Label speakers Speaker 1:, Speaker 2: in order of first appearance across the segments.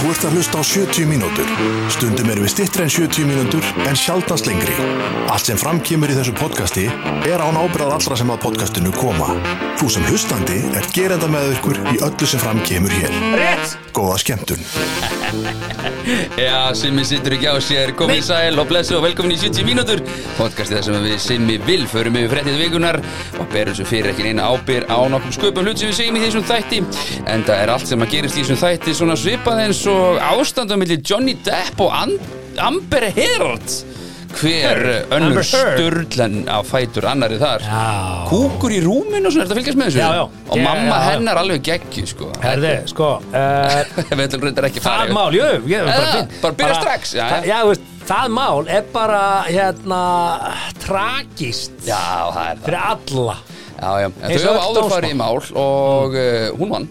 Speaker 1: Þú ert að hlusta á 70 mínútur. Stundum erum við stittri en 70 mínútur en sjaldast lengri. Allt sem framkýmur í þessu podcasti er án ábyrðað allra sem að podcastinu koma. Þú sem hlustandi er gerenda með ykkur í öllu sem framkýmur hér.
Speaker 2: Rétt!
Speaker 1: Góða skemmtun.
Speaker 3: Já, Simmi sittur ekki á sér, komið sæl og blessu og velkomin í 70 mínútur Podcastið þar sem við Simmi vil förum yfir fréttið vikunar og berum svo fyrir ekki neina ábyr á nokkum sköpum hlut sem við segjum í þessum þætti En það er allt sem að gerist í þessum þætti svona svipað eins og ástandum milli Johnny Depp og And Amber Heard Hver önnur
Speaker 2: Amber Heard.
Speaker 3: sturlan af fætur annari þar
Speaker 2: Já.
Speaker 3: Kúkur í rúminu og svona, er þetta að fylgjast með þessu?
Speaker 2: Já, já.
Speaker 3: Og
Speaker 2: Já,
Speaker 3: mamma
Speaker 2: já, já.
Speaker 3: hennar alveg geggju, sko
Speaker 2: Herði, sko, uh,
Speaker 3: Við ætlum reyndar ekki að fara
Speaker 2: það
Speaker 3: yfir.
Speaker 2: mál, jú, ég
Speaker 3: Já, bara byrja strax, já,
Speaker 2: já,
Speaker 3: já.
Speaker 2: já. þú veist, það mál er bara, hérna, tragist
Speaker 3: Já, það er það
Speaker 2: fyrir alla.
Speaker 3: Já, já, en
Speaker 2: Eins
Speaker 3: þau
Speaker 2: og
Speaker 3: hafa
Speaker 2: öll
Speaker 3: áður
Speaker 2: dómsmál. Mm.
Speaker 3: farið í mál og uh, hún vann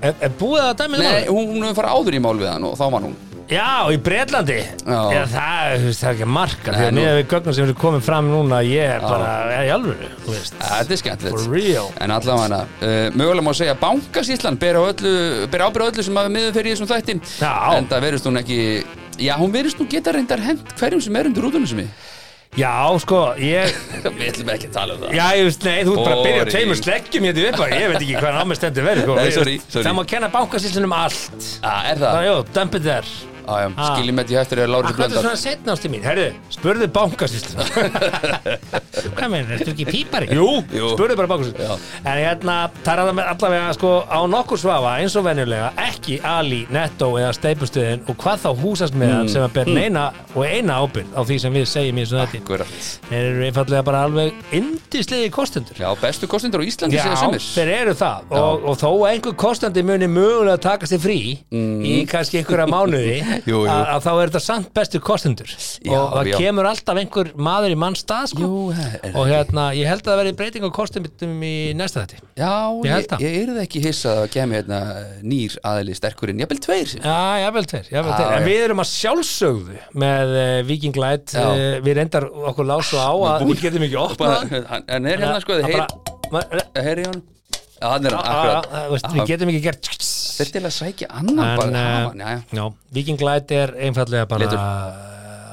Speaker 2: Er, er búið að dæmið
Speaker 3: Nei,
Speaker 2: mál?
Speaker 3: hún hún hefur farið áður í mál við hann og þá vann hún
Speaker 2: Já, í Breitlandi.
Speaker 3: Já.
Speaker 2: Já, það, þú veist, það er ekki að marka, því
Speaker 3: Nei,
Speaker 2: að
Speaker 3: nú-
Speaker 2: miðað við gögnum sem eru komið fram núna, ég er bara, ég er í alvöru, þú veist.
Speaker 3: Þetta er skemmtilegt
Speaker 2: For real.
Speaker 3: En allavega uh, mögulega má segja að bankasýslan ber, á öllu- ber ábyrð á öllu sem hafa miður fyrir í þessum þætti
Speaker 2: Já.
Speaker 3: En það verðist hún ekki Já, hún verðist hún geta reyndar hent hverjum sem er undir rútunum sem ég
Speaker 2: Já, sko, ég,
Speaker 3: Við ætlum ekki að tala um það
Speaker 2: já, ég veist, nei, þú ert bara að byrja á
Speaker 3: Boring.
Speaker 2: tveimur sleggjum hérna í upp, ég veit ekki hvað námið stendur verið, sko.
Speaker 3: Nei, sorry, sorry.
Speaker 2: Það má kenna bankasýslinum allt.
Speaker 3: ah, Er það?
Speaker 2: Já, já, dömpið þér.
Speaker 3: Já, já,
Speaker 2: Ah.
Speaker 3: skiljum þetta í eftir eða Láru
Speaker 2: Akkur er
Speaker 3: Blöndar
Speaker 2: svona setna ástu mín, herðu, spurðu bankasýstluna Hvað meina, ertu ekki pípari? Jú,
Speaker 3: Jú.
Speaker 2: spurðu bara bankasýstluna En hérna, það er að- allavega sko á nokkur svafa eins og venjulega ekki Ali, Netto eða Steipustuðin og hvað þá húsast
Speaker 3: Mm,
Speaker 2: meðan sem að ber neina og eina ábyrgð á því sem við segjum í þessu þetta
Speaker 3: Akkurat
Speaker 2: Þeir eru einfallega bara alveg indisliði kostendur
Speaker 3: Já, bestu kostendur á Íslandi
Speaker 2: Já,
Speaker 3: segja semir
Speaker 2: þeir eru það og, og þó að einhver kostandi muni mögulega taka sig frí í kannski einhverja mánuði
Speaker 3: Mm. Jú, jú.
Speaker 2: Að, að þá er þetta samt bestu kostendur og það
Speaker 3: já.
Speaker 2: kemur alltaf einhver maður í mann stað sko.
Speaker 3: Jú, það er-
Speaker 2: og hérna, ég held að það verði breyting á kostendum í næsta þetta
Speaker 3: Já,
Speaker 2: Ég
Speaker 3: ég,
Speaker 2: held það.
Speaker 3: ég yrði ekki hissað að kemja hérna nýr aðli sterkurinn, jafnvel tveir sem
Speaker 2: Já, jafnvel tveir, jafnvel
Speaker 3: Já,
Speaker 2: tveir. En
Speaker 3: já.
Speaker 2: við erum að sjálfsögðu með uh, Viking Light,
Speaker 3: Já.
Speaker 2: uh, við reyndar okkur lásu á að við getum ekki opnað
Speaker 3: Bara- hann hann er hérna sko,
Speaker 2: Það
Speaker 3: þið heyr eh,
Speaker 2: bara-
Speaker 3: heyri hann Já, hann er hann,
Speaker 2: Ah,
Speaker 3: akkurat
Speaker 2: ah, veist, Við getum eh, ekki gert
Speaker 3: Þetta er til að sækja annan bara hafa hann, já, já
Speaker 2: já, Viking Light er einfallega bara
Speaker 3: Litur.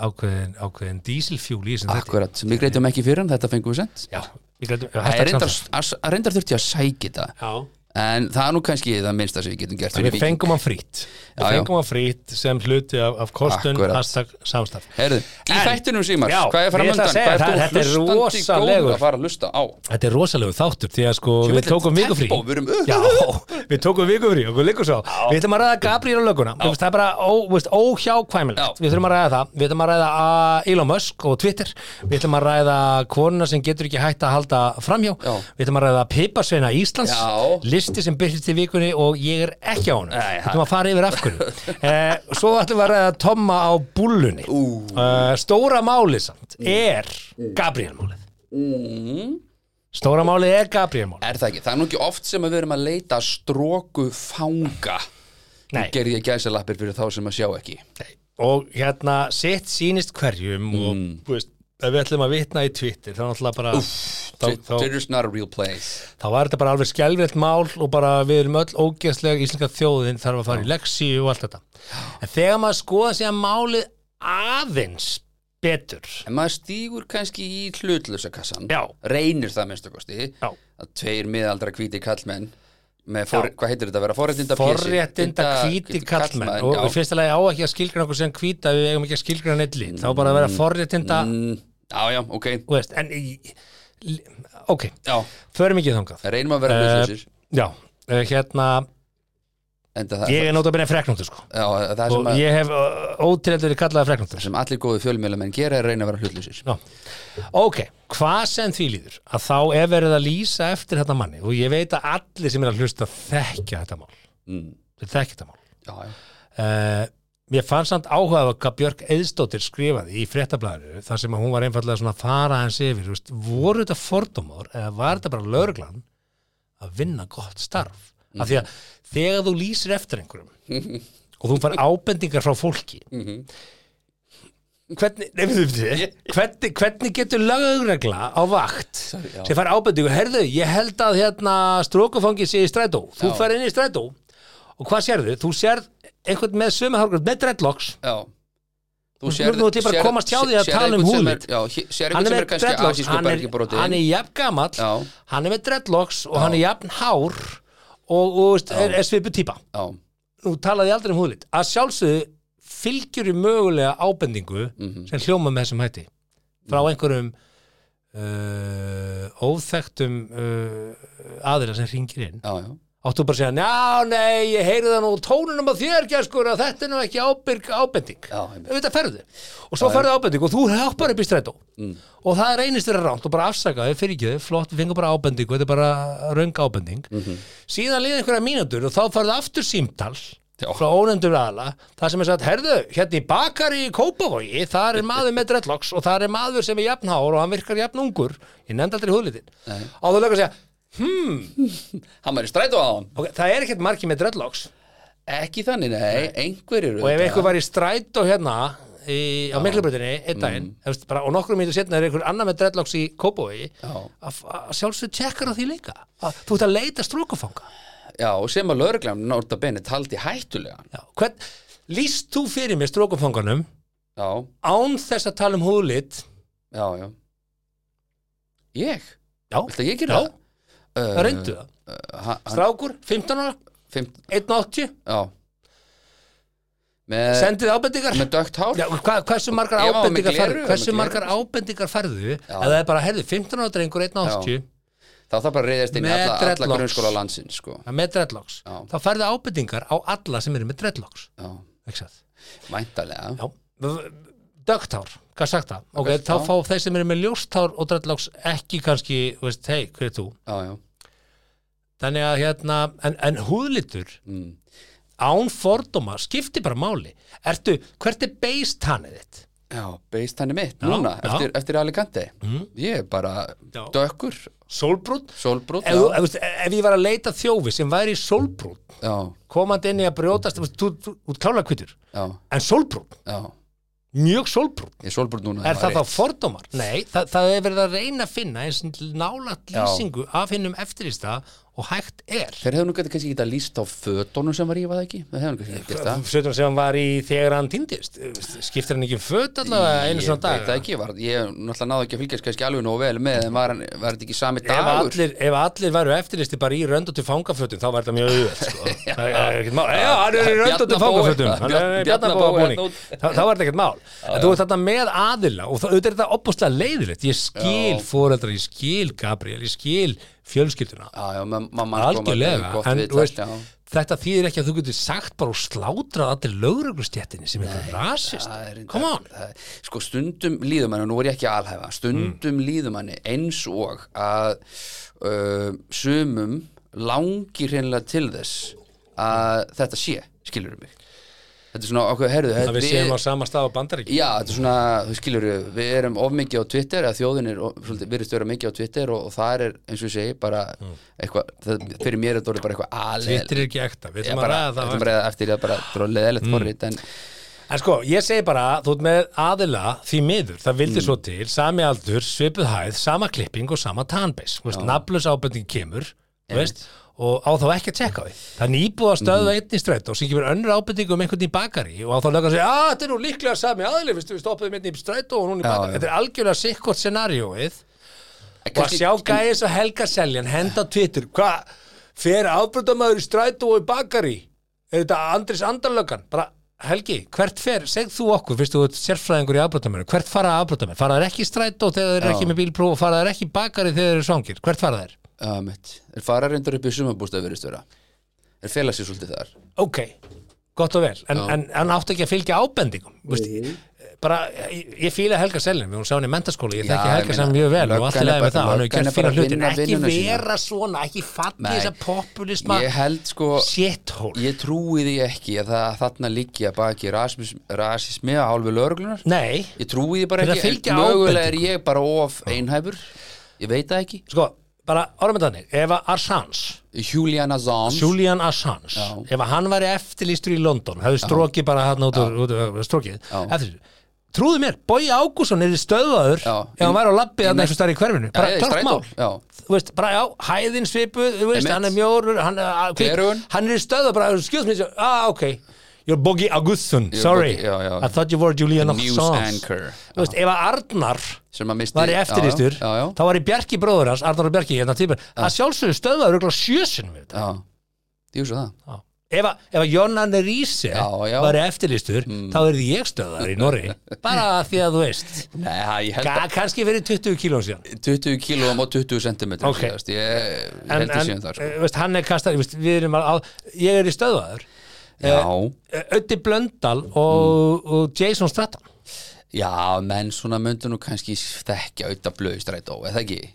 Speaker 2: ákveðin, ákveðin dieselfjúl í þessum þetta
Speaker 3: Akkurat, sem við greitum ekki fyrir hann, þetta fengum við sendt
Speaker 2: Já, við glætum, já,
Speaker 3: Það er
Speaker 2: hashtag
Speaker 3: reyndar,
Speaker 2: samtal.
Speaker 3: að- að reyndar þurfti að sækja þetta
Speaker 2: já,
Speaker 3: En það er nú kannski það minnsta sem við getum gert
Speaker 2: en
Speaker 3: fyrir
Speaker 2: við
Speaker 3: Víking.
Speaker 2: fengum hann frýtt
Speaker 3: Já, já.
Speaker 2: við fengum hann frýtt sem hluti af, af kostun
Speaker 3: Akkurat.
Speaker 2: hashtag samstaf
Speaker 3: Heyrðu, í
Speaker 2: En-
Speaker 3: þættinum símar,
Speaker 2: Já,
Speaker 3: hvað er fram
Speaker 2: ég ætla að
Speaker 3: undan?
Speaker 2: segja
Speaker 3: Hvað
Speaker 2: það,
Speaker 3: er
Speaker 2: þetta er
Speaker 3: þú hlustandi góð
Speaker 2: rosalegur.
Speaker 3: að fara að hlusta á?
Speaker 2: Þetta er rosalegu þáttur því að sko
Speaker 3: Ég
Speaker 2: við
Speaker 3: veit,
Speaker 2: tókum
Speaker 3: tempo,
Speaker 2: vikufrí
Speaker 3: við erum-
Speaker 2: Já, við tókum vikufrí okkur liggur svo Við ætlum að ræða Gabriel og löguna Þú veist, Það er bara ó, þú veist,
Speaker 3: Já.
Speaker 2: óhjákvæmilegt Við þurfum að ræða það Við ætlum að ræða uh, Elon Musk og Twitter Við ætlum að ræða konuna sem getur ekki hægt að halda framhjá
Speaker 3: Já.
Speaker 2: Við ætlum að ræða Piparsveina Íslands
Speaker 3: Já.
Speaker 2: Listi sem byrjist í vikunni og ég er ekki á honum
Speaker 3: Nei,
Speaker 2: Við ætlum að fara yfir af hverju eh, Svo ætlum við að ræða Tomma á búllunni eh, Stóra máli samt er Gabriel málið Stóra málið er Gabriel málið
Speaker 3: Er það ekki? Það er nú ekki oft sem að við erum að leita að stróku fanga
Speaker 2: Nei.
Speaker 3: Gerði ég gæsalappir fyrir þá sem að sjá ekki
Speaker 2: og hérna sitt sýnist hverjum og þú veist, ef við ætlum að vitna í Twitter þá náttúrulega bara þá, þá,
Speaker 3: Twitter's not a real place
Speaker 2: þá var þetta bara alveg skelvilt mál og bara við erum öll ógeðslega íslenska þjóðin þarf að fara í leksi og allt þetta en þegar maður skoða sig að málið aðeins betur
Speaker 3: En maður stígur kannski í hlutlösa kassan
Speaker 2: Já.
Speaker 3: Reynir það minnstu kosti
Speaker 2: Já.
Speaker 3: Að tveir miðaldra hvíti kallmenn með for,
Speaker 2: Já.
Speaker 3: Hvað heitir þetta að vera? Forréttinda
Speaker 2: forréttinda hvíti kallmenn og við
Speaker 3: já.
Speaker 2: finnst alveg á ekki að skilgrana okkur sem hvíta við eigum ekki að skilgrana neitt lit þá bara að vera forréttinda mm.
Speaker 3: Mm, já, já, ok
Speaker 2: veist, en í- li- ok,
Speaker 3: já.
Speaker 2: förum ekki þangað
Speaker 3: Reynum að vera
Speaker 2: Eh,
Speaker 3: hlutlösir
Speaker 2: Já, eh, hérna
Speaker 3: Enda það,
Speaker 2: Ég er nota benið freknóttur sko
Speaker 3: já, það
Speaker 2: og
Speaker 3: er sem, að,
Speaker 2: ég hef ótreldur verið kallaða freknóttur
Speaker 3: sem allir góðu fjölmjölamenn gera er að reyna að vera hlutlösir
Speaker 2: Ok, hvað sem því líður að þá er verið að lýsa eftir þetta manni og ég veit að allir sem er að hlusta þekkja þetta mál
Speaker 3: mm.
Speaker 2: þeir þekkja þetta mál
Speaker 3: Já, já
Speaker 2: uh, Mér fannst samt áhugað að Björk Eðstóttir skrifaði í fréttablaðinu þar sem að hún var einfallega svona að fara hans yfir þú veist, voru þetta fordómar eða var þetta bara lögreglan að vinna gott starf af því að þegar þú lýsir eftir einhverjum og þú fær ábendingar frá fólki hvernig, nefnum þið, hvernig, hvernig getur lögregla á vakt
Speaker 3: já.
Speaker 2: sem fær ábendingu, herðu, ég held að hérna strókufangi sé í strætó, þú
Speaker 3: Já.
Speaker 2: fær inn í strætó og hvað sérðu? Þú sérð einhvern með sömu hárgræð, með dreadlocks
Speaker 3: já Þú
Speaker 2: Nú erum við til bara að komast hjá því að
Speaker 3: sérð
Speaker 2: tala um
Speaker 3: einhvern sem
Speaker 2: húðlit.
Speaker 3: er- Já, hér- sér
Speaker 2: hann er
Speaker 3: einhvern sem
Speaker 2: með
Speaker 3: er kannski
Speaker 2: dreadlocks
Speaker 3: asísku
Speaker 2: hann er, hann er
Speaker 3: bergibróti
Speaker 2: jafn gamall
Speaker 3: Já.
Speaker 2: hann er með dreadlocks og hann er jafn hár og, og veist, er, er svipu típa
Speaker 3: Já,
Speaker 2: nú talaði ég aldrei um húðlit að sjálfsögðu fylgjur í mögulega ábendingu
Speaker 3: mhm.
Speaker 2: sem hljóma með þessum hætti frá einhverjum uh, óþekktum uh, aðila sem hringir inn
Speaker 3: já, já
Speaker 2: áttu bara að segja, já, nei, ég heyri það nú tónunum á þér, geskur, að þetta er nú ekki ábyrg ábending,
Speaker 3: Já, einmitt.
Speaker 2: þetta ferðu og svo ferðu ábending og þú hoppar upp í strætó
Speaker 3: Mm.
Speaker 2: og það er einist verið ránt og bara afsakaði fyrir ekki þau, flott, við fengum bara ábendingu þetta er bara röng ábending
Speaker 3: Mhm.
Speaker 2: síðan liði einhverja mínútur og þá ferðu aftur símtal
Speaker 3: Já.
Speaker 2: frá ónefndur aðala það sem er sagt, herðu, hérna í bakar í Kópavogi, þar er maður með dreadlocks og þar er maður sem er jafnhár og hann virkar jafnungur, ég nefndi aldrei húðlitin á þú lög að segja,
Speaker 3: Hann var í strætó á hann
Speaker 2: ok, það er ekkert margi með dreadlocks
Speaker 3: Ekki þannig, nei, einhver eru
Speaker 2: og ef
Speaker 3: þetta.
Speaker 2: einhver var í strætó hérna í, á miklubröðinni einn daginn mm. bara, og nokkrum mínútur setna er einhver annar með dreadlocks í Kópói
Speaker 3: Já.
Speaker 2: að sjálfsög tjekkar á því líka að, þú ert að leita strókufanga
Speaker 3: Já, og sem að lögreglan Norda Bene taldi hættulegan
Speaker 2: Já, hvern, líst þú fyrir mér strókufanganum
Speaker 3: Já,
Speaker 2: án þess að tala um húðlit
Speaker 3: já, já Ég?
Speaker 2: já,
Speaker 3: Viltu að ég gera
Speaker 2: já,
Speaker 3: það? Uh,
Speaker 2: það reyndu það
Speaker 3: ha, ha,
Speaker 2: strákur, 15 ára,
Speaker 3: fimm,
Speaker 2: 180
Speaker 3: Já Með,
Speaker 2: sendið ábendingar
Speaker 3: Eh, með dögt hár
Speaker 2: Já, hva, hversu margar
Speaker 3: Ég var með
Speaker 2: ábendingar
Speaker 3: gleru,
Speaker 2: færðu
Speaker 3: með
Speaker 2: hversu
Speaker 3: gleru.
Speaker 2: margar ábendingar færðu ef það er bara, herðu, 15 ára drengur 180
Speaker 3: Já. Þá þarf bara að reyðast inn í
Speaker 2: Með
Speaker 3: alla, alla
Speaker 2: dreadlocks.
Speaker 3: grunnskóla landsins sko.
Speaker 2: Já, með dreadlocks,
Speaker 3: Já.
Speaker 2: þá færðu ábendingar á alla sem eru með dreadlocks
Speaker 3: Já,
Speaker 2: ekki satt?
Speaker 3: mæntalega
Speaker 2: Já. V- v- dögtár, hvað sagt það ok,
Speaker 3: Dökkt
Speaker 2: þá
Speaker 3: hár.
Speaker 2: fá þeir sem eru með ljóstár og dreadlocks ekki kannski, þú veist, hei, hver er þú
Speaker 3: Já, já
Speaker 2: þannig að hérna, en, en húðlitur
Speaker 3: Mm.
Speaker 2: án fordóma skiptir bara máli, ertu hvert er beist hannið þitt
Speaker 3: Já, beist hann er mitt
Speaker 2: Já, já.
Speaker 3: núna,
Speaker 2: Mm.
Speaker 3: Eftir, eftir Alicante Ég er bara
Speaker 2: Já.
Speaker 3: dökkur,
Speaker 2: sólbrútt,
Speaker 3: sólbrútt
Speaker 2: ef, þú- ef, þú veist, ef ég var að leita þjófi sem væri sólbrútt
Speaker 3: já,
Speaker 2: komandi inn í að brjótast, þú veist, þú- þú þú ert klálega kvittur,
Speaker 3: já,
Speaker 2: en sólbrútt
Speaker 3: já
Speaker 2: mjög sólbrútt
Speaker 3: Ég er sólbrútt núna
Speaker 2: Er það
Speaker 3: var
Speaker 2: þá fordómar? Nei, það, það er verið að reyna að finna eins nálat
Speaker 3: Já.
Speaker 2: lýsingu af hinnum eftirlista og hægt er.
Speaker 3: Þeir hefðu nú gæti kannski geta líst á fötunum sem var í, var það ekki? Það hefðu nú kannski geta gert það.
Speaker 2: Sveitum sem hann var í þegar hann týndist, skiptir hann ekki um föt allavega einu svona
Speaker 3: Ég
Speaker 2: dag?
Speaker 3: veit það ekki, var, ég náttúrulega náðu ekki að fylgjast kannski alveg nógu vel með, en var, hann- var þetta ekki sami
Speaker 2: Ef
Speaker 3: dagur?
Speaker 2: allir, ef allir væru eftirlisti bara í röndóttu fangafötum, þá væri það mjög auðvöld, sko. Það er ekkert mál. Já, hann er í röndóttu
Speaker 3: Bjarna Bói.
Speaker 2: fangafötum. Hann er
Speaker 3: Bjarna-
Speaker 2: Bjarnabóa
Speaker 3: Bjarna Bói
Speaker 2: búning.
Speaker 3: hérna
Speaker 2: Þá þá er þetta ekkert mál. En þú ert þarna með aðila og þá- auðvitað er þetta opbúslega leiðilegt. Ég skil fóreldra, ég skil Gabriel, ég skil fjölskylduna.
Speaker 3: Já, já, ma- mamma hans kom að
Speaker 2: algjörlega
Speaker 3: gott
Speaker 2: en,
Speaker 3: við
Speaker 2: þú veist,
Speaker 3: þetta, já.
Speaker 2: þetta þýðir ekki að þú getur sagt bara og slátrað allir lögreglustjættinni sem eitthvað rasist
Speaker 3: Það er reyndar-
Speaker 2: come on
Speaker 3: það er- Sko stundum líður manni og nú er ég ekki að alhæfa stundum
Speaker 2: Mm.
Speaker 3: líður manni eins og að uh, sumum langir hreinlega til þess að þetta sé skilur mig Þetta er svona okkur, herðu
Speaker 2: að við séum á sama stað á bandaríki
Speaker 3: Já, þetta er svona, þú skilur við, erum of mikið á Twitter, að þjóðin er, of- svolítið, við erum störa mikið á Twitter og, og það er, eins og ég segi, bara
Speaker 2: Mm.
Speaker 3: eitthvað, það, fyrir mér er þetta orðið bara eitthvað alveg,
Speaker 2: þetta er ekki ekta, við
Speaker 3: ég
Speaker 2: ætlum að
Speaker 3: bara,
Speaker 2: ræða það á
Speaker 3: þetta
Speaker 2: eftir.
Speaker 3: er bara eftir, ég bara, þetta er leðilegt mm. forrið, en
Speaker 2: en sko, ég segi bara, þú ert með aðila því miður, það
Speaker 3: Mm.
Speaker 2: vildi svo til sami aldur, svipuð hæð, sama klipping og sama tanbeis, þú veist, nafnlaus ábending kemur, þú veist og á þá ekki að tjekka á því. Það er nýbúið að
Speaker 3: Mhm.
Speaker 2: stöðva einn í strætt og sem kemur önnur ábendingu um einhvern í bakari og á þá lögur að segja, að þetta er nú líklega sami aðlið, við stoppuðum einn í strætt og hún í
Speaker 3: Já,
Speaker 2: bakari.
Speaker 3: já.
Speaker 2: Þetta er algjörlega sikkort scenaríóið
Speaker 3: en
Speaker 2: og að sjá gæði eins og Helga Seljan henda á Twitter, hvað fer afbrotamæður í strætó og í bakari er þetta Andris Andarlökan bara Helgi, hvert fer, segð þú okkur fyrst þú ert sérfræðingur í afbrotamæður, hvert fara afbrotamæður fara þær ekki í strætó þegar þeir eru
Speaker 3: Já.
Speaker 2: ekki með bílpróf og fara þær ekki í bakari þegar þeir eru svangir hvert fara þær?
Speaker 3: Já, mitt, er fara reyndar upp í sumabústað verið störa, er fela sér svolítið þar
Speaker 2: Ok, gott og vel en, en hann átti ekki að fylgja ábendingum veist, bara, ég, ég fíla Helga Seljan hún sá hann í mentaskóla, ég
Speaker 3: Já,
Speaker 2: þekki
Speaker 3: ég
Speaker 2: Helga
Speaker 3: meina,
Speaker 2: Seljan mjög vel og
Speaker 3: löggan
Speaker 2: allt í
Speaker 3: er
Speaker 2: lagi
Speaker 3: bara-
Speaker 2: með það, hann
Speaker 3: löggan
Speaker 2: hefur gert
Speaker 3: er
Speaker 2: fína
Speaker 3: bara að
Speaker 2: hlutin
Speaker 3: vinna
Speaker 2: ekki
Speaker 3: vinnuna sína.
Speaker 2: vera svona, ekki falli
Speaker 3: Nei.
Speaker 2: þessa populisma
Speaker 3: Ég held sko,
Speaker 2: shithole
Speaker 3: ég trúi því ekki að það, þarna líkja baki rasismi, rasismi á hálfu lögreglunar
Speaker 2: Nei,
Speaker 3: Ég trúi því bara
Speaker 2: Fyrir að
Speaker 3: ekki,
Speaker 2: fylgja
Speaker 3: mögulega er
Speaker 2: ábendingum.
Speaker 3: ég bara of einhæfur, ég veit það ekki
Speaker 2: sko, bara orðum þetta þannig ef að Assange,
Speaker 3: Julian Assange
Speaker 2: Julian Assange
Speaker 3: Já.
Speaker 2: ef að hann væri eftirlýstur í London hefði strókið bara hann út úr, út úr strókið
Speaker 3: Já.
Speaker 2: eftir, trúðu mér, Bói Ágússon er stöðvaður
Speaker 3: Já.
Speaker 2: ef hann væri á labbi
Speaker 3: Í
Speaker 2: þarna
Speaker 3: næst-
Speaker 2: einhver starf í hverfinu bara
Speaker 3: já, í
Speaker 2: klart
Speaker 3: strætó,
Speaker 2: mál,
Speaker 3: já.
Speaker 2: þú veist, bara já hæðin svipuð, þú veist,
Speaker 3: Einmitt.
Speaker 2: hann er mjórur hann, er- að-
Speaker 3: Gleraugun.
Speaker 2: hann er stöðvað bara, skjóðs mér, ah, ok You're Bogi Augustsson,
Speaker 3: You're
Speaker 2: sorry
Speaker 3: Bogi- já, já.
Speaker 2: I thought you were Julian
Speaker 3: The news
Speaker 2: Assange
Speaker 3: anchor.
Speaker 2: Þú veist, ef að Arnar
Speaker 3: sem að misti
Speaker 2: var í eftirlýstur
Speaker 3: já, já,
Speaker 2: þá var í Bjarki bróður hans, Arnar og Bjarki hérna típur, að sjálfsögðu stöðvaður örugglega sjö sinnum við þetta.
Speaker 3: já, ég svo það
Speaker 2: Já. Ef að, ef að Jónan Ríse
Speaker 3: Já, já. Mm.
Speaker 2: var í eftirlýstur, þá er ég stöðvaður í Norri, bara af því að þú veist
Speaker 3: Nei, ég held
Speaker 2: Ka, kannski fyrir 20 kílón síðan
Speaker 3: að 20 kílóum og 20 centimetrum
Speaker 2: Ok.
Speaker 3: síðast. ég, ég held að séum það sko.
Speaker 2: eh, veist, hann er kastar, veist, við erum að, að ég er í stöðvaður eh,
Speaker 3: já,
Speaker 2: Öddi Blöndal og,
Speaker 3: Mm.
Speaker 2: og Jason Statham
Speaker 3: já, menn svona myndu nú kannski þekkja auðvitað blöð í strætó, eða ekki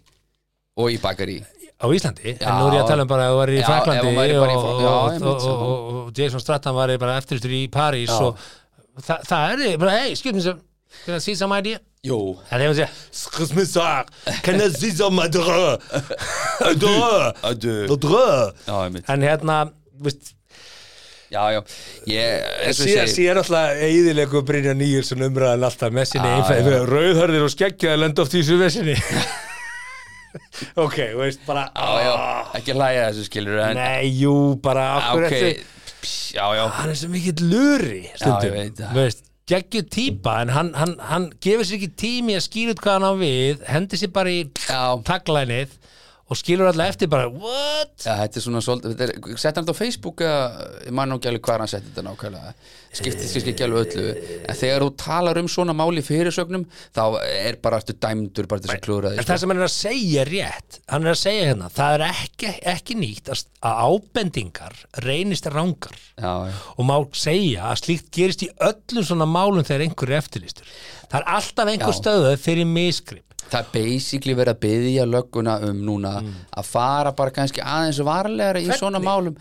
Speaker 3: og í bakari
Speaker 2: á Íslandi, en nú er ég að tala um bara að þú var í
Speaker 3: Já, ef
Speaker 2: Fraklandi
Speaker 3: hún væri bara í
Speaker 2: og,
Speaker 3: Frak-
Speaker 2: og,
Speaker 3: já,
Speaker 2: og,
Speaker 3: einmitt,
Speaker 2: og,
Speaker 3: já.
Speaker 2: og, og Jason Statham var bara eftirstur í París
Speaker 3: Já.
Speaker 2: og þa, það er, bara, hey, excuse me sir can I see some idea?
Speaker 3: jú,
Speaker 2: Það er að segja, excuse me sir can I see some idea? Idea,
Speaker 3: aðu
Speaker 2: idea
Speaker 3: já, einmitt.
Speaker 2: En hérna, veist
Speaker 3: já, já, ég, eins og ég
Speaker 2: Síðan
Speaker 3: segi
Speaker 2: síðan alltaf eðilegu Brynja Nýjursson umræðan alltaf með sinni
Speaker 3: Já,
Speaker 2: einfæð,
Speaker 3: já.
Speaker 2: rauðhörðir og skeggjaði lenda oft í þessu vesinni Ok, þú veist, bara
Speaker 3: já, já, ekki hlæja þessu skilur en,
Speaker 2: Nei, jú, bara okkur okay.
Speaker 3: ok, pss, já, já
Speaker 2: hann er svo mikill luri
Speaker 3: Já, ég veit
Speaker 2: stundum
Speaker 3: það.
Speaker 2: veist, geggju típa en hann, hann, hann gefur sér ekki tími að skýra út hvað hann á við hendi sér bara í
Speaker 3: Já.
Speaker 2: taglænið og skilur alltaf eftir bara what?
Speaker 3: Já, þetta er svona svolítið, þetta er, sett hann þetta á Facebook eða, ég man nú ekki alveg hvað hann setti þetta nákvæmlega skiptið skiptið ekki alveg öllu en þegar þú talar um svona máli fyrirsögnum þá er bara ertu dæmdur bara til þess að klúra
Speaker 2: En
Speaker 3: því sko.
Speaker 2: það sem hann er að segja er rétt hann er að segja hérna, það er ekki, ekki nýtt að, að ábendingar reynist rángar
Speaker 3: Já, já,
Speaker 2: og má segja að slíkt gerist í öllum svona málum þegar einhver er eftirlýstur það er alltaf einhver
Speaker 3: Já.
Speaker 2: stöðu fyrir misgrip
Speaker 3: það er basically verið að byggja lögguna um núna
Speaker 2: Mm.
Speaker 3: að fara bara kannski aðeins varlegar í svona málum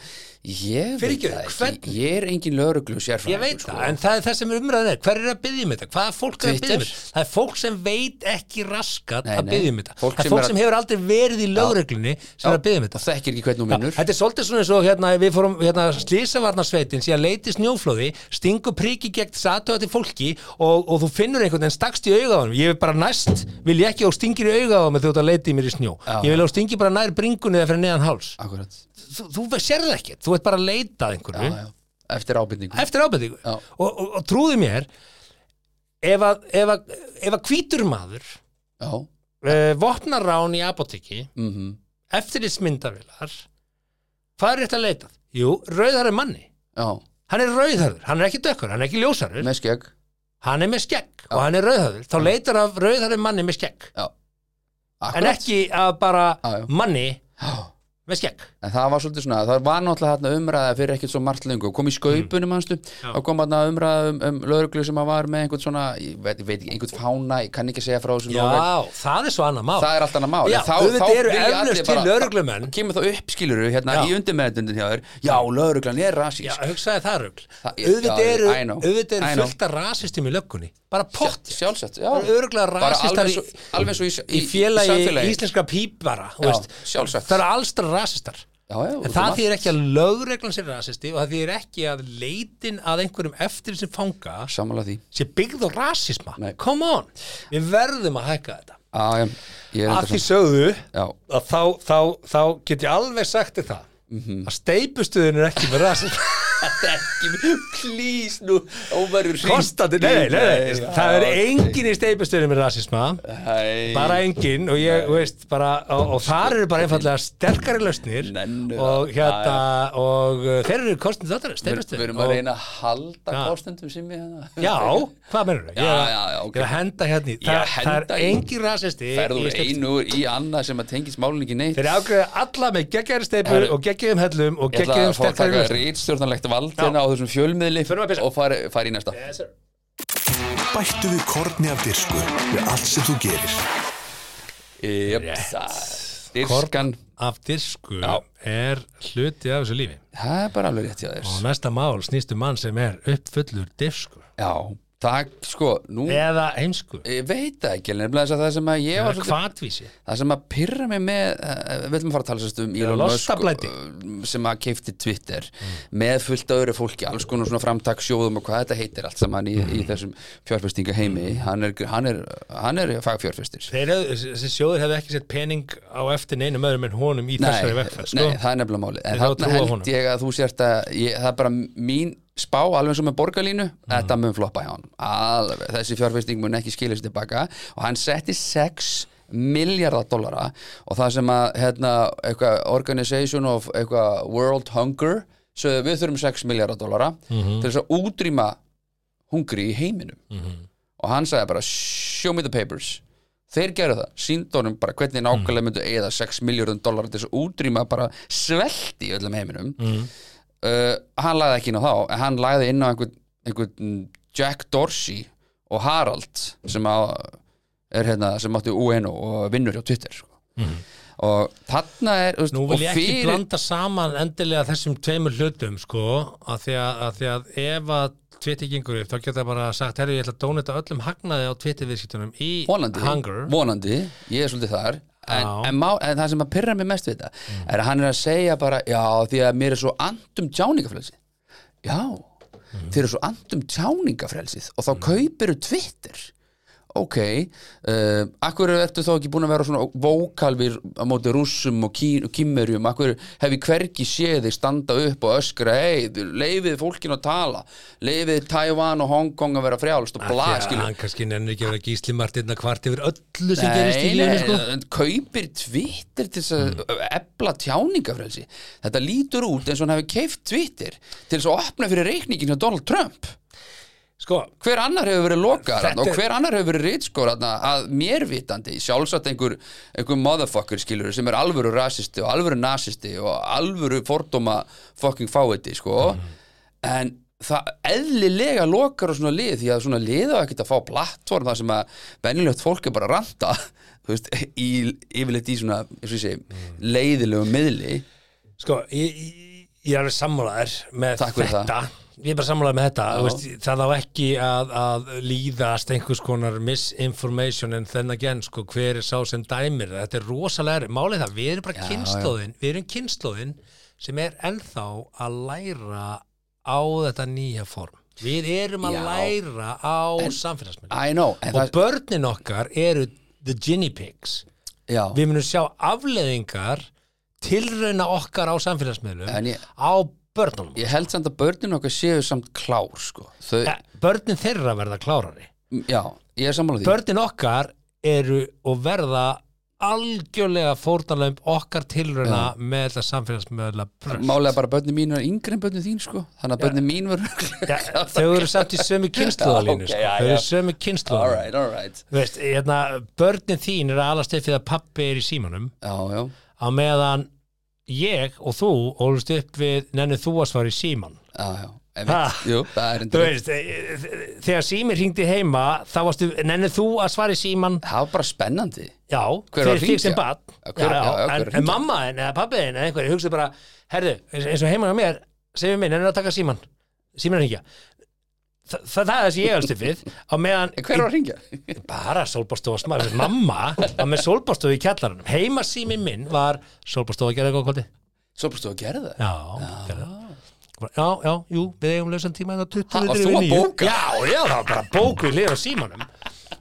Speaker 3: ég veit
Speaker 2: Fyrirgefðu,
Speaker 3: það
Speaker 2: hvernig?
Speaker 3: ekki, ég er engin lögreglu sérfræðingur
Speaker 2: Ég veit
Speaker 3: sko.
Speaker 2: það, en það er það sem er umræðan er Hver er að byggja um þetta? Hvað er fólk er að
Speaker 3: Twitter?
Speaker 2: byggja um þetta? Það er fólk sem veit ekki raskat
Speaker 3: Nei,
Speaker 2: að
Speaker 3: nei.
Speaker 2: byggja um þetta
Speaker 3: Fólk
Speaker 2: Það
Speaker 3: sem
Speaker 2: er fólk
Speaker 3: er að-
Speaker 2: sem hefur aldrei verið í lögreglunni sem er að byggja um
Speaker 3: og
Speaker 2: þetta
Speaker 3: þekkir ekki hvernig hún
Speaker 2: Já,
Speaker 3: vinnur
Speaker 2: Þetta er svolítið svona eins og hérna, við fórum hérna, slísavarnarsveitin síðan leiti snjóflóði stingu priki gegn satöðati fólki og, og þú finnur einhvern en stakst í augaðanum ég er bara næst, vil ég ekki á stingir í augaðanum þegar þú ert að leita í mér í snjó
Speaker 3: Já.
Speaker 2: ég vil á stingir bara nær bringunni eða fyrir neðan háls
Speaker 3: akkurat,
Speaker 2: þú, þú sérð ekki, þú ert bara að leita að
Speaker 3: já,
Speaker 2: einhverju
Speaker 3: já, eftir ábyrningu
Speaker 2: eftir ábendingu
Speaker 3: Já.
Speaker 2: og, og, og trúðu mér ef að, ef að, ef að hvítur maður
Speaker 3: já,
Speaker 2: uh, vopnar rán í apoteki
Speaker 3: mhm
Speaker 2: eftirlitsmyndavilar hvað er rétt að leita? Jú, rauðar er manni
Speaker 3: já,
Speaker 2: hann er rauðhörður, hann er ekki dökkur, hann er ekki ljósarður
Speaker 3: með skegg
Speaker 2: hann er með skegg og hann er rauðhörður þá leitar af rauðhörður manni með skegg
Speaker 3: Já,
Speaker 2: en
Speaker 3: akkurat
Speaker 2: ekki að bara
Speaker 3: Já, já.
Speaker 2: manni
Speaker 3: Já.
Speaker 2: með skegg
Speaker 3: En það var svolítið svona, það var náttúrulega þarna umræða fyrir ekkert svo margt lengur, kom í
Speaker 2: Mm.
Speaker 3: skaupunum mannstu, þá kom þarna umræða um, um lögreglu sem að var með einhvern svona, ég veit, veit ekki, einhvern fána, ég kann ekki segja frá þessu nálega.
Speaker 2: já, það er svo annað mál
Speaker 3: það er allt annað mál.
Speaker 2: já,
Speaker 3: En þá- þá
Speaker 2: auðvitað eru
Speaker 3: vilja allir
Speaker 2: eflust til
Speaker 3: bara-
Speaker 2: lögreglumenn
Speaker 3: Kemur þá upp, skiluru, hérna
Speaker 2: Já.
Speaker 3: í undirmeðundin hjá þér, já, lögreglan er
Speaker 2: Já,
Speaker 3: rasísk,
Speaker 2: hugsaði það rugl
Speaker 3: Það-
Speaker 2: auðvitað
Speaker 3: já,
Speaker 2: eru,
Speaker 3: I know.
Speaker 2: auðvitað
Speaker 3: I
Speaker 2: eru
Speaker 3: know.
Speaker 2: fullt af rasistum í löggunni bara pott
Speaker 3: sjálfsett, já.
Speaker 2: Bara örugglega
Speaker 3: Bara
Speaker 2: rasistar
Speaker 3: alveg
Speaker 2: í-
Speaker 3: svo- Alveg svo í,
Speaker 2: í félagi
Speaker 3: samfélagi.
Speaker 2: íslenska pípara þú
Speaker 3: Já,
Speaker 2: veist.
Speaker 3: sjálfsagt.
Speaker 2: það eru allstar rasistar
Speaker 3: Já, já,
Speaker 2: en
Speaker 3: út um
Speaker 2: það
Speaker 3: allt.
Speaker 2: þýðir ekki að lögreglan sér rasisti og það þýðir ekki að leitin að einhverjum eftir sem fanga
Speaker 3: Sammála því.
Speaker 2: sé byggð á rasisma
Speaker 3: Nei.
Speaker 2: come on, við verðum að hækka þetta
Speaker 3: Já, já, ég er
Speaker 2: að
Speaker 3: enda
Speaker 2: því
Speaker 3: saman.
Speaker 2: sögðu
Speaker 3: Já,
Speaker 2: að þá, þá, þá get ég alveg sagt þér það
Speaker 3: Mhm.
Speaker 2: að steipustuðin er ekki með rasisma
Speaker 3: ekki, please nú óverjur
Speaker 2: kostandi, nei, nei, nei, nei, það er engin í steipustuðin með rasisma bara
Speaker 3: bara
Speaker 2: engin og ég, veist, bara og, og þar eru bara einfallega sterkari lausnir
Speaker 3: Nennu
Speaker 2: og
Speaker 3: það.
Speaker 2: hérna og uh, þeir eru kostnir þáttar
Speaker 3: við
Speaker 2: stefnustu
Speaker 3: erum að reyna að halda
Speaker 2: Já.
Speaker 3: kostendum sem ég hérna. hana
Speaker 2: Já, hvað mennur það?
Speaker 3: Já, já, já, ok.
Speaker 2: Ég er að henda hérna í
Speaker 3: Ég
Speaker 2: Þa,
Speaker 3: að
Speaker 2: Það
Speaker 3: henda
Speaker 2: er
Speaker 3: í-
Speaker 2: engin rasisti
Speaker 3: ferðu
Speaker 2: í
Speaker 3: úr
Speaker 2: steypu-
Speaker 3: einu í annað sem að tengist málun ekki neitt
Speaker 2: Þeir ágreða alla með geggjæri steipu
Speaker 3: Herru,
Speaker 2: og geggjum hellum og
Speaker 3: ég ætla
Speaker 2: geggjum
Speaker 3: að fá að
Speaker 2: sterkari
Speaker 3: taka
Speaker 2: lausnir.
Speaker 3: rítstjórnarlegt valdina á þessum fjölmiðli
Speaker 2: Förum að pissa.
Speaker 3: og fara far í næsta
Speaker 2: Yes, sir.
Speaker 1: Bættu við korni af dirsku við allt sem þú gerir.
Speaker 3: Jöp,
Speaker 2: Rétt.
Speaker 3: það- dirskan,
Speaker 2: Af disku
Speaker 3: Já.
Speaker 2: er hluti af þessu lífi
Speaker 3: það er bara alveg rétt hjá þér
Speaker 2: um og næsta mál snýstu mann sem er uppfullur disku
Speaker 3: já, það, sko, nú
Speaker 2: eða heimsku
Speaker 3: ég veit það ekki, en nefnilega þess að það sem að ég var
Speaker 2: eða
Speaker 3: svolítið
Speaker 2: kvatvísi
Speaker 3: það sem að pyrra mig með uh, við ætlum að fara að tala sérst um Elon Musk
Speaker 2: lostablæti.
Speaker 3: eh, sem að keifti Twitter með fullt af öðru fólki, alls konar svona framtakssjóðum og hvað þetta heitir allt saman í, í þessum fjárfestinga heimi hann er, hann er, hann er fagfjárfestir
Speaker 2: Þeir hefðu, þessi sjóður hefði ekki sett pening á eftir neinum öðrum en honum í þessari vegferð, sko.
Speaker 3: nei, það er nefnilega málið
Speaker 2: Þeir
Speaker 3: en
Speaker 2: hafa
Speaker 3: þarna
Speaker 2: trú á
Speaker 3: held
Speaker 2: honum.
Speaker 3: ég að þú sért að ég, það er bara mín spá alveg eins og með borgarlínu,
Speaker 2: Mhm.
Speaker 3: þetta mun floppa hjá hann alveg, þessi fjárfesting mun ekki skilja sér tilbaka og hann setti 6 miljardar dollara og það sem að hérna, eitthvað, Organization of eitthvað, World Hunger sögðu við þurfum 6 miljardar dollara
Speaker 2: Mhm.
Speaker 3: til þess að útrýma hungri í heiminum og hann sagði bara show me the papers þeir gerðu það, síndónum bara hvernig
Speaker 2: Mm.
Speaker 3: nákvæmlega myndu eða 6 miljörðum dólar til þess að útrýma bara svelti í öllum heiminum
Speaker 2: Mm.
Speaker 3: uh, hann lagði ekki inn á þá, en hann lagði inn á einhvern, einhvern Jack Dorsey og Harald sem, á, er, hérna, sem átti UNO og vinnur hjá Twitter sko. og þarna er þú veist,
Speaker 2: Mm. Nú vil ég
Speaker 3: og
Speaker 2: ekki blanda saman endilega þessum tveimur hlutum, sko, að því að, að, því að ef að tvittingur upp, þá geta það bara sagt, herri, ég ætla að dónita öllum hagnaði á tvittiviðskiptunum í
Speaker 3: vonandi,
Speaker 2: hunger.
Speaker 3: vonandi, ég er svolítið þar en,
Speaker 2: Já.
Speaker 3: en, má, en það sem að pyrra mig mest við þetta er að hann er að segja bara já, því að mér er svo andum tjáningafrelsi já,
Speaker 2: Mhm.
Speaker 3: þeir eru svo andum tjáningafrelsið og þá kaupiru Twitter ok, uh, akkur ertu þá ekki búin að vera svona vókalvir á móti rússum og, kí, og kýmverjum akkur hef ég hvergi séð þig standa upp og öskra, hei, leifið fólkinu að tala, leifið Taiwan og Hong Kong að vera frjálst og bla,
Speaker 2: Því að
Speaker 3: skilur
Speaker 2: Hann kannski nennir ekki að vera gíslimartirna kvart yfir öllu sem gerist í
Speaker 3: Nei,
Speaker 2: lífinu,
Speaker 3: nei,
Speaker 2: sko.
Speaker 3: en kaupir Twitter til þess að ebla tjáningafrelsi þetta lítur út eins og hann hefði keift Twitter til þess að opna fyrir reikningin hjá Donald Trump
Speaker 2: Sko,
Speaker 3: hver annar hefur verið lokar
Speaker 2: Þetta
Speaker 3: og
Speaker 2: er-
Speaker 3: hver annar hefur verið rítskór að mér vitandi, sjálfsagt einhver einhver motherfucker skilur sem er alvöru rasisti og alvöru nasisti og alvöru fordóma fucking fáiði sko en það eðlilega lokar á svona lið því að svona lið á ekkert að fá plattform þar sem að venjulegt fólk er bara að ranta þú veist, í, yfirleitt í svona eins og ég segi, leiðilegu miðli
Speaker 2: sko, ég, ég, ég er alveg sammálaður með
Speaker 3: Takk fyrir
Speaker 2: þetta. Ég er bara sammálaður með þetta.
Speaker 3: Já.
Speaker 2: þú Veist, það á ekki að, að líðast einhvers konar misinformation en þennan genn, sko, hver er sá sem dæmir. það. Þetta er rosalega, er- málið er það, við erum bara
Speaker 3: Já,
Speaker 2: kynnslóðin, við erum kynnslóðin sem er ennþá að læra á þetta nýja form. Við erum að
Speaker 3: Já.
Speaker 2: læra á samfélagsmyndum.
Speaker 3: I know, en
Speaker 2: Og
Speaker 3: það,
Speaker 2: börnin okkar eru the guinea pigs.
Speaker 3: já
Speaker 2: Við munum sjá afleðingar tilrauna okkar á samfélagsmiðlum
Speaker 3: En ég-
Speaker 2: á börnunum.
Speaker 3: ég held samt að börnin okkar séu samt klár sko, þau,
Speaker 2: Eh, Börnin þeirra verða klárari.
Speaker 3: já, ég er sammála því
Speaker 2: Börnin okkar eru og verða algjörlega fórtanlöfum okkar tilrauna með þetta samfélagsmiðla brönd.
Speaker 3: Málega bara börnum mín er yngri en börnum þín sko Þannig að börnum mín var
Speaker 2: Ja, þau eru samt í sömu kynnslóðalínu
Speaker 3: Já, ok,
Speaker 2: sko.
Speaker 3: já,
Speaker 2: Þau
Speaker 3: já.
Speaker 2: eru sömu kynnslóðalínu.
Speaker 3: Alright, alright
Speaker 2: Þú Veist, hérna, börnin þín eru alast upp við að pappi er í símanum
Speaker 3: Já, já,
Speaker 2: á meðan ég og þú ólust upp við nennu þú að svara í síman
Speaker 3: já, já
Speaker 2: Ha?
Speaker 3: Einmitt, jú, það er
Speaker 2: Þú
Speaker 3: endur
Speaker 2: veist, eh, eh, þegar símir hringdi heima þá varstu, nennið þú að svara í síman
Speaker 3: Það var bara spennandi
Speaker 2: já,
Speaker 3: Hver var að
Speaker 2: fyrir þig sem
Speaker 3: hringja?
Speaker 2: bad
Speaker 3: Já, hver- já,
Speaker 2: en,
Speaker 3: já, hver var að
Speaker 2: en
Speaker 3: hringja?
Speaker 2: mamma þinn eða pappi þinn eða einhverju hugsaði bara, herðu, eins, eins og heima hjá mér segir mér, nennið að taka síman síman hringja Þa, það, það er þessi ég alstu við á meðan
Speaker 3: En Hver var að ringja?
Speaker 2: bara sólbástofa smar mamma var með sólbástofu í kjallaranum heima sími minn var sólbástofa að gera eitthvað kvöldi
Speaker 3: Svo bara stóð að gera það
Speaker 2: já, gerðu það. Bara, já, já, jú, við eigum lausan tíma þetta 20
Speaker 3: Ha, varst
Speaker 2: mínútur
Speaker 3: þú
Speaker 2: yfir
Speaker 3: að
Speaker 2: níu.
Speaker 3: bóka?
Speaker 2: Já, já, það var bara bók við liður á símanum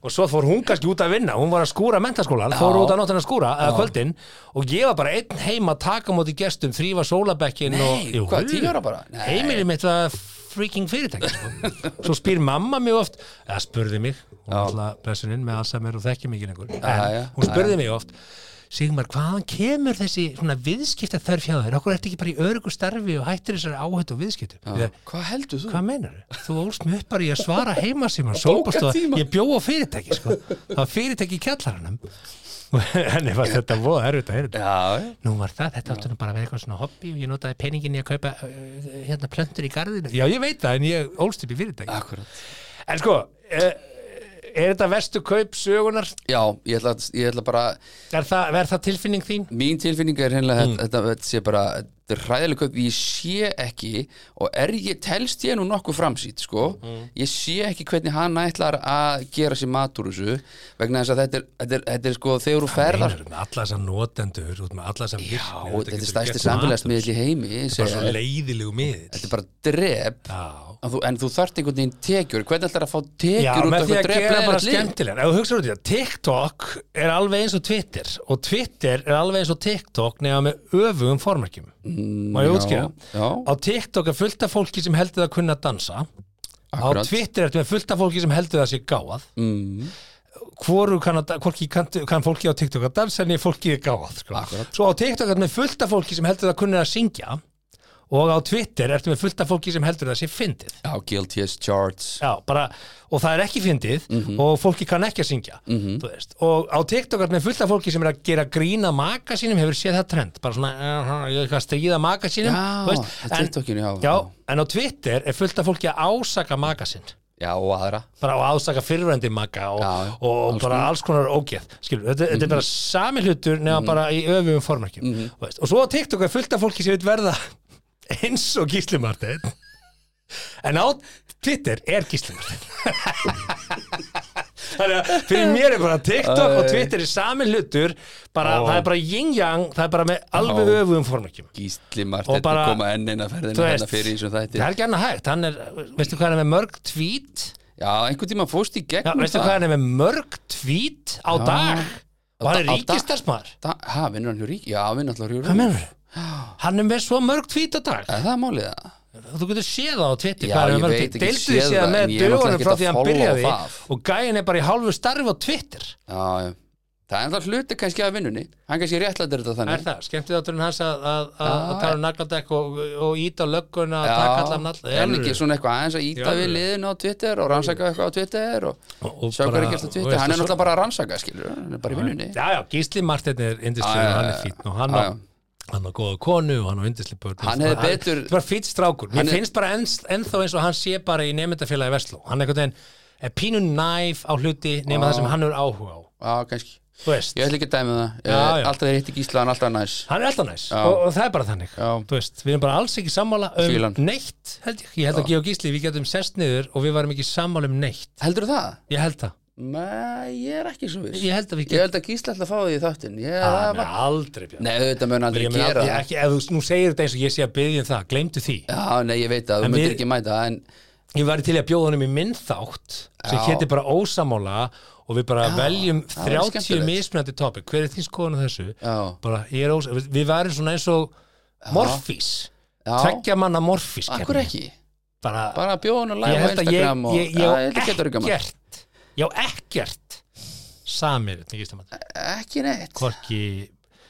Speaker 2: og svo fór hún kannski út að vinna hún var að skúra mentaskólan, fór út að nóttina að skúra eða kvöldin og ég var bara einn heima að taka á móti gestum, þrýfa sólabekkin og,
Speaker 3: Nei, hvað, tíu ára bara? Nei.
Speaker 2: heimili mitt var freaking fyrirtæki sko. svo spyr mamma mjög oft eða spurði mig, hún
Speaker 3: Já.
Speaker 2: alltaf blessuninn með Alzheimer og þekki mikið lengur en
Speaker 3: Já, já,
Speaker 2: hún
Speaker 3: já,
Speaker 2: spurði mig oft Sigmar, hvaðan kemur þessi svona viðskipta þörf hjá þér? Okkur ertu ekki bara í örugu starfi og hættir þessari áhættu og viðskiptu?
Speaker 3: Já.
Speaker 2: Ég,
Speaker 3: Hvað heldur þú?
Speaker 2: Hvað meinar þau? Þú ólst mig upp bara í að svara heima síman sólbústofa,
Speaker 3: tíma.
Speaker 2: ég bjó á fyrirtæki sko. það var fyrirtæki í kjallaranum henni var þetta voða erfitt að heyra þetta
Speaker 3: Já, já.
Speaker 2: Nú var það, þetta áttu nú bara að vera eitthvað svona hobby og ég notaði peningin í að kaupa uh, hérna plöntur í garðinu. Já, ég veit það, en ég ólst upp í fyrirtæki.
Speaker 3: akkurat
Speaker 2: En sko, er, er þetta vestu kaup sögunar?
Speaker 3: Já, ég ætla, ég ætla bara
Speaker 2: Er það, er það tilfinning þín? Mm.
Speaker 3: Mín tilfinning er hennilega þetta, þetta sé bara þetta er hræðileg kaup, ég sé ekki og er ég, telst ég nú nokkuð framsýtt sko,
Speaker 2: Mm.
Speaker 3: ég sé ekki hvernig hann ætlar að gera sér matur þessu, vegna þess að þetta er, þetta er, þetta er sko, þegar þú ferðar
Speaker 2: Einar, með alla þessar notendur, þú ert með alla þessar
Speaker 3: Já,
Speaker 2: virkni,
Speaker 3: þetta er
Speaker 2: getur
Speaker 3: stærsti
Speaker 2: gert
Speaker 3: samfélagsmiðl í
Speaker 2: matur,
Speaker 3: heimi ég
Speaker 2: sko. bara
Speaker 3: segi,
Speaker 2: svo leiðilegu miðl
Speaker 3: Þetta er bara drep
Speaker 2: já,
Speaker 3: en þú, en þú þarft einhvern veginn tekjur hvernig ætlar að fá tekjur
Speaker 2: já
Speaker 3: út
Speaker 2: með
Speaker 3: af
Speaker 2: því að
Speaker 3: drep
Speaker 2: gera bara
Speaker 3: leiðilegt líf?
Speaker 2: skemmtilegar ef þú hugsaður út í það, TikTok er alveg eins og Twitter og Twitter er alveg eins og TikTok nefna með öfugum formerkjum má ég
Speaker 3: já,
Speaker 2: útskýra
Speaker 3: Mm, já.
Speaker 2: á TikTok er fullt af fólki sem heldur það að kunna dansa
Speaker 3: Akkurat.
Speaker 2: á Twitter ertu með fullt af fólki sem heldur það sé gáað
Speaker 3: mm,
Speaker 2: hvoru kann, að- hvorki kann, kann fólki á TikTok að dansa en ég fólki er gáð sko.
Speaker 3: Akkurat.
Speaker 2: svo á TikTok er með fullt af fólki sem heldur það kunni að syngja og á Twitter ertu með fullt af fólki sem heldur það sé fyndið
Speaker 3: já, guilty as charts
Speaker 2: Já, bara, og það er ekki fyndið og fólki kann ekki að syngja
Speaker 3: Mhm.
Speaker 2: þú veist. og á TikTok er með fullt af fólki sem er að gera grína maka sínum hefur séð það trend bara svona, uh, ég er eitthvað að stríða maka sínum þú
Speaker 3: já,
Speaker 2: veist.
Speaker 3: á
Speaker 2: en,
Speaker 3: TikTokinu, já,
Speaker 2: já, en á Twitter er fullt af fólki að ásaka maka sinn
Speaker 3: já, og aðra
Speaker 2: bara á ásaka fyrrvendi maga og,
Speaker 3: Já, Mhm. já.
Speaker 2: og alls bara alls konar ógeð skilur, þetta, þetta er bara sami hlutur nema
Speaker 3: Mhm.
Speaker 2: bara í öfum formarkjum og, veist, og svo á TikTok er fullt af fólki sem vil verða eins og Gísli Marteinn en á Twitter er Gísli Marteinn þannig að fyrir mér er bara TikTok og Twitter er sami hlutur bara,
Speaker 3: Ó.
Speaker 2: það er bara yin-yang það er bara með alveg
Speaker 3: Ó.
Speaker 2: öfum formarkjum
Speaker 3: Gísli
Speaker 2: Og
Speaker 3: Marteinn
Speaker 2: bara-
Speaker 3: að koma enn inn að
Speaker 2: Þú
Speaker 3: ferðina
Speaker 2: veist,
Speaker 3: hérna fyrir eins og þætti
Speaker 2: það er ekki annað hægt, hann er veistu hvað hann er með mörg tweet
Speaker 3: Já, einhvern tíma fóst í
Speaker 2: Já,
Speaker 3: gegnum
Speaker 2: veistu hvað hann er með mörg tvít á
Speaker 3: Já.
Speaker 2: dag og hann er
Speaker 3: Á dag.
Speaker 2: ríkistarsmaður
Speaker 3: Da, ha, vinnur hann hjá rík? Já, vinnur alltaf hjá rík
Speaker 2: Hvað mennur? Hann er með svo mörg tvít á dag
Speaker 3: Er það málið það?
Speaker 2: Þú getur séð það á Twitter
Speaker 3: Já,
Speaker 2: hvað hann
Speaker 3: ég
Speaker 2: er með mörg
Speaker 3: veit
Speaker 2: tvít
Speaker 3: ekki
Speaker 2: Deildu
Speaker 3: séð
Speaker 2: því
Speaker 3: það,
Speaker 2: síðan
Speaker 3: en
Speaker 2: með
Speaker 3: ég er náttúrulega
Speaker 2: dögunum
Speaker 3: ekkert
Speaker 2: frá
Speaker 3: að
Speaker 2: því að hann
Speaker 3: followa
Speaker 2: byrjaði
Speaker 3: það.
Speaker 2: og gæin er bara í hálfu starfi á Twitter
Speaker 3: Já, já Það er alltaf hluti kannski af vinnunni Hann kannski réttlættir þetta
Speaker 2: Er
Speaker 3: þannig
Speaker 2: það, skemmtið átturinn hans að að- að
Speaker 3: Já.
Speaker 2: að tala um nagladekk og, og íta á lögguna að taka allan all
Speaker 3: en ekki svona eitthvað aðeins að
Speaker 2: Í
Speaker 3: íta
Speaker 2: alvöru?
Speaker 3: við liðin á Twitter og rannsaka eitthvað á Twitter og sjá hvað er gert á Twitter Hann er náttúrulega bara að rannsaka, skilur Hann er bara í vinnunni
Speaker 2: Já, já, Gísli Marteinn er indislegur
Speaker 3: Ah, Já, já,
Speaker 2: og hann er fín og
Speaker 3: já,
Speaker 2: hann
Speaker 3: Já,
Speaker 2: á,
Speaker 3: já.
Speaker 2: hann á góða konu og hann á indislegur börn
Speaker 3: Hann hefði betur-
Speaker 2: Það var fín strákur, mér
Speaker 3: Hann er-
Speaker 2: finnst bara enns, ennþá eins og hann sé bara í nefndafélagi Vestló Hann er einhvern veginn er pínu næf á hluti nema það sem hann er áhuga á
Speaker 3: Já, kannski
Speaker 2: Þú veist,
Speaker 3: Ah. Ég ætla ekki að dæmi það
Speaker 2: Já,
Speaker 3: Eh,
Speaker 2: já.
Speaker 3: Alltaf þeir hitti Gísla, hann er alltaf næs
Speaker 2: hann er alltaf næs
Speaker 3: Já.
Speaker 2: og, og það er bara þannig
Speaker 3: Já.
Speaker 2: Þú veist, við erum bara alls ekki sammála um
Speaker 3: Fílan.
Speaker 2: neitt held ég, ég held að Georg Gísli, við getum sest niður og við varum ekki sammála um neitt
Speaker 3: Heldur það?
Speaker 2: Ég held það,
Speaker 3: Nei, ég er ekki svo viss
Speaker 2: ég held að við
Speaker 3: Ég
Speaker 2: getum
Speaker 3: held að Gísla ætla að fá því í þáttinn Ég, það
Speaker 2: Hann
Speaker 3: var-
Speaker 2: er aldrei björn
Speaker 3: Ah, Nei, auðvitað mun aldrei
Speaker 2: Ah, Ég meina,
Speaker 3: gera
Speaker 2: ég
Speaker 3: það
Speaker 2: ekki, ef þú nú segir þetta eins og ég sé að byggja um það, gleymdu því
Speaker 3: Já, nei, ég veit að þú
Speaker 2: En
Speaker 3: myndir
Speaker 2: við-
Speaker 3: ekki mæta En
Speaker 2: ég væri til í að bjóða honum í minn þátt sem
Speaker 3: Já.
Speaker 2: héti bara ósamála og við bara veljum
Speaker 3: það væri
Speaker 2: 30
Speaker 3: skemmtilegt.
Speaker 2: mismunandi topic, hver er þín skoðan á þessu
Speaker 3: Já.
Speaker 2: bara, ég er ós við- við værum svona eins og morfís
Speaker 3: Já.
Speaker 2: tveggja manna morfís
Speaker 3: akkur
Speaker 2: keppni.
Speaker 3: ekki
Speaker 2: bara,
Speaker 3: Bara bjóðan og
Speaker 2: ég
Speaker 3: live á
Speaker 2: held að ég,
Speaker 3: Instagram og-
Speaker 2: ég,
Speaker 3: Já,
Speaker 2: ég,
Speaker 3: held að getur
Speaker 2: ég,
Speaker 3: ekki
Speaker 2: á
Speaker 3: maður.
Speaker 2: ekkert ég á ekkert samir,
Speaker 3: Eh. Ekki neitt
Speaker 2: hvorki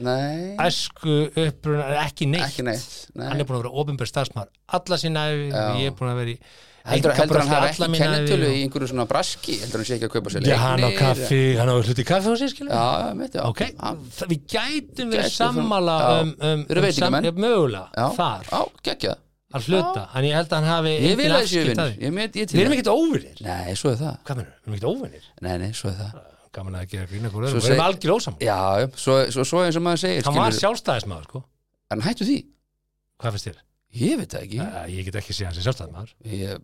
Speaker 3: Nei,
Speaker 2: æsku uppruna, eh, ekki neitt
Speaker 3: ekki neitt
Speaker 2: hann
Speaker 3: nei.
Speaker 2: er búin að vera ofinbjörn starfsmæður alla sína æfi og ég er búin að vera í
Speaker 3: Heldur, heldur hann
Speaker 2: einkabraski
Speaker 3: hafa
Speaker 2: alla
Speaker 3: ekki
Speaker 2: mína ævi
Speaker 3: kennitölu
Speaker 2: og-
Speaker 3: í einhverju svona braski Heldur hann sé ekki að kaupa sér
Speaker 2: Já, hann á
Speaker 3: leikni?
Speaker 2: kaffi, hann á hluti kaffi og sér skilur
Speaker 3: Já, já, mitt, já
Speaker 2: Ok,
Speaker 3: Já,
Speaker 2: það, við gætum verið
Speaker 3: Gætum
Speaker 2: sammála
Speaker 3: það- já.
Speaker 2: um, um,
Speaker 3: Eru
Speaker 2: um
Speaker 3: veitingamenn?
Speaker 2: ja, mögulega
Speaker 3: já.
Speaker 2: þar,
Speaker 3: Já, gekkja
Speaker 2: að hluta en ég held að hann hafi
Speaker 3: Ég
Speaker 2: engin
Speaker 3: vil að þessi
Speaker 2: afskipti
Speaker 3: vinn
Speaker 2: af því.
Speaker 3: Ég met, ég til
Speaker 2: Við erum
Speaker 3: það.
Speaker 2: ekkert óvinir
Speaker 3: Nei, svo er það
Speaker 2: Hvað mennur, við erum ekkert óvinir
Speaker 3: Nei, nei, svo er það
Speaker 2: Gaman að gera grína hvort öðrum,
Speaker 3: Svo
Speaker 2: við erum
Speaker 3: seg-
Speaker 2: algjör ósam
Speaker 3: Já, já, svo, svo, svo eins og maður segir
Speaker 2: Hann var
Speaker 3: skilur-
Speaker 2: sjálfstæðismaður, sko
Speaker 3: En hættu því
Speaker 2: Hvað finnst þér?
Speaker 3: Ég veit það ekki
Speaker 2: Æ, Ég get ekki séð hans í sjálfstæðismaður
Speaker 3: ég,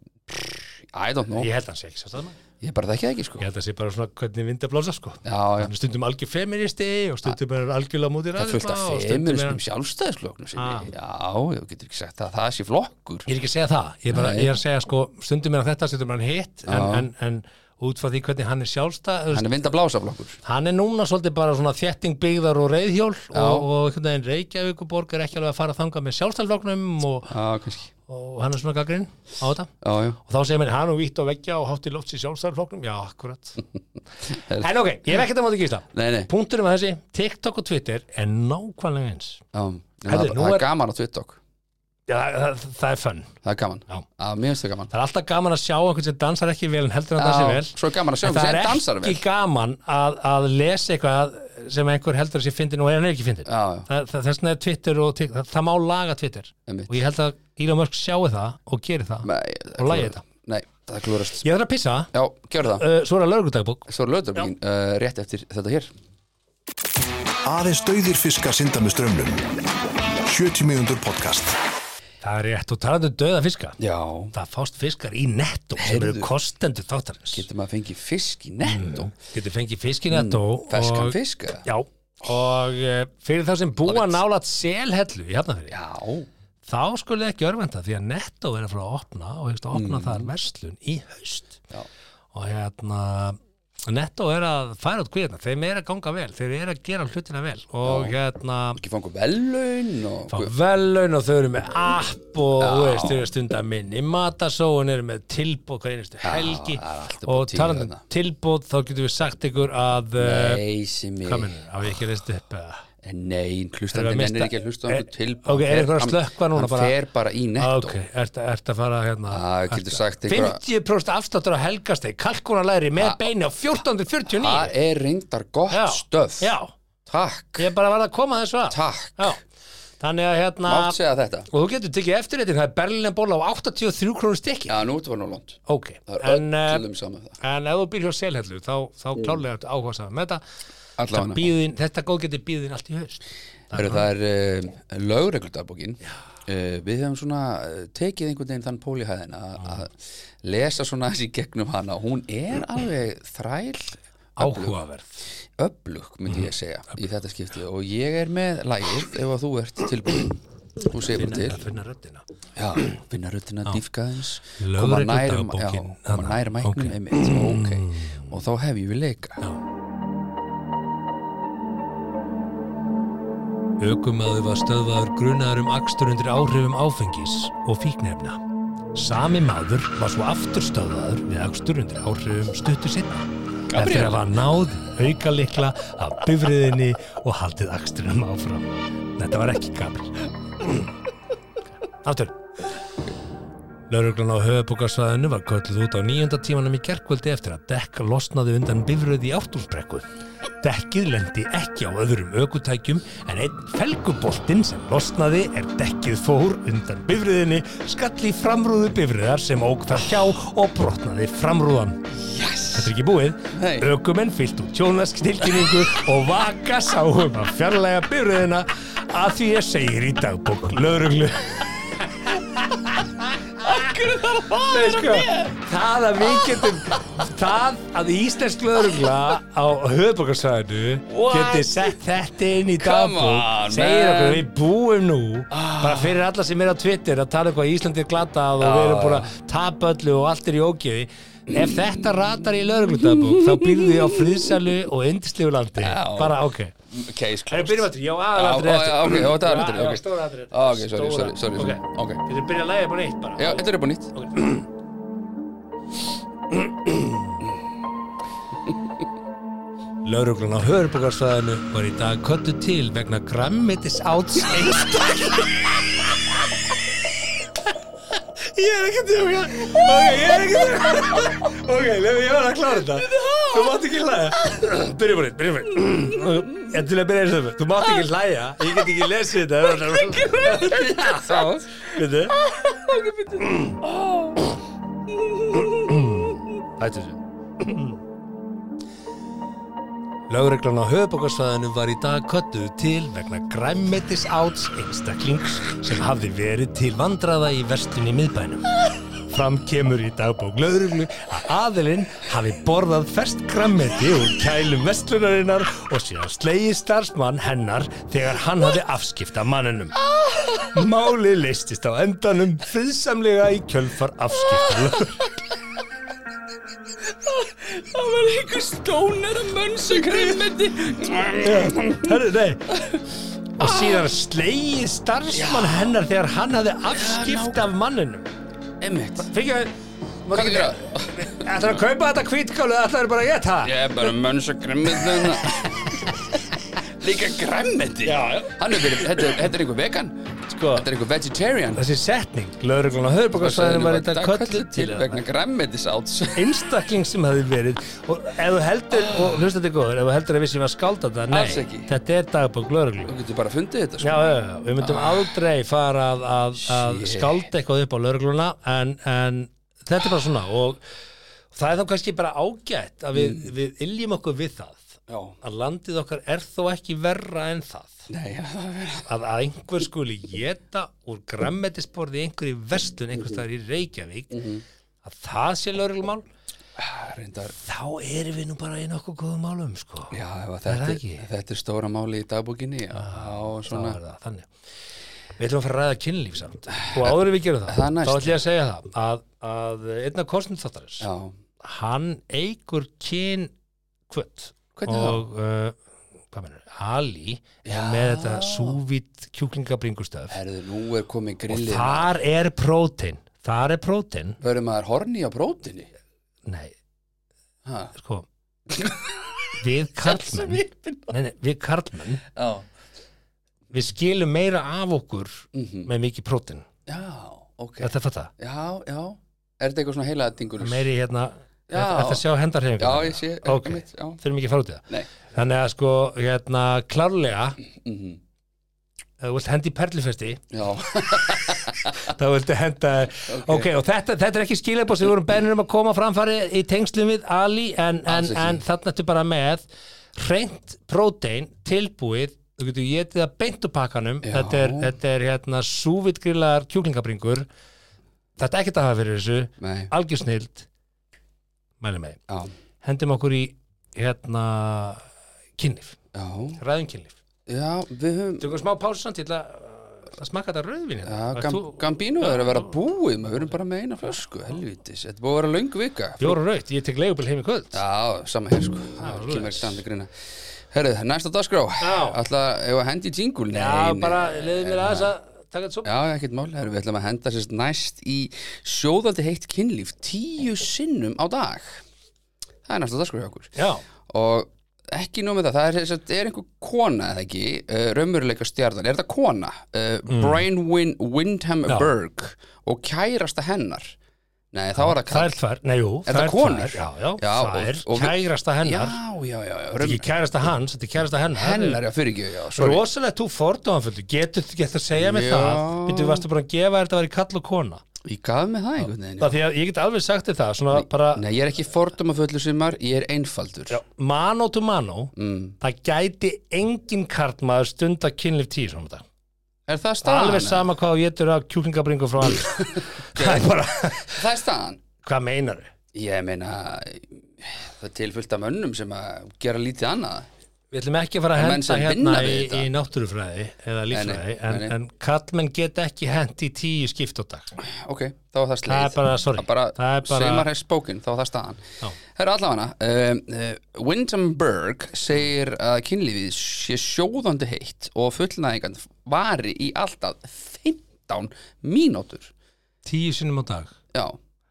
Speaker 3: I don't know
Speaker 2: Ég held að hann sé ekki sjálfstæðismaður
Speaker 3: Ég bara þekki það ekki sko
Speaker 2: Ég held að hann sé bara svona hvernig vinda blósa, sko
Speaker 3: Já, já,
Speaker 2: Hann er stundum algjör feministi og stundum er algjörlega mútið
Speaker 3: það er fullt af feminismum sjálfstæðislögnum sem
Speaker 2: Ah.
Speaker 3: ég, já, ég getur ekki sagt að það sé flokkur
Speaker 2: Ég er ekki að segja það, ég er, bara,
Speaker 3: Nei.
Speaker 2: ég er að segja sko, stundum er hann þetta, stundum er hann hitt en,
Speaker 3: Já.
Speaker 2: en, en út frá því hvernig hann er sjálfstæð hann,
Speaker 3: hann er vind að blása flokkur
Speaker 2: hann er núna svolítið bara svona þétting byggðar og reyðhjól
Speaker 3: Já.
Speaker 2: og, og einhvern veginn Reykjavíkuborg er ekki alveg að fara að þanga með sjálfstæðfloknum og,
Speaker 3: Já, kannski,
Speaker 2: og hann er svona gaggrinn á þetta
Speaker 3: já, já,
Speaker 2: og þá segir mér hann og vítt á veggja og hátt í lofts í sjálfstæðfloknum, já, akkurat en ok, ég er ekkert að móti gísla
Speaker 3: nei, nei
Speaker 2: punkturinn var þessi, TikTok og Twitter er nákvæmlega eins
Speaker 3: já, en
Speaker 2: Herðu,
Speaker 3: það,
Speaker 2: nú
Speaker 3: það
Speaker 2: er-
Speaker 3: er gaman á TikTok
Speaker 2: já, það, það, það er fönn,
Speaker 3: það er gaman,
Speaker 2: Já.
Speaker 3: já, mér finnst það gaman
Speaker 2: það er alltaf gaman að sjá einhvern sem dansar ekki vel en heldur hann dansi
Speaker 3: já,
Speaker 2: vel
Speaker 3: svo er gaman að sjá
Speaker 2: En það
Speaker 3: hvernig
Speaker 2: er
Speaker 3: sem dansar
Speaker 2: ekki
Speaker 3: vel
Speaker 2: gaman að, að lesa eitthvað sem einhver heldur að sé fyndin og hann er ekki fyndin
Speaker 3: já, já,
Speaker 2: Þa- þa- þess vegna er Twitter og Tik- það, það má laga Twitter
Speaker 3: einmitt
Speaker 2: og ég held að Elon Musk sjáu það og geri það
Speaker 3: Nei, það
Speaker 2: Og lagið
Speaker 3: klúðrast.
Speaker 2: þetta.
Speaker 3: nei, það klúrast
Speaker 2: ég þarf að pissa,
Speaker 3: já, gjör það,
Speaker 2: uh, svo er að laurugudagbók
Speaker 3: svo er lögdöfningin uh, rétt eftir þetta hér
Speaker 1: Aðeins dauðir fiskar synda með strömmnum. 70 mínútur podcast
Speaker 2: Það er rétt og talandi um döða fiska
Speaker 3: Já,
Speaker 2: Það fást fiskar í netto sem
Speaker 3: Heyrðu.
Speaker 2: eru kostendur þáttarins
Speaker 3: getur maður að fengi fisk í netto
Speaker 2: Getur fengið fisk í netto
Speaker 3: Feskan
Speaker 2: og,
Speaker 3: Mm, fisk eða?
Speaker 2: Já, og eh, fyrir þá sem búa nálat selhellu í hafnafyrir
Speaker 3: Já,
Speaker 2: þá skulle ekki örvenda því að netto er að fara að opna og hefst að opna
Speaker 3: Mm.
Speaker 2: þar verslun í haust
Speaker 3: Já.
Speaker 2: og hérna netto er að færa út kvíðna þeim er að ganga vel, þeir eru að gera hlutina vel og hérna
Speaker 3: ekki fangu velun og
Speaker 2: fá vellaun og þau eru með app og
Speaker 3: Já.
Speaker 2: þú veist, þau eru að stunda minni matasóun eru með tilbóð hvað einustu helgi
Speaker 3: það er allt upp á
Speaker 2: og
Speaker 3: tíu
Speaker 2: talandi um
Speaker 3: þarna.
Speaker 2: tilbóð þá getum við sagt ykkur að eh,
Speaker 3: Nei, sem ég Eh,
Speaker 2: hvað minnur, á ég ekki reist upp eða?
Speaker 3: Nei,
Speaker 2: Erum við
Speaker 3: hlustandi
Speaker 2: að
Speaker 3: mennir
Speaker 2: mista-
Speaker 3: ekki að hlusta á
Speaker 2: Er-
Speaker 3: einhver tilbúð
Speaker 2: Eh, ok, er
Speaker 3: Hann
Speaker 2: eitthvað að
Speaker 3: fer-
Speaker 2: slökkva núna bara?
Speaker 3: Hann fer bara í netto
Speaker 2: Ah, ok, ertu ert að fara hérna
Speaker 3: Það
Speaker 2: ertu-
Speaker 3: getur sagt einhverja- Ah.
Speaker 2: 50% afstáttur á helgasteg kalkunalæri með beini á 1449
Speaker 3: Það er reyndar gott
Speaker 2: Já,
Speaker 3: stöf
Speaker 2: já,
Speaker 3: Takk,
Speaker 2: ég er bara að verða að koma þessu að
Speaker 3: Takk.
Speaker 2: já. þannig að hérna
Speaker 3: mátt segja þetta
Speaker 2: og þú getur tekið eftirreitin, það er berlinabóla á 83 krónur stykki
Speaker 3: Já, nú ertu var nú lónt
Speaker 2: ok,
Speaker 3: Það er
Speaker 2: en, eh,
Speaker 3: öllum Mm. saman það
Speaker 2: en ef þú býr hjá selhellu þá, þá klálega ertu áhuga saman með þetta
Speaker 3: Alla
Speaker 2: þetta,
Speaker 3: hana
Speaker 2: býðin, þetta góð getur býðin allt í haust
Speaker 3: Heru, Það er uh, lögregludagbókin uh, Við hefum svona eh, tekið einhvern veginn þann pól í hæðin að að lesa svona þessi gegnum hana Hún er alveg þræl
Speaker 2: áhugaverð
Speaker 3: öflug, myndi
Speaker 2: Mhm.
Speaker 3: ég segja í þetta skipti og ég er með lægið ef að þú ert tilbúin þú segir bara
Speaker 2: að
Speaker 3: til
Speaker 2: finna röddina
Speaker 3: já, finna röddina, dýfka aðeins koma nær, já,
Speaker 2: Lögregludagabókin,
Speaker 3: koma
Speaker 2: þarna,
Speaker 3: nær mæknum
Speaker 2: ok.
Speaker 3: einmitt, ok, og þá hef ég við leika
Speaker 2: Ökumæður var stöðvaður grunaður um akstur undir áhrifum áfengis og fíknefna. Sami maður var svo aftur stöðvaður við akstur undir áhrifum stuttu sinna. Eftir að var náð aukalikla af bifriðinni og haldið aksturinum áfram. Þetta var ekki Gabriel. Aftur. Lauruglan á höfubokarsvæðinu var kölluð út á nýjönda tímanum í gerkvöldi eftir að dekk losnaði undan bifröð í ártúrsbrekku. Dekkið lendi ekki á öðrum ökutækjum en einn felguboltinn sem losnaði er dekkið fór undan bifröðinni skall í framrúðu bifröðar sem ók þar hjá og brotnaði framrúðan. Þetta er ekki búið.
Speaker 3: Nei.
Speaker 2: Ökumenn fyllt úr tjónaskstilkynningu og vaka sáum að fjarlæga bifröðina að því ég segir í dagbók lauruglu. Nei, sko, það að
Speaker 3: Ah.
Speaker 2: við getum það að íslensk lögregla á höfubokarsvæðinu
Speaker 3: What?
Speaker 2: geti sett þetta inn í
Speaker 3: Come on,
Speaker 2: dagbók segir
Speaker 3: man. Ah.
Speaker 2: okkur við búum nú bara fyrir alla sem er á Twitter að tala eitthvað að Íslandi er glatað og við
Speaker 3: Ah.
Speaker 2: erum búin að tapa öllu og allt er í ógeði ef þetta ratar í lögreglutagbók þá býrðu því á friðsælu og yndislegu landi
Speaker 3: Já.
Speaker 2: bara ok
Speaker 3: case
Speaker 2: Erum
Speaker 3: closed
Speaker 2: byrjum aftur, já aðalatrið
Speaker 3: Já,
Speaker 2: eftir
Speaker 3: já, ok, já, þetta er aðalatriðið,
Speaker 2: Já,
Speaker 3: ok.
Speaker 2: Já, stóra aðalatrið
Speaker 3: Ah, ok, sorry, sorry, sorry, sorry. Ok.
Speaker 2: Þetta er byrjað að lægja bara eitt bara
Speaker 3: já, þetta er upp á nýtt
Speaker 2: Lauruglan á Hörbugarsvæðinu var í dag köttu til vegna grammitis áts einstaklega. ég er ekki að tjóka. Ok, ég er ekki að tjóka. Ok, lefum ég var að klára þetta. Þú mátt ekki hlæja. Byrjum bara, byrjum bara. Ég er til að byrja eins og það. Þú mátt ekki hlæja. Ég get ekki lesið þetta.
Speaker 3: Ah, já,
Speaker 2: Veitu? Hættu þessu. Lögreglan á höfubokarsvæðinu var í dag köttuð til vegna græmmetis áts einstaklings sem hafði verið til vandraða í vestunni miðbænum. Fram kemur í dagbók lögreglu að aðilinn hafi borðað ferst græmmeti úr kælum vestlunarinnar og síðan slegið starfsmann hennar þegar hann hafi afskipta manninum. Máli leistist á endanum friðsamlega í kjölfar afskipta
Speaker 4: Það var einhver stónar að mönsa grimmeti
Speaker 2: Hörru, nei Og síðan slegið starfsmann hennar þegar hann hafði afskipt af manninum
Speaker 3: emmitt
Speaker 2: Fyrir að
Speaker 3: hvað er það?
Speaker 2: Ætlar að kaupa þetta kvítkálu eða ætlar bara að geta það?
Speaker 3: ég er bara mönns og gremmið líka gremmið
Speaker 2: Já,
Speaker 3: hann er verið, þetta er- þetta er einhver vegan
Speaker 2: sko
Speaker 3: þetta er einhver vegetarian
Speaker 2: Þessi setning, lögreglun á höfðbókarsvæðinu var þetta kölluð til
Speaker 3: vegna grænmetisát
Speaker 2: einstakling sem hafði verið og ef þú heldur, og hlusta þetta góður ef þú heldur að vissi var skálda þetta,
Speaker 3: Alls
Speaker 2: nei
Speaker 3: ekki.
Speaker 2: þetta er dagbók lögreglu
Speaker 3: Þú getur bara fundið þetta sko.
Speaker 2: Já, já, já, við myndum aldrei fara að, að, að
Speaker 3: Shit.
Speaker 2: skalda eitthvað upp á laurugluna en, en Mm. þetta er bara svona og það er þá kannski bara ágætt að við, við iljum okkur við það
Speaker 3: já,
Speaker 2: að landið okkar er þó ekki verra en það
Speaker 3: nei, já, það er-
Speaker 2: að að einhver skuli geta úr grammetisborði einhverju verslun einhvers staðar í Reykjavík
Speaker 3: Mhm.
Speaker 2: að það sé lögreglumál
Speaker 3: Ah, reyndar
Speaker 2: þá erum við nú bara í nokkuð góðum málum sko.
Speaker 3: Já, ef að
Speaker 2: Er
Speaker 3: þetta,
Speaker 2: það
Speaker 3: er-
Speaker 2: ekki?
Speaker 3: þetta er stóra máli í dagbókinni Já,
Speaker 2: þá
Speaker 3: svona
Speaker 2: er það þannig Við ætlum að fara að ræða kynlíf samt og áður en við gerum það,
Speaker 3: Það er næst.
Speaker 2: þá ætlum ég að segja það að, að einna kostnum þáttarins
Speaker 3: Já,
Speaker 2: hann eigur kyn kvöt
Speaker 3: Hvernig
Speaker 2: og uh, hvað mennur, Ali er
Speaker 3: Já.
Speaker 2: með þetta súvít kjúklingabringustöf
Speaker 3: herðu, nú er komið
Speaker 2: og
Speaker 3: grillið
Speaker 2: þar er prótein þar er prótein,
Speaker 3: Verður maður horni á prótinni?
Speaker 2: nei,
Speaker 3: Ha,
Speaker 2: sko við karlmenn nei, nei, við karlmenn,
Speaker 3: já,
Speaker 2: við skilum meira af okkur með mikið prótein
Speaker 3: Mhm. já, ok
Speaker 2: þetta er þetta,
Speaker 3: Já, já, er þetta eitthvað svona heilaða dingur
Speaker 2: meiri hérna
Speaker 3: Já.
Speaker 2: þetta sjá hendarhefingar
Speaker 3: Já, ég sé,
Speaker 2: Ok.
Speaker 3: einmitt, já.
Speaker 2: þurfum ekki að fara út í það
Speaker 3: Nei.
Speaker 2: þannig að sko, hérna, klárlega
Speaker 3: Mm
Speaker 2: ef þú vilt hendi í perlifesti
Speaker 3: Já,
Speaker 2: þá viltu henda ok, og þetta, þetta er ekki skilabóð sem við vorum bennir um að koma á framfæri í tengslum við Ali en, en,
Speaker 3: Alls ekki.
Speaker 2: en þarna ertu bara með hreint prótein tilbúið þú getur getið það beint úr pakkanum
Speaker 3: Já.
Speaker 2: þetta er, þetta er hérna súvitgrillar kjúklingabringur þetta er ekkert að hafa fyrir þessu
Speaker 3: nei,
Speaker 2: algjör snild mælum með, því.
Speaker 3: já,
Speaker 2: hendum okkur í hérna kynlif,
Speaker 3: já,
Speaker 2: ræðum kynlif
Speaker 3: já, við höfum
Speaker 2: tökum smá pásu samt, ég ætla uh, að smakka þetta rauðvinni
Speaker 3: Já, gam, Gambino er að vera búið, maður verðum bara með eina flösku, helvítis, þetta er búið að vera löng vika.
Speaker 2: Bjóra raut, ég tek leigubil heim í kvöld
Speaker 3: Já, sama hér sko, það
Speaker 2: svoleiðis.
Speaker 3: kemur ekki samt að grina. Herðu, næsta dagskrá,
Speaker 2: Já.
Speaker 3: ætla, ef að hendi tíngul, nei,
Speaker 2: Já,
Speaker 3: nei.
Speaker 2: bara leiði mér aðeins að taka þetta svo
Speaker 3: Já, ekkert mál, herru, við ætlum að henda sérst næst í sjóðandi heitt kynlíf tíu sinnum á dag. Það er næsta dagskrá hjá okkur.
Speaker 2: Já,
Speaker 3: og ekki nóg með það, það er, sem sagt- er einhver kona eða ekki, uh, raumuruleika stjarnan er þetta kona, uh, Brainwin Windham
Speaker 2: Mm. Já.
Speaker 3: Berg og kærasta hennar nei þá er það
Speaker 2: það er tvær, nei jú
Speaker 3: Er
Speaker 2: það
Speaker 3: það konur?
Speaker 2: tvær, Já, já,
Speaker 3: Já,
Speaker 2: það er
Speaker 3: og- og við-
Speaker 2: kærasta
Speaker 3: já,
Speaker 2: hennar
Speaker 3: já, já, já
Speaker 2: Þetta er ekki
Speaker 3: raum,
Speaker 2: kærasta hans, þetta er kærasta hennar
Speaker 3: hennar, já, fyrir ekki já, sorry.
Speaker 2: Rosalega þú fordóðanföldu, getur þú getur að segja mér
Speaker 3: Já.
Speaker 2: það Býttu, varstu bara að gefa þér þetta væri kall og kona
Speaker 3: ég gaf mig það einhvern veginn
Speaker 2: Það
Speaker 3: já.
Speaker 2: því að ég get alveg sagt þér það Svona bara,
Speaker 3: nei, ég er ekki fordómafullu sumar, ég er einfaldur
Speaker 2: já, mano to mano
Speaker 3: Mm.
Speaker 2: Það gæti engin kartmaður stunda kynlif tíu svona þetta
Speaker 3: er það staðan?
Speaker 2: Alveg sama hvað þú getur að kjúklingabringu frá alveg Það er bara,
Speaker 3: það er staðan
Speaker 2: hvað meinar
Speaker 3: ég meina það er tilfullt af mönnum sem að gera lítið annað
Speaker 2: Við ætlum ekki að fara að
Speaker 3: Og menn
Speaker 2: henda
Speaker 3: sem
Speaker 2: hérna
Speaker 3: vinna
Speaker 2: í,
Speaker 3: við þetta.
Speaker 2: í náttúrufræði eða líffræði,
Speaker 3: Nei, nei,
Speaker 2: en,
Speaker 3: nei, nei.
Speaker 2: en kallmenn geta ekki hent í tíu skipt á dag.
Speaker 3: ok, þá var það sleið
Speaker 2: Það er bara, sorry,
Speaker 3: það bara,
Speaker 2: það er bara-
Speaker 3: seimar hefst bókin, þá er það staðan
Speaker 2: Já.
Speaker 3: Herra allafana, uh, uh, Windhamberg segir að kynlífið sé sjóðandi heitt og fullnæðingan vari í alltaf 15 mínútur
Speaker 2: Tíu sinnum á dag.
Speaker 3: Já,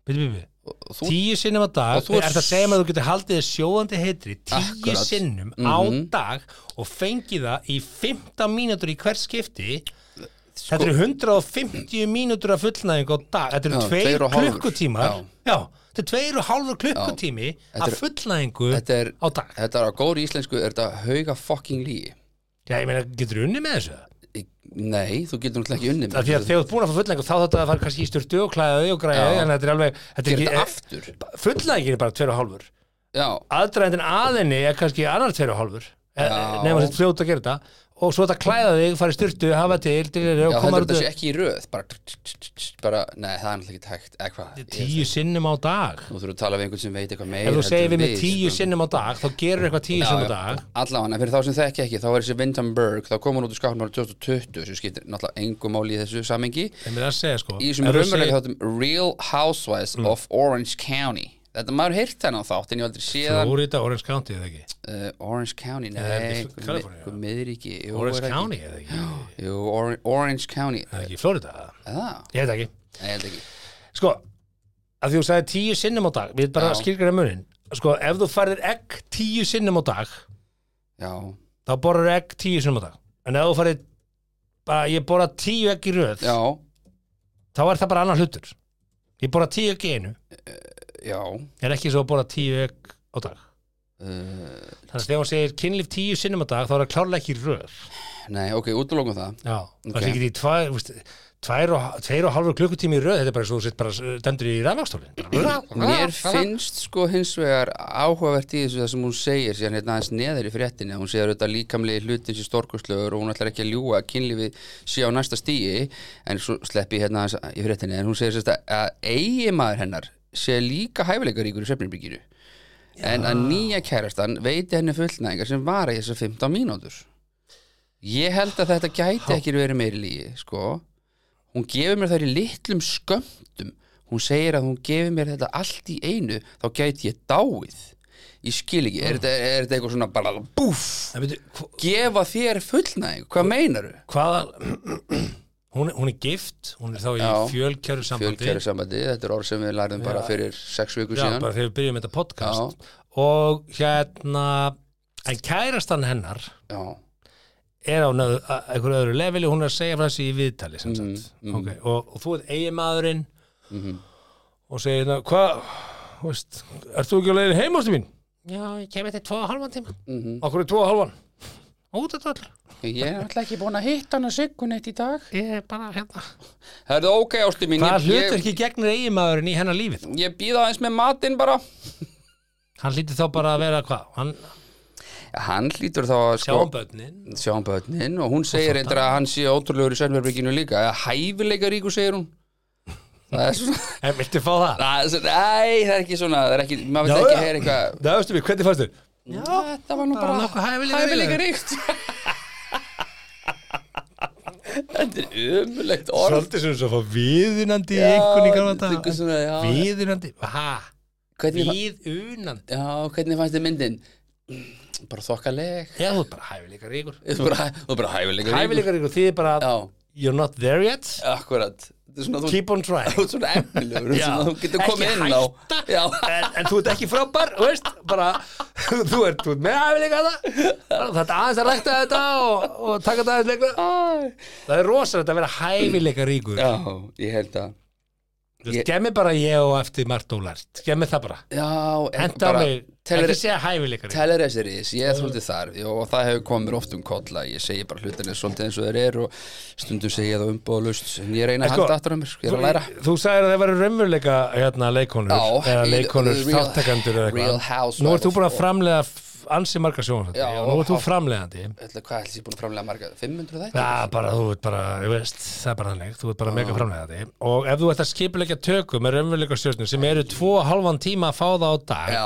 Speaker 2: Byrju, byrju, byrju.
Speaker 3: og þú,
Speaker 2: Tíu sinnum á dag,
Speaker 3: og þú
Speaker 2: er
Speaker 3: ert-
Speaker 2: þetta að segja maður að þú getur haldið þér sjóðandi heitri tíu
Speaker 3: Akkurat. Mhm.
Speaker 2: sinnum á dag og fengið það í 15 mínútur í hver skipti.
Speaker 3: Sko-
Speaker 2: Þetta eru 150 mínútur af fullnæðing á dag. Þetta eru
Speaker 3: Já, tveir
Speaker 2: tveir
Speaker 3: og hálfur.
Speaker 2: klukkutímar.
Speaker 3: Já.
Speaker 2: Já. þetta eru tveir og hálfur klukkutími
Speaker 3: Þetta
Speaker 2: af
Speaker 3: er-
Speaker 2: fullnæðingu
Speaker 3: þetta er,
Speaker 2: á dag.
Speaker 3: þetta er á góri íslensku er þetta hauga fucking lígi
Speaker 2: Já, ég meina, getur unnið með þessu?
Speaker 3: Nei, þú getur náttúrulega ekki unni
Speaker 2: Af því að þegar þú ert búin að fá fullnægingu þá þetta að fara kannski í styrtu og klæða þig og græða
Speaker 3: Já.
Speaker 2: þig en þetta er alveg, þetta er
Speaker 3: Gerir
Speaker 2: ekki,
Speaker 3: þetta
Speaker 2: eh,
Speaker 3: aftur
Speaker 2: fullnægingin er bara tveir og hálfur
Speaker 3: Já,
Speaker 2: aðdræðin aðinni er kannski annar tveir og hálfur Eh,
Speaker 3: Já.
Speaker 2: nefnum þetta fljóta að gera þetta og svo þetta klæða þig, fara í styrtu, hafa til, til
Speaker 3: já
Speaker 2: og
Speaker 3: heldur
Speaker 2: koma
Speaker 3: þetta
Speaker 2: út
Speaker 3: sé ekki í röð bara, bara, nei, það er náttúrulega ekki hægt eða hvað, Ég-
Speaker 2: tíu sinnum á dag
Speaker 3: Nú þurfum við að tala við einhvern sem veit eitthvað meira
Speaker 2: ef þú
Speaker 3: heldur
Speaker 2: segir
Speaker 3: en
Speaker 2: við með tíu
Speaker 3: sko.
Speaker 2: sinnum á dag þá gerur eitthvað tíu
Speaker 3: Já,
Speaker 2: sinnum á
Speaker 3: já.
Speaker 2: dag
Speaker 3: Allavega, en fyrir þá sem þekki ekki, þá er þessi Vinton Berg, þá kom hún út úr skáknum árið 2020 sem skiptir náttúrulega engum máli í þessu samengi
Speaker 2: en mér er að segja sko
Speaker 3: í þessum
Speaker 2: ef þú segir- Mm.
Speaker 3: raunveruleika þáttum Real Housewives of Orange County Þetta maður heyrt þennan þátt en ég hef aldrei séðan
Speaker 2: Florida, Orange County eða ekki
Speaker 3: uh, Orange County, nei,
Speaker 2: Eða er þetta í
Speaker 3: einhver
Speaker 2: Kaliforníu,
Speaker 3: mið- einhver miðríki jú, er
Speaker 2: Orange
Speaker 3: ekki-
Speaker 2: County eða ekki
Speaker 3: Jú, Or- Orange County
Speaker 2: eða ekki Florida, eða?
Speaker 3: Það,
Speaker 2: ég veit það ekki
Speaker 3: nei, ég held ekki
Speaker 2: sko, að því þú sagði tíu sinnum á dag við bara
Speaker 3: Já.
Speaker 2: skilgjum munin sko, ef þú færðir egg tíu sinnum á dag
Speaker 3: Já,
Speaker 2: þá borður egg tíu sinnum á dag en ef þú færðir bara, ég borða tíu egg í röð
Speaker 3: já,
Speaker 2: þá er það bara annar hlutur ég borða tíu egg í einu
Speaker 3: já
Speaker 2: er ekki svo að borða tíu egg á dag
Speaker 3: uh,
Speaker 2: þannig að þegar hún segir kynlíf tíu sinnum á dag þá er það klárlega ekki í röð
Speaker 3: Nei, ok, útlokum það
Speaker 2: Já, okay.
Speaker 3: Ok.
Speaker 2: það líkir í tvær, þú veist, tvær og, tveir og halvur klukkutími í röð, þetta er bara svo, þú sett bara dendur í rafnagstólin.
Speaker 3: Mér finnst sko hins vegar áhugavert í þessu það sem hún segir síðan hérna aðeins neðar í fréttinni að hún segir auðvitað líkamlegi hlutin sér stórkostlögur og hún ætlar ekki að ljúga að kynlífi sé á næsta stíi en svo sleppi ég hérna aðeins í fréttinni en hún segir sérst að, að eigimaður hennar sé líka hæfileikaríkur í svefnirbyggiru en að nýja kærastan veiti henni fullnæðingar sem vara í þessar 15 mínútur Ég held að þetta gæti ekki verið meiri lígi, sko. Hún gefur mér þær í litlum skömmtum. Hún segir að hún gefur mér þetta allt í einu, þá gæti ég dáið. Ég skil ekki,
Speaker 2: Mm.
Speaker 3: er þetta, er þetta eitthvað svona bara búff?
Speaker 2: En veitu,
Speaker 3: Gefa þér fullnæg, hvað meinaru?
Speaker 2: hvaða, hún, er- hún er gift, hún er þá í
Speaker 3: Já.
Speaker 2: fjölkjöru sambandi.
Speaker 3: Fjölkjæri sambandi, þetta er orð sem við lærðum bara fyrir sex viku
Speaker 2: Já,
Speaker 3: síðan.
Speaker 2: bara þegar við byrjum með þetta podcast. Og hérna, en kærastan hennar
Speaker 3: Já,
Speaker 2: er á nöð, að- einhverju öðru leveli, hún er að segja frá þessu í viðtali, sem sagt.
Speaker 3: Mm,
Speaker 2: Ok, og, og þú ert eiginmaðurinn
Speaker 3: Mhm.
Speaker 2: og segir hérna, hvað, þú veist, ert þú ekki að leiðin heim ástu mín? Já, ég kemur þetta tvo og halvan tíma. Mm
Speaker 3: Mhm.
Speaker 2: -hmm. Okkur er tvo og halvan. Út af allir.
Speaker 3: ég er alltaf ekki búin að hitta hana siggun eitt í dag.
Speaker 2: Ég er bara hérna.
Speaker 3: Það er það ok, ástu mín.
Speaker 2: Hvaða
Speaker 3: ég-
Speaker 2: hlutur ekki gegnir eiginmaðurinn í hennar lífið?
Speaker 3: Ég, ég býða aðeins með matinn bara.
Speaker 2: Hann lítur þá bara að vera hvað? Hann
Speaker 3: Hann hlýtur þá að sko...
Speaker 2: sjáum börnin.
Speaker 3: sjáum börnin og hún segir reyndar að hann sé ótrúlegur í svefnverbygginu líka eða hæfileika ríku segir hún það er svona
Speaker 2: En viltu fá það?
Speaker 3: það er svona, æ, það er ekki svona það er ekki, maður
Speaker 2: Já,
Speaker 3: vil ekki
Speaker 2: já.
Speaker 3: heyra eitthvað
Speaker 2: Það veistu mér, hvernig fannst þér?
Speaker 3: Já, þetta var nú
Speaker 2: bara
Speaker 3: bara,
Speaker 2: nokkuð hæfileikaríkt.
Speaker 3: hæfileika ríkt Þetta er umulegt orð
Speaker 2: Svolítið sem svo að fá viðunandi í
Speaker 3: Já,
Speaker 2: einhvern í gamla
Speaker 3: þetta er
Speaker 2: dag.
Speaker 3: svona, já.
Speaker 2: Viðunandi, ha,
Speaker 3: hvernig, fa-
Speaker 2: viðunandi.
Speaker 3: Já, hvernig fannst þið myndin? Bara þokkaleg
Speaker 2: Já, þú er bara hæfileikar ykkur.
Speaker 3: Þú er bara, þú er bara hæfileika ríkur
Speaker 2: Hæfileikar ykkur, þið er bara,
Speaker 3: Já,
Speaker 2: you're not there yet,
Speaker 3: akkurat Þetta er svona, þú
Speaker 2: keep on trying.
Speaker 3: þú ert svona efnilegur
Speaker 2: Já,
Speaker 3: svona, þú getur komið inn á
Speaker 2: hætta,
Speaker 3: Já.
Speaker 2: en, en þú ert ekki frábær, þú veist, bara, þú ert, þú ert með hæfileika það, þetta aðeins að rækta þetta og, og taka þetta aðeins lengra. Það er rosalegt að vera hæfileikar ykkur.
Speaker 3: já, ég held að ég-
Speaker 2: Gemmi bara ég og eftir margt og lært, gemmi það bara.
Speaker 3: já,
Speaker 2: Henda á mig,
Speaker 3: teller,
Speaker 2: ekki segja hæfileikar ykkur.
Speaker 3: teller þessir ís, ég er svolítið þar já, og það hefur komið mér oft um kolla ég segi bara hlutinni svolítið eins og þeir eru og stundum segi ég það umbóðlust en ég reyna að
Speaker 2: Sko,
Speaker 3: halda aftur um mér, ég er að læra
Speaker 2: Þú sagðir að það væri raunveruleika hérna, leikonur
Speaker 3: Já,
Speaker 2: eða
Speaker 3: í-
Speaker 2: leikonur
Speaker 3: real-
Speaker 2: þáttakandur eða
Speaker 3: real
Speaker 2: eitthvað
Speaker 3: housewives
Speaker 2: Nú ert þú búin að
Speaker 3: og-
Speaker 2: framlega f- ansi marga sjónvarpandi
Speaker 3: Já,
Speaker 2: og nú ert þú
Speaker 3: og-
Speaker 2: framlegandi
Speaker 3: Ætla, hvað ætlis ég búin að framlega marga 500 þætti?
Speaker 2: Já, bara þú ert bara, þú veist, það er bara þannig þú ert bara mega framlegandi og ef þú ert að skipulegja tökum með raunveruleika stjórnum sem eru tvo og halvan tíma að fá það á dag
Speaker 3: já,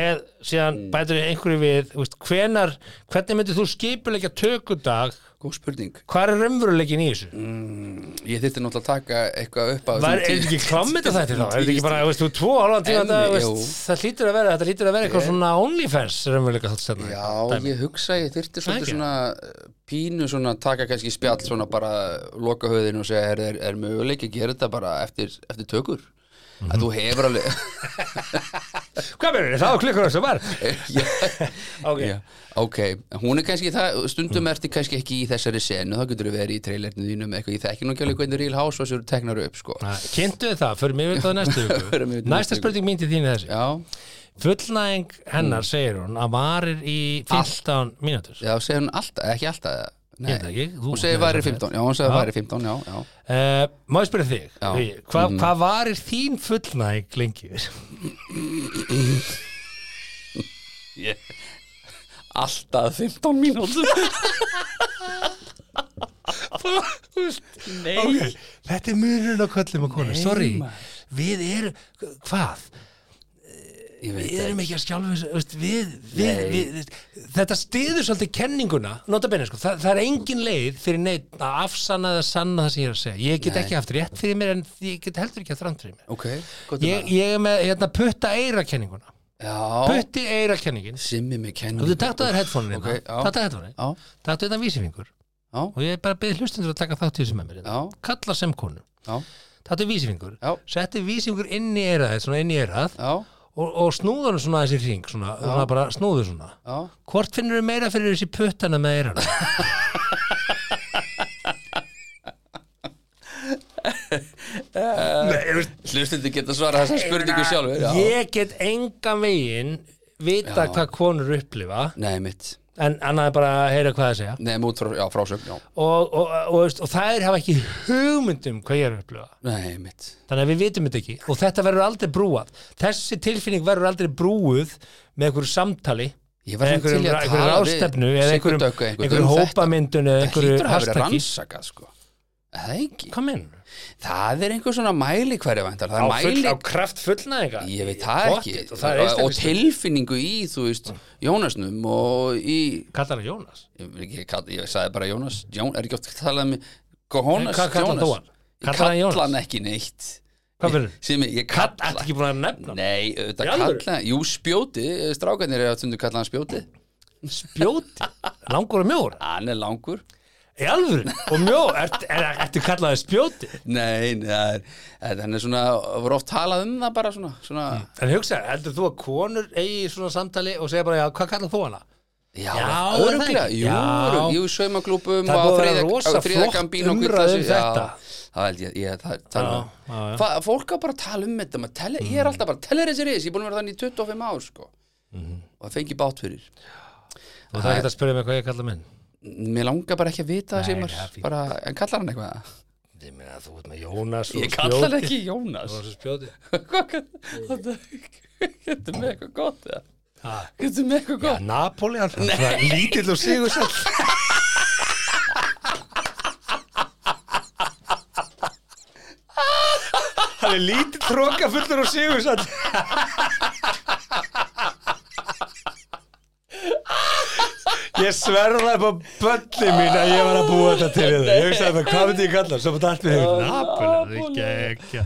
Speaker 2: með, síðan bætur einhverju við þú veist, hvenar, hvernig myndir þú skipulegja tökudag,
Speaker 3: góð spurning
Speaker 2: hvað er raunveruleikin í þessu?
Speaker 3: ég þyrfti náttúrulega að taka eitthvað upp á
Speaker 2: Var, er
Speaker 3: þessum
Speaker 2: þetta
Speaker 3: tíu-
Speaker 2: ekki klammið þetta þætti þá? Er þetta ekki bara, veist, þú, tvo hálfan tíma
Speaker 3: En,
Speaker 2: þetta,
Speaker 3: jú.
Speaker 2: veist, það hlýtur að vera, þetta hlýtur að vera eitthvað svona OnlyFans raunveruleika þátt stefna.
Speaker 3: Já, ég hugsa, ég þyrfti svolítið
Speaker 2: ekki?
Speaker 3: svona eh, pínu svona taka kannski spjall svona bara loka höfðinu og segja er, er, er möguleik að gera þetta bara eftir, eftir tökur að þú hefur alveg
Speaker 2: Hvað meður þið? Það var klukkur sem var.
Speaker 3: Já,
Speaker 2: Ok. Mm.
Speaker 3: já. ok, hún er kannski það stundum ertu kannski ekki í þessari senu þá getur þú verið í trailerinu þínum eitthvað ég þekki nú ekki alveg hvernig Real Housewives eru teknar upp sko.
Speaker 2: Kynntu þið það, förum yfir það næstu
Speaker 3: Förum yfir
Speaker 2: viku.
Speaker 3: það næstu
Speaker 2: Næsta
Speaker 3: viku.
Speaker 2: spurning mín til þín er þessi.
Speaker 3: Já, Mm.
Speaker 2: Fullnæðing hennar, segir hún, að varir í
Speaker 3: Ah.
Speaker 2: 15 mínútur.
Speaker 3: já, segir hún alltaf, eh, ekki alltaf eða? Nei,
Speaker 2: Ég veit ekki, þú-
Speaker 3: hún segir
Speaker 2: Nei,
Speaker 3: varir
Speaker 2: það er
Speaker 3: 15 Já, hún segir
Speaker 2: Já.
Speaker 3: varir 15, já, já
Speaker 2: Uh, má ég spyrja þig,
Speaker 3: Já. Mm.
Speaker 2: Hugi, hva, hvað varir þín fullnæðing lengi?
Speaker 3: Alltaf 15 mínútur Nei
Speaker 2: Ok, Þetta er munurinn á köllum og konum, sorry. Við erum, hvað?
Speaker 3: Ég veit
Speaker 2: við
Speaker 3: það
Speaker 2: erum ekki að skjálfa þessu, veist, við, við, við, þetta stiður svolítið kenninguna, notabenni sko, það, það er engin leið fyrir neitt að afsanna eða sanna það sem ég er að segja, ég get ekki haft rétt fyrir mér en ég get heldur ekki haft rangt fyrir mér
Speaker 3: Ok, gott um
Speaker 2: ég, ég er með hérna putta eira kenninguna
Speaker 3: það Já,
Speaker 2: putti eira kenningin
Speaker 3: simmi mig kenni
Speaker 2: og þú takt á þér headphone-in
Speaker 3: Ok,
Speaker 2: okay,
Speaker 3: já.
Speaker 2: takt á headphone-in,
Speaker 3: Já,
Speaker 2: takt á þetta vísifingur
Speaker 3: já,
Speaker 2: og ég er bara að byrja hlustundur að taka þátt í þessu með mér hérna.
Speaker 3: já,
Speaker 2: kalla sem konu,
Speaker 3: já,
Speaker 2: takt á vísifingur
Speaker 3: Já.
Speaker 2: setti vísifingur inn í eirað þitt, svona inn í eirað
Speaker 3: já,
Speaker 2: og, og snúður hann svona þessi hring svona, svona bara snúður svona
Speaker 3: já
Speaker 2: Hvort finnur þau meira fyrir þessi puttana með eirana?
Speaker 3: Hlustandi geta svara þessar spurningu sjálfur já.
Speaker 2: Ég get engan vegin vita
Speaker 3: Já.
Speaker 2: hvað konur upplifa
Speaker 3: Nei, mitt
Speaker 2: en annað er bara að heyra hvað það segja
Speaker 3: Nefn út frá, já, frásögn, já
Speaker 2: og, og, og, veist, og þær hafa ekki hugmyndum hvað ég er að upplifa
Speaker 3: Nei, mitt
Speaker 2: þannig að við vitum þetta ekki og þetta verður aldrei brúað þessi tilfinning verður aldrei brúuð með einhverju samtali
Speaker 3: Ég
Speaker 2: eða
Speaker 3: var svona til í
Speaker 2: einhverjum,
Speaker 3: að
Speaker 2: einhverjum
Speaker 3: tala við
Speaker 2: rástefnu eða
Speaker 3: Siggu
Speaker 2: einhverjum,
Speaker 3: Döggu einhvern
Speaker 2: einhverjum
Speaker 3: um þetta.
Speaker 2: hópamyndun eða
Speaker 3: Það
Speaker 2: einhverju
Speaker 3: hlýtur að vera
Speaker 2: hashtaggi
Speaker 3: rannsakað, sko Er Það ekki
Speaker 2: hvað minn?
Speaker 3: Það er einhver svona mæli hverja vantar
Speaker 2: Á,
Speaker 3: Það er
Speaker 2: full,
Speaker 3: mæli
Speaker 2: á kraft fullnæðinga
Speaker 3: Ég veit það ekki
Speaker 2: og, það er
Speaker 3: og
Speaker 2: og til
Speaker 3: tilfinningu í, þú veist, Jónasnum og í,
Speaker 2: kallar það Jónas
Speaker 3: ég, vil ekki kalla- ég sagði bara Jónas, Jón, er ekki oft kallað mig, Jónas,
Speaker 2: Hvað kallar
Speaker 3: Jónas
Speaker 2: þú hann?
Speaker 3: Ég
Speaker 2: Kallar hann
Speaker 3: kalla
Speaker 2: Jónas?
Speaker 3: hann ekki neitt
Speaker 2: Hvað verður?
Speaker 3: Sem ég, ég
Speaker 2: Kall,
Speaker 3: kalla
Speaker 2: ætti ekki búin að nefna hann?
Speaker 3: Nei, þetta
Speaker 2: Í alvöru?
Speaker 3: kalla, jú, spjóti eh, strákanir er að tundu kalla hann spjóti
Speaker 2: Spjóti, langur og mjór
Speaker 3: Hann er langur
Speaker 2: Í alvöru, og mjór, ert, er, ertu kallaði spjóti
Speaker 3: Nei, nei, það er- þetta- hann er svona voru oft talað um það bara svona, svona
Speaker 2: En hugsa, heldur þú að konur eigi í svona samtali og segja bara, já, hvað kallar þú hana?
Speaker 3: Já,
Speaker 2: Já,
Speaker 3: örglega,
Speaker 2: það er-
Speaker 3: jú,
Speaker 2: Já.
Speaker 3: örugg- jú, saumaglúpum
Speaker 2: Það er
Speaker 3: og
Speaker 2: búið að vera
Speaker 3: þriðja-
Speaker 2: rosa
Speaker 3: og þriðja
Speaker 2: flott
Speaker 3: gambín og gull
Speaker 2: umræða um
Speaker 3: þessu, já.
Speaker 2: þetta.
Speaker 3: Það held ég, ég það, það,
Speaker 2: Já,
Speaker 3: já,
Speaker 2: já, já.
Speaker 3: Fa, Fólk á bara að tala um þetta maður teller, Ég er alltaf bara, teller þessi reis, ég er búin að vera þannig í 25 ár sko.
Speaker 2: Mhm.
Speaker 3: og það fengi bát fyrir
Speaker 2: Og það er ekki að spyrja mig hvað ég kalla minn.
Speaker 3: Mér langar bara ekki að vita
Speaker 2: Nei, það
Speaker 3: það
Speaker 2: er fínt.
Speaker 3: sem bara, en kallar hann eitthvað
Speaker 2: Ég meina þú ert með Jónas og
Speaker 3: Ég kalla hann ekki Jónas
Speaker 2: Jónas og spjóti.
Speaker 3: Hvað kallar Getur með eitthvað gott eða?
Speaker 2: Ha?
Speaker 3: Getur með eitthvað
Speaker 2: Já,
Speaker 3: gott
Speaker 2: Napoli, hann hann var lítill og sigur sér. Hann er lítill, tróka fullur og sigur sér. Ég sverða upp á bölli mín að ég var að búa þetta til þér. Ég hugsaði þetta, hvað myndi ég kalla? hann? Svo bara allt með hug, Napoli, það er ekki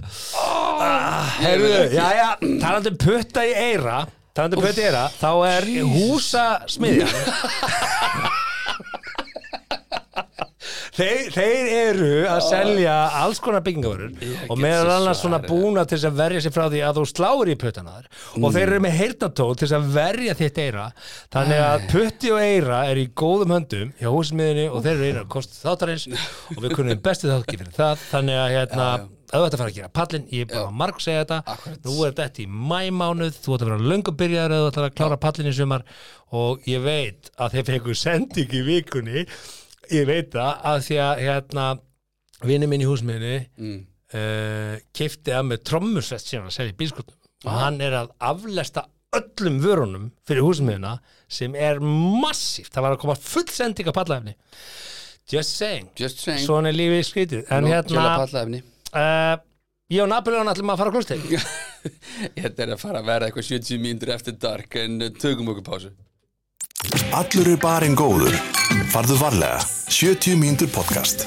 Speaker 2: Herðu, já, já, talandi um putta í eira talandi um putta í eira, þá er húsasmiðjan Þeir, þeir eru að selja alls konar byggingavörur og meðal
Speaker 3: svo
Speaker 2: annars svona
Speaker 3: svarið.
Speaker 2: búna til þess að verja sér frá því að þú sláir í puttana þar og þeir eru með heyrnatól til þess að verja þitt eira þannig að putti og eira er í góðum höndum hjá húsmiðinni og þeir eru eina kost þáttarins og við kunnum bestu þáttarki fyrir það þannig að hérna, ef þetta fara að gera pallin ég er bara að marg segja þetta
Speaker 3: Akkúrat.
Speaker 2: nú er þetta í mæmánuð, þú ætti að vera löngu byrjaður eða þú ætti að klára pallin í sumar og ég veit að þeir fengu sending í vikunni ég veit það að því að hérna, vinur minn í húsmiðinni mm. uh, keipti að með trommusvest sem hann að selja í bílskotnum
Speaker 3: Ah.
Speaker 2: og hann er að aflesta öllum vörunum fyrir húsmiðina sem er massíft, það var að koma full sending af pallafni just saying,
Speaker 3: Just saying,
Speaker 2: svona er lífið skrítið en
Speaker 3: Nú,
Speaker 2: hérna
Speaker 3: tjöla pallaefni.
Speaker 2: uh, ég og Napoleon ætlum að fara á klústeg
Speaker 3: Þetta er að fara að vera eitthvað 70 mínútur eftir dark en uh, tökum okkur pásu
Speaker 1: Allur er barinn góður. Farðu varlega. 70 mínútur podcast.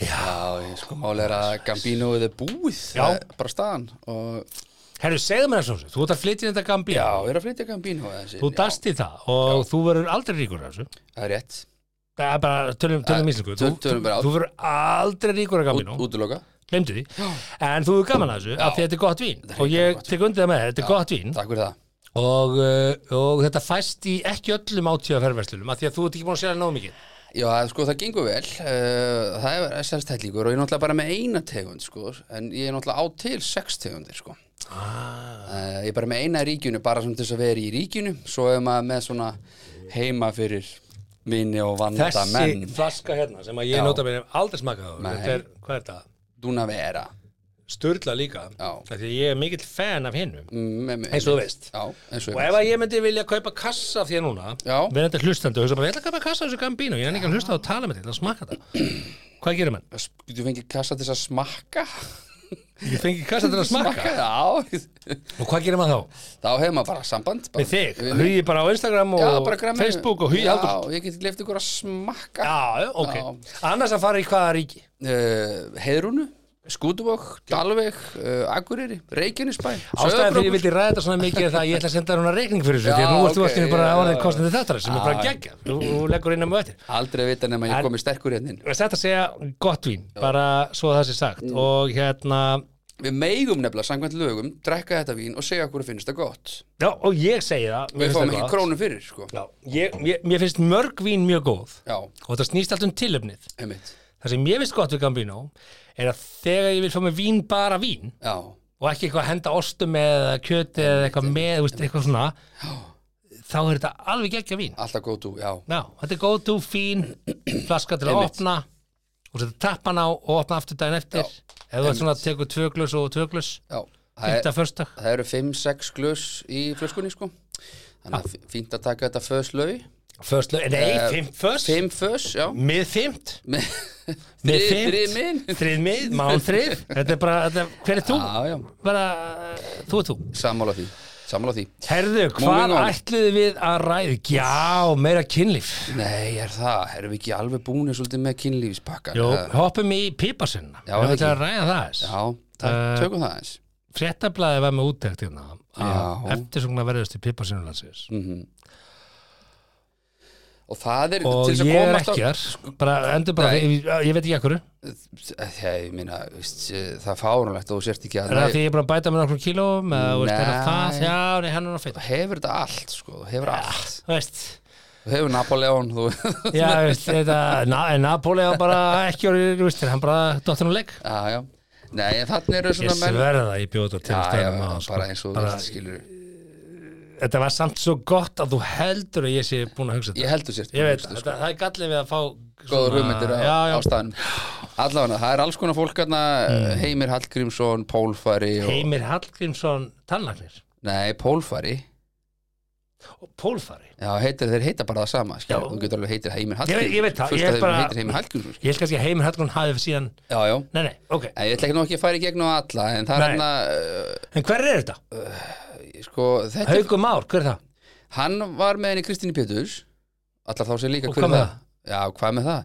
Speaker 3: Já, ég sko máli er að Gambino er búið
Speaker 2: Já.
Speaker 3: Það er bara staðan og
Speaker 2: Herru, segðu mér það svo, þú ert að flytja inn þetta gambi
Speaker 3: já, ég er að flytja Gambino þessi.
Speaker 2: Þú dast í það og þú verður aldrei ríkur af þessu
Speaker 3: Já, Það er rétt,
Speaker 2: Það er bara, tölum,
Speaker 3: Það-
Speaker 2: tölum íslengu Þú,
Speaker 3: töl- Eh, tölum bara á-
Speaker 2: þú verður aldrei ríkur af
Speaker 3: Út,
Speaker 2: gambinu
Speaker 3: útloka
Speaker 2: Glemdu því En þú er gaman af þessu af því þetta er gott vín Og ég tek undir það með þér, þetta er gott vín
Speaker 3: Takk fyrir það
Speaker 2: og, uh, og þetta fæst í ekki öllum átíðaferverslunum af því að þú ert ekki búin að sérna nóg mikið
Speaker 3: Já, sko, það gengur vel uh, Það er selst hellingur og ég er náttúrulega bara með eina tegund sko, en ég er náttúrulega á til sex tegundir sko. ah. Ég er bara með eina í ríkjunu bara sem til þess að vera í ríkjunu svo er maður með svona heima fyrir minni og vanda
Speaker 2: Þessi
Speaker 3: menn
Speaker 2: flaska hérna sem að ég
Speaker 3: Já.
Speaker 2: nota mér aldrei smakað á
Speaker 3: Nei.
Speaker 2: Þetta er, hvað er þetta?
Speaker 3: Dúna vera
Speaker 2: Sturla líka
Speaker 3: Já.
Speaker 2: af því að ég er mikill fan af hinnum
Speaker 3: Eins
Speaker 2: eins og þú veist
Speaker 3: Já, eins og
Speaker 2: Og ef að ég myndi vilja kaupa kassa af því að núna
Speaker 3: Já.
Speaker 2: verðandi hlustandi og hugsa bara, ég ætla að kaupa kassa af þessu gambínu ég er ekki að hlusta og tala með þetta, ég ætla að smakka þetta Hvað gerir mann?
Speaker 3: Getur fengið kassa til þess að smakka
Speaker 2: Ég fengi kassa til að smakka
Speaker 3: já
Speaker 2: Og hvað gerir mann þá?
Speaker 3: Þá hefur maður bara samband bara.
Speaker 2: Með þig,
Speaker 3: Við mig.
Speaker 2: hugi bara á Instagram og
Speaker 3: Já, bara græmið
Speaker 2: Facebook og hugi haldur
Speaker 3: Já, ég geti leift ykkur að smakka
Speaker 2: Já, ok
Speaker 3: Já.
Speaker 2: Annars að fara í hvaða ríki?
Speaker 3: uh, Heiðrúnu, Skútuvók, Dalveg, uh, Akureyri, Reykjanesbæ
Speaker 2: Ástæðan fyrir ég
Speaker 3: Sauðárkrókur.
Speaker 2: vildi ræða þetta svona mikið er það að ég ætla að senda þér hana reikning fyrir þessu
Speaker 3: Já,
Speaker 2: því að nú ert þú
Speaker 3: ok,
Speaker 2: að skilja bara
Speaker 3: já,
Speaker 2: áriðin
Speaker 3: já.
Speaker 2: kostandi þáttarins sem er bara
Speaker 3: Já, já.
Speaker 2: geggja Þú þú leggur inn á mjög eftir
Speaker 3: Aldrei að vita nema ég
Speaker 2: En-
Speaker 3: komi sterkur hérna inn.
Speaker 2: Þetta segja gott vín, bara svo það sé sagt
Speaker 3: Mm.
Speaker 2: og hérna,
Speaker 3: Við megum nefnilega samkvæmt lögum drekka þetta vín og segja okkur að finnst það gott
Speaker 2: já og ég segi það mér
Speaker 3: Við
Speaker 2: finnst
Speaker 3: fáum
Speaker 2: það
Speaker 3: ekki
Speaker 2: gott.
Speaker 3: krónu fyrir sko
Speaker 2: Já, ég, ég, mér finnst mörg vín mjög góð
Speaker 3: Já,
Speaker 2: og þetta snýst allt um tilöfnið.
Speaker 3: einmitt
Speaker 2: Það sem ég finnst gott við Gambino er að þegar ég vil fá með vín bara vín
Speaker 3: Já,
Speaker 2: og ekki eitthvað að henda ostum eða kjöti eða eitthvað með, þú veist, eitthvað svona þá er þetta alveg geggja vín
Speaker 3: Alltaf go to, já
Speaker 2: Já, þetta er góð, tú, fín flaska til að
Speaker 3: Einmitt.
Speaker 2: opna og setja tappan á og opna aftur daginn eftir ef þú ert svona að tekur tvö glöss og tvö glöss
Speaker 3: Já, það,
Speaker 2: fyrta
Speaker 3: er,
Speaker 2: förstak
Speaker 3: það eru 5-6 glös í flöskunni sko Þannig
Speaker 2: Ah.
Speaker 3: að fí- fínt að taka þetta fös lög
Speaker 2: Först lög, nei,
Speaker 3: Eh,
Speaker 2: fimm först
Speaker 3: 5 fös, já
Speaker 2: Mið fimmt Mið
Speaker 3: Þrið-
Speaker 2: fimmt
Speaker 3: þrið minn.
Speaker 2: Þrið mið, mán þrið Þetta er bara, þetta, er- hver er þú?
Speaker 3: Já, já,
Speaker 2: Bara, þú er þú
Speaker 3: sammála því Sammála því
Speaker 2: Herðu,
Speaker 3: Moving
Speaker 2: hvað
Speaker 3: on.
Speaker 2: ætluðu við að ræði? Já, meira kynlíf
Speaker 3: Nei, er það, erum við ekki alveg búinir svolítið með kynlífspakkan
Speaker 2: Jó,
Speaker 3: eða?
Speaker 2: hoppum í pípasunna
Speaker 3: Eh, Já,
Speaker 2: Já, þetta
Speaker 3: það
Speaker 2: er
Speaker 3: ekki.
Speaker 2: að ræða það þess
Speaker 3: Já, það,
Speaker 2: Eh,
Speaker 3: tökum það eins
Speaker 2: fréttablaði var með úttekt hérna
Speaker 3: Já. Mm.
Speaker 2: eftir svona verðist í pipparsinulandsins
Speaker 3: Og það er
Speaker 2: og
Speaker 3: til þess að
Speaker 2: ég er
Speaker 3: komast á-
Speaker 2: ekki þar sko, bara endur bara,
Speaker 3: Nei.
Speaker 2: ég, ég veit ekki ekkur er
Speaker 3: Það, Eh, ég minna, veist, það er fárunlegt og þú sért ekki að
Speaker 2: það því ég er bara að bæta með nokkur kílóum eða þú veist, er það það,
Speaker 3: Nei.
Speaker 2: já, nei, hann er að feit
Speaker 3: hefur þetta allt, sko, þú hefur allt
Speaker 2: þú veist,
Speaker 3: Þú hefur Napoleon, þú
Speaker 2: já, þú veist, þetta na, Napoli var bara ekki orðið, þú veist, hann bara dottin og legg,
Speaker 3: Já, já Nei, en þannig eru
Speaker 2: ég
Speaker 3: svona menn
Speaker 2: sverða það ég bjóða til
Speaker 3: Já, já,
Speaker 2: stæðum á sko.
Speaker 3: bara eins og þú
Speaker 2: Bara-
Speaker 3: veist, skilur
Speaker 2: þetta var samt svo gott að þú heldur að ég sé búin að hugsa
Speaker 3: Ég
Speaker 2: þetta
Speaker 3: heldur sér
Speaker 2: ég veit, þetta- það er gallið við að fá svona-
Speaker 3: Góður sko. hugmyndir á,
Speaker 2: já, já,
Speaker 3: á staðan Allavega, það er alls konar fólk hérna
Speaker 2: Mm.
Speaker 3: Heimir Hallgrímsson, Pólfari og,
Speaker 2: Heimir Hallgrímsson tannlagnir
Speaker 3: Nei, Pólfari
Speaker 2: og pólfari
Speaker 3: Já, heitir, þeir heita bara það sama skilur.
Speaker 2: Já.
Speaker 3: Þú getur alveg heitir
Speaker 2: Ég
Speaker 3: Heimir Hallgrímsson
Speaker 2: veit- ég veit það,
Speaker 3: Fullt
Speaker 2: ég er
Speaker 3: af þeim
Speaker 2: bara-
Speaker 3: heitir Heimir Hallgrímsson
Speaker 2: Ég held kannski að Heimir Hallgrún hafi síðan
Speaker 3: Já, já
Speaker 2: Nei, nei, ok,
Speaker 3: En ég ætla ekki nú ekki að fara í gegn á alla En það er
Speaker 2: Nei.
Speaker 3: hérna
Speaker 2: en hver er þetta?
Speaker 3: uh, Sko, þetta er
Speaker 2: Haukur Már, hver er það?
Speaker 3: Hann var með henni Kristínu Péturs Allar þá sem líka
Speaker 2: Og
Speaker 3: hver
Speaker 2: hvað með
Speaker 3: er Já, hvað með það?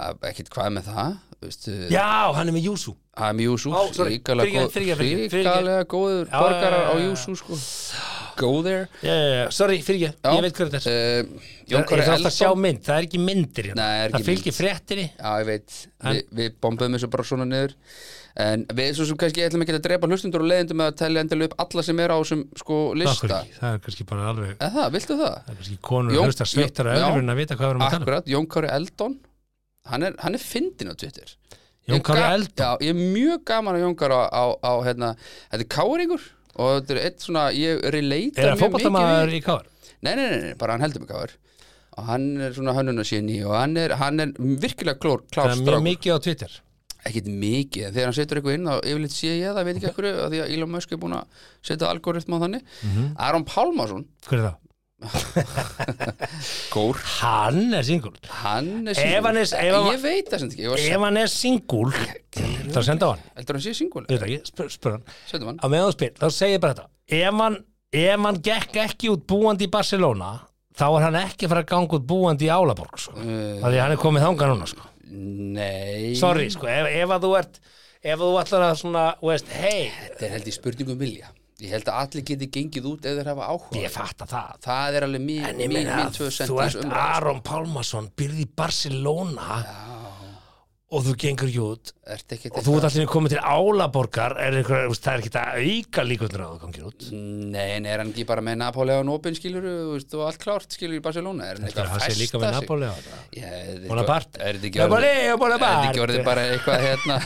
Speaker 3: Að- Ekkert hvað með það Veistu,
Speaker 2: Já, hann er með Júsú
Speaker 3: hann Júsú
Speaker 2: Ó, sorry,
Speaker 3: Ríkalega
Speaker 2: fyrirgefðu, fyrirgefðu, fyrirgefðu.
Speaker 3: góður
Speaker 2: Já,
Speaker 3: borgarar
Speaker 2: já,
Speaker 3: á
Speaker 2: já, já.
Speaker 3: Júsú sko. Go there
Speaker 2: Já, já, já, sorry, fyrir ég,
Speaker 3: Já.
Speaker 2: ég veit hver þetta er
Speaker 3: uh, Jón
Speaker 2: Ég
Speaker 3: Kari
Speaker 2: þarf alltaf að sjá
Speaker 3: Eldon
Speaker 2: mynd, það er ekki myndir hérna.
Speaker 3: Nei, það er ekki
Speaker 2: Það fylgir fréttinni
Speaker 3: Já, ég veit, Vi, við bombuðum þessu bara svona niður En við svo sem kannski ætlum ekki að drepa hlustundur og leiðindum með að telja endilega upp alla sem er á þessum sko
Speaker 2: Okkur
Speaker 3: lista
Speaker 2: ekki, það er kannski bara alveg
Speaker 3: Eða það, viltu það?
Speaker 2: Það er kannski konur
Speaker 3: Jón-
Speaker 2: að hlusta sveittar
Speaker 3: Jón-
Speaker 2: að
Speaker 3: já.
Speaker 2: öðru en að vita hvað við erum að tala um.
Speaker 3: Akkurat, Jón Kari Eldon Hann er, hann er fyndin á Twitter
Speaker 2: Jón
Speaker 3: Ég
Speaker 2: Kári
Speaker 3: ga-
Speaker 2: Eldon
Speaker 3: Já, ég er mjög gaman að Jón Kari á, á, á hérna, þetta er Káringur og þetta er eitt svona, ég relate
Speaker 2: Er það fótballtamaður í káar?
Speaker 3: Nei, nei, nei, nei, bara hann heldur mig káður og hann er svona hönnunarsynni og hann er, hann er virkilega klór, klár
Speaker 2: Það er mjög
Speaker 3: strákur
Speaker 2: mikið á Twitter
Speaker 3: ekkit mikið, en þegar hann setur eitthvað inn þá yfirleitt sé ég það, veit ekki ekkur að því að Elon Musk er búin að setja algoritma á þannig
Speaker 2: Mhm.
Speaker 3: Aron Pálmarsson,
Speaker 2: Hver er það?
Speaker 3: gór
Speaker 2: Hann er singul
Speaker 3: hann er
Speaker 2: Ef hann er- ef
Speaker 3: ég,
Speaker 2: hann-
Speaker 3: veit það sem ekki, ég var
Speaker 2: Ef hann er singul þá senda á hann
Speaker 3: heldur hann sé singul,
Speaker 2: Ég veit ekki, spur, spur hann
Speaker 3: setum hann
Speaker 2: á meðan þú spyr, þá segir bara þetta ef hann, ef hann gekk ekki út búandi í Barcelona þá er hann ekki að fara að ganga út búandi í Álaborg sko. uh,
Speaker 3: Eh.
Speaker 2: því að hann er komið þangað núna sko.
Speaker 3: nei,
Speaker 2: sorry, sko, ef, ef að þú ert ef að þú ætlar að svona, þú veist, hei
Speaker 3: þetta er held í spurningum vilja ég held að allir geti gengið út ef þeir hafa áhuga
Speaker 2: ég fatta það
Speaker 3: það er alveg mín,
Speaker 2: en ég
Speaker 3: mín, mín,
Speaker 2: meina,
Speaker 3: mín tvö
Speaker 2: þú
Speaker 3: sentens
Speaker 2: ert Aron Pálmarsson byrði í Barcelona og þú gengur ekki út
Speaker 3: ert ekki
Speaker 2: og þú ert allir komið til Álaborgar er einhver, þú veist, það er ekki að auka líkundur á að þú gangir út
Speaker 3: Nei, en er hann ekki bara með Napoleon Open skilur og allt klárt skilur í Barcelona er
Speaker 2: það
Speaker 3: hann eitthvað
Speaker 2: er
Speaker 3: að
Speaker 2: það
Speaker 3: festa
Speaker 2: sé líka með
Speaker 3: sig?
Speaker 2: Napoli á þetta
Speaker 3: Já, er þetta
Speaker 2: Bonaparte.
Speaker 3: eitthvað- er þetta ekki
Speaker 2: Napoli,
Speaker 3: orðið- er
Speaker 2: Bonaparte.
Speaker 3: þetta ekki orðið bara eitthvað hérna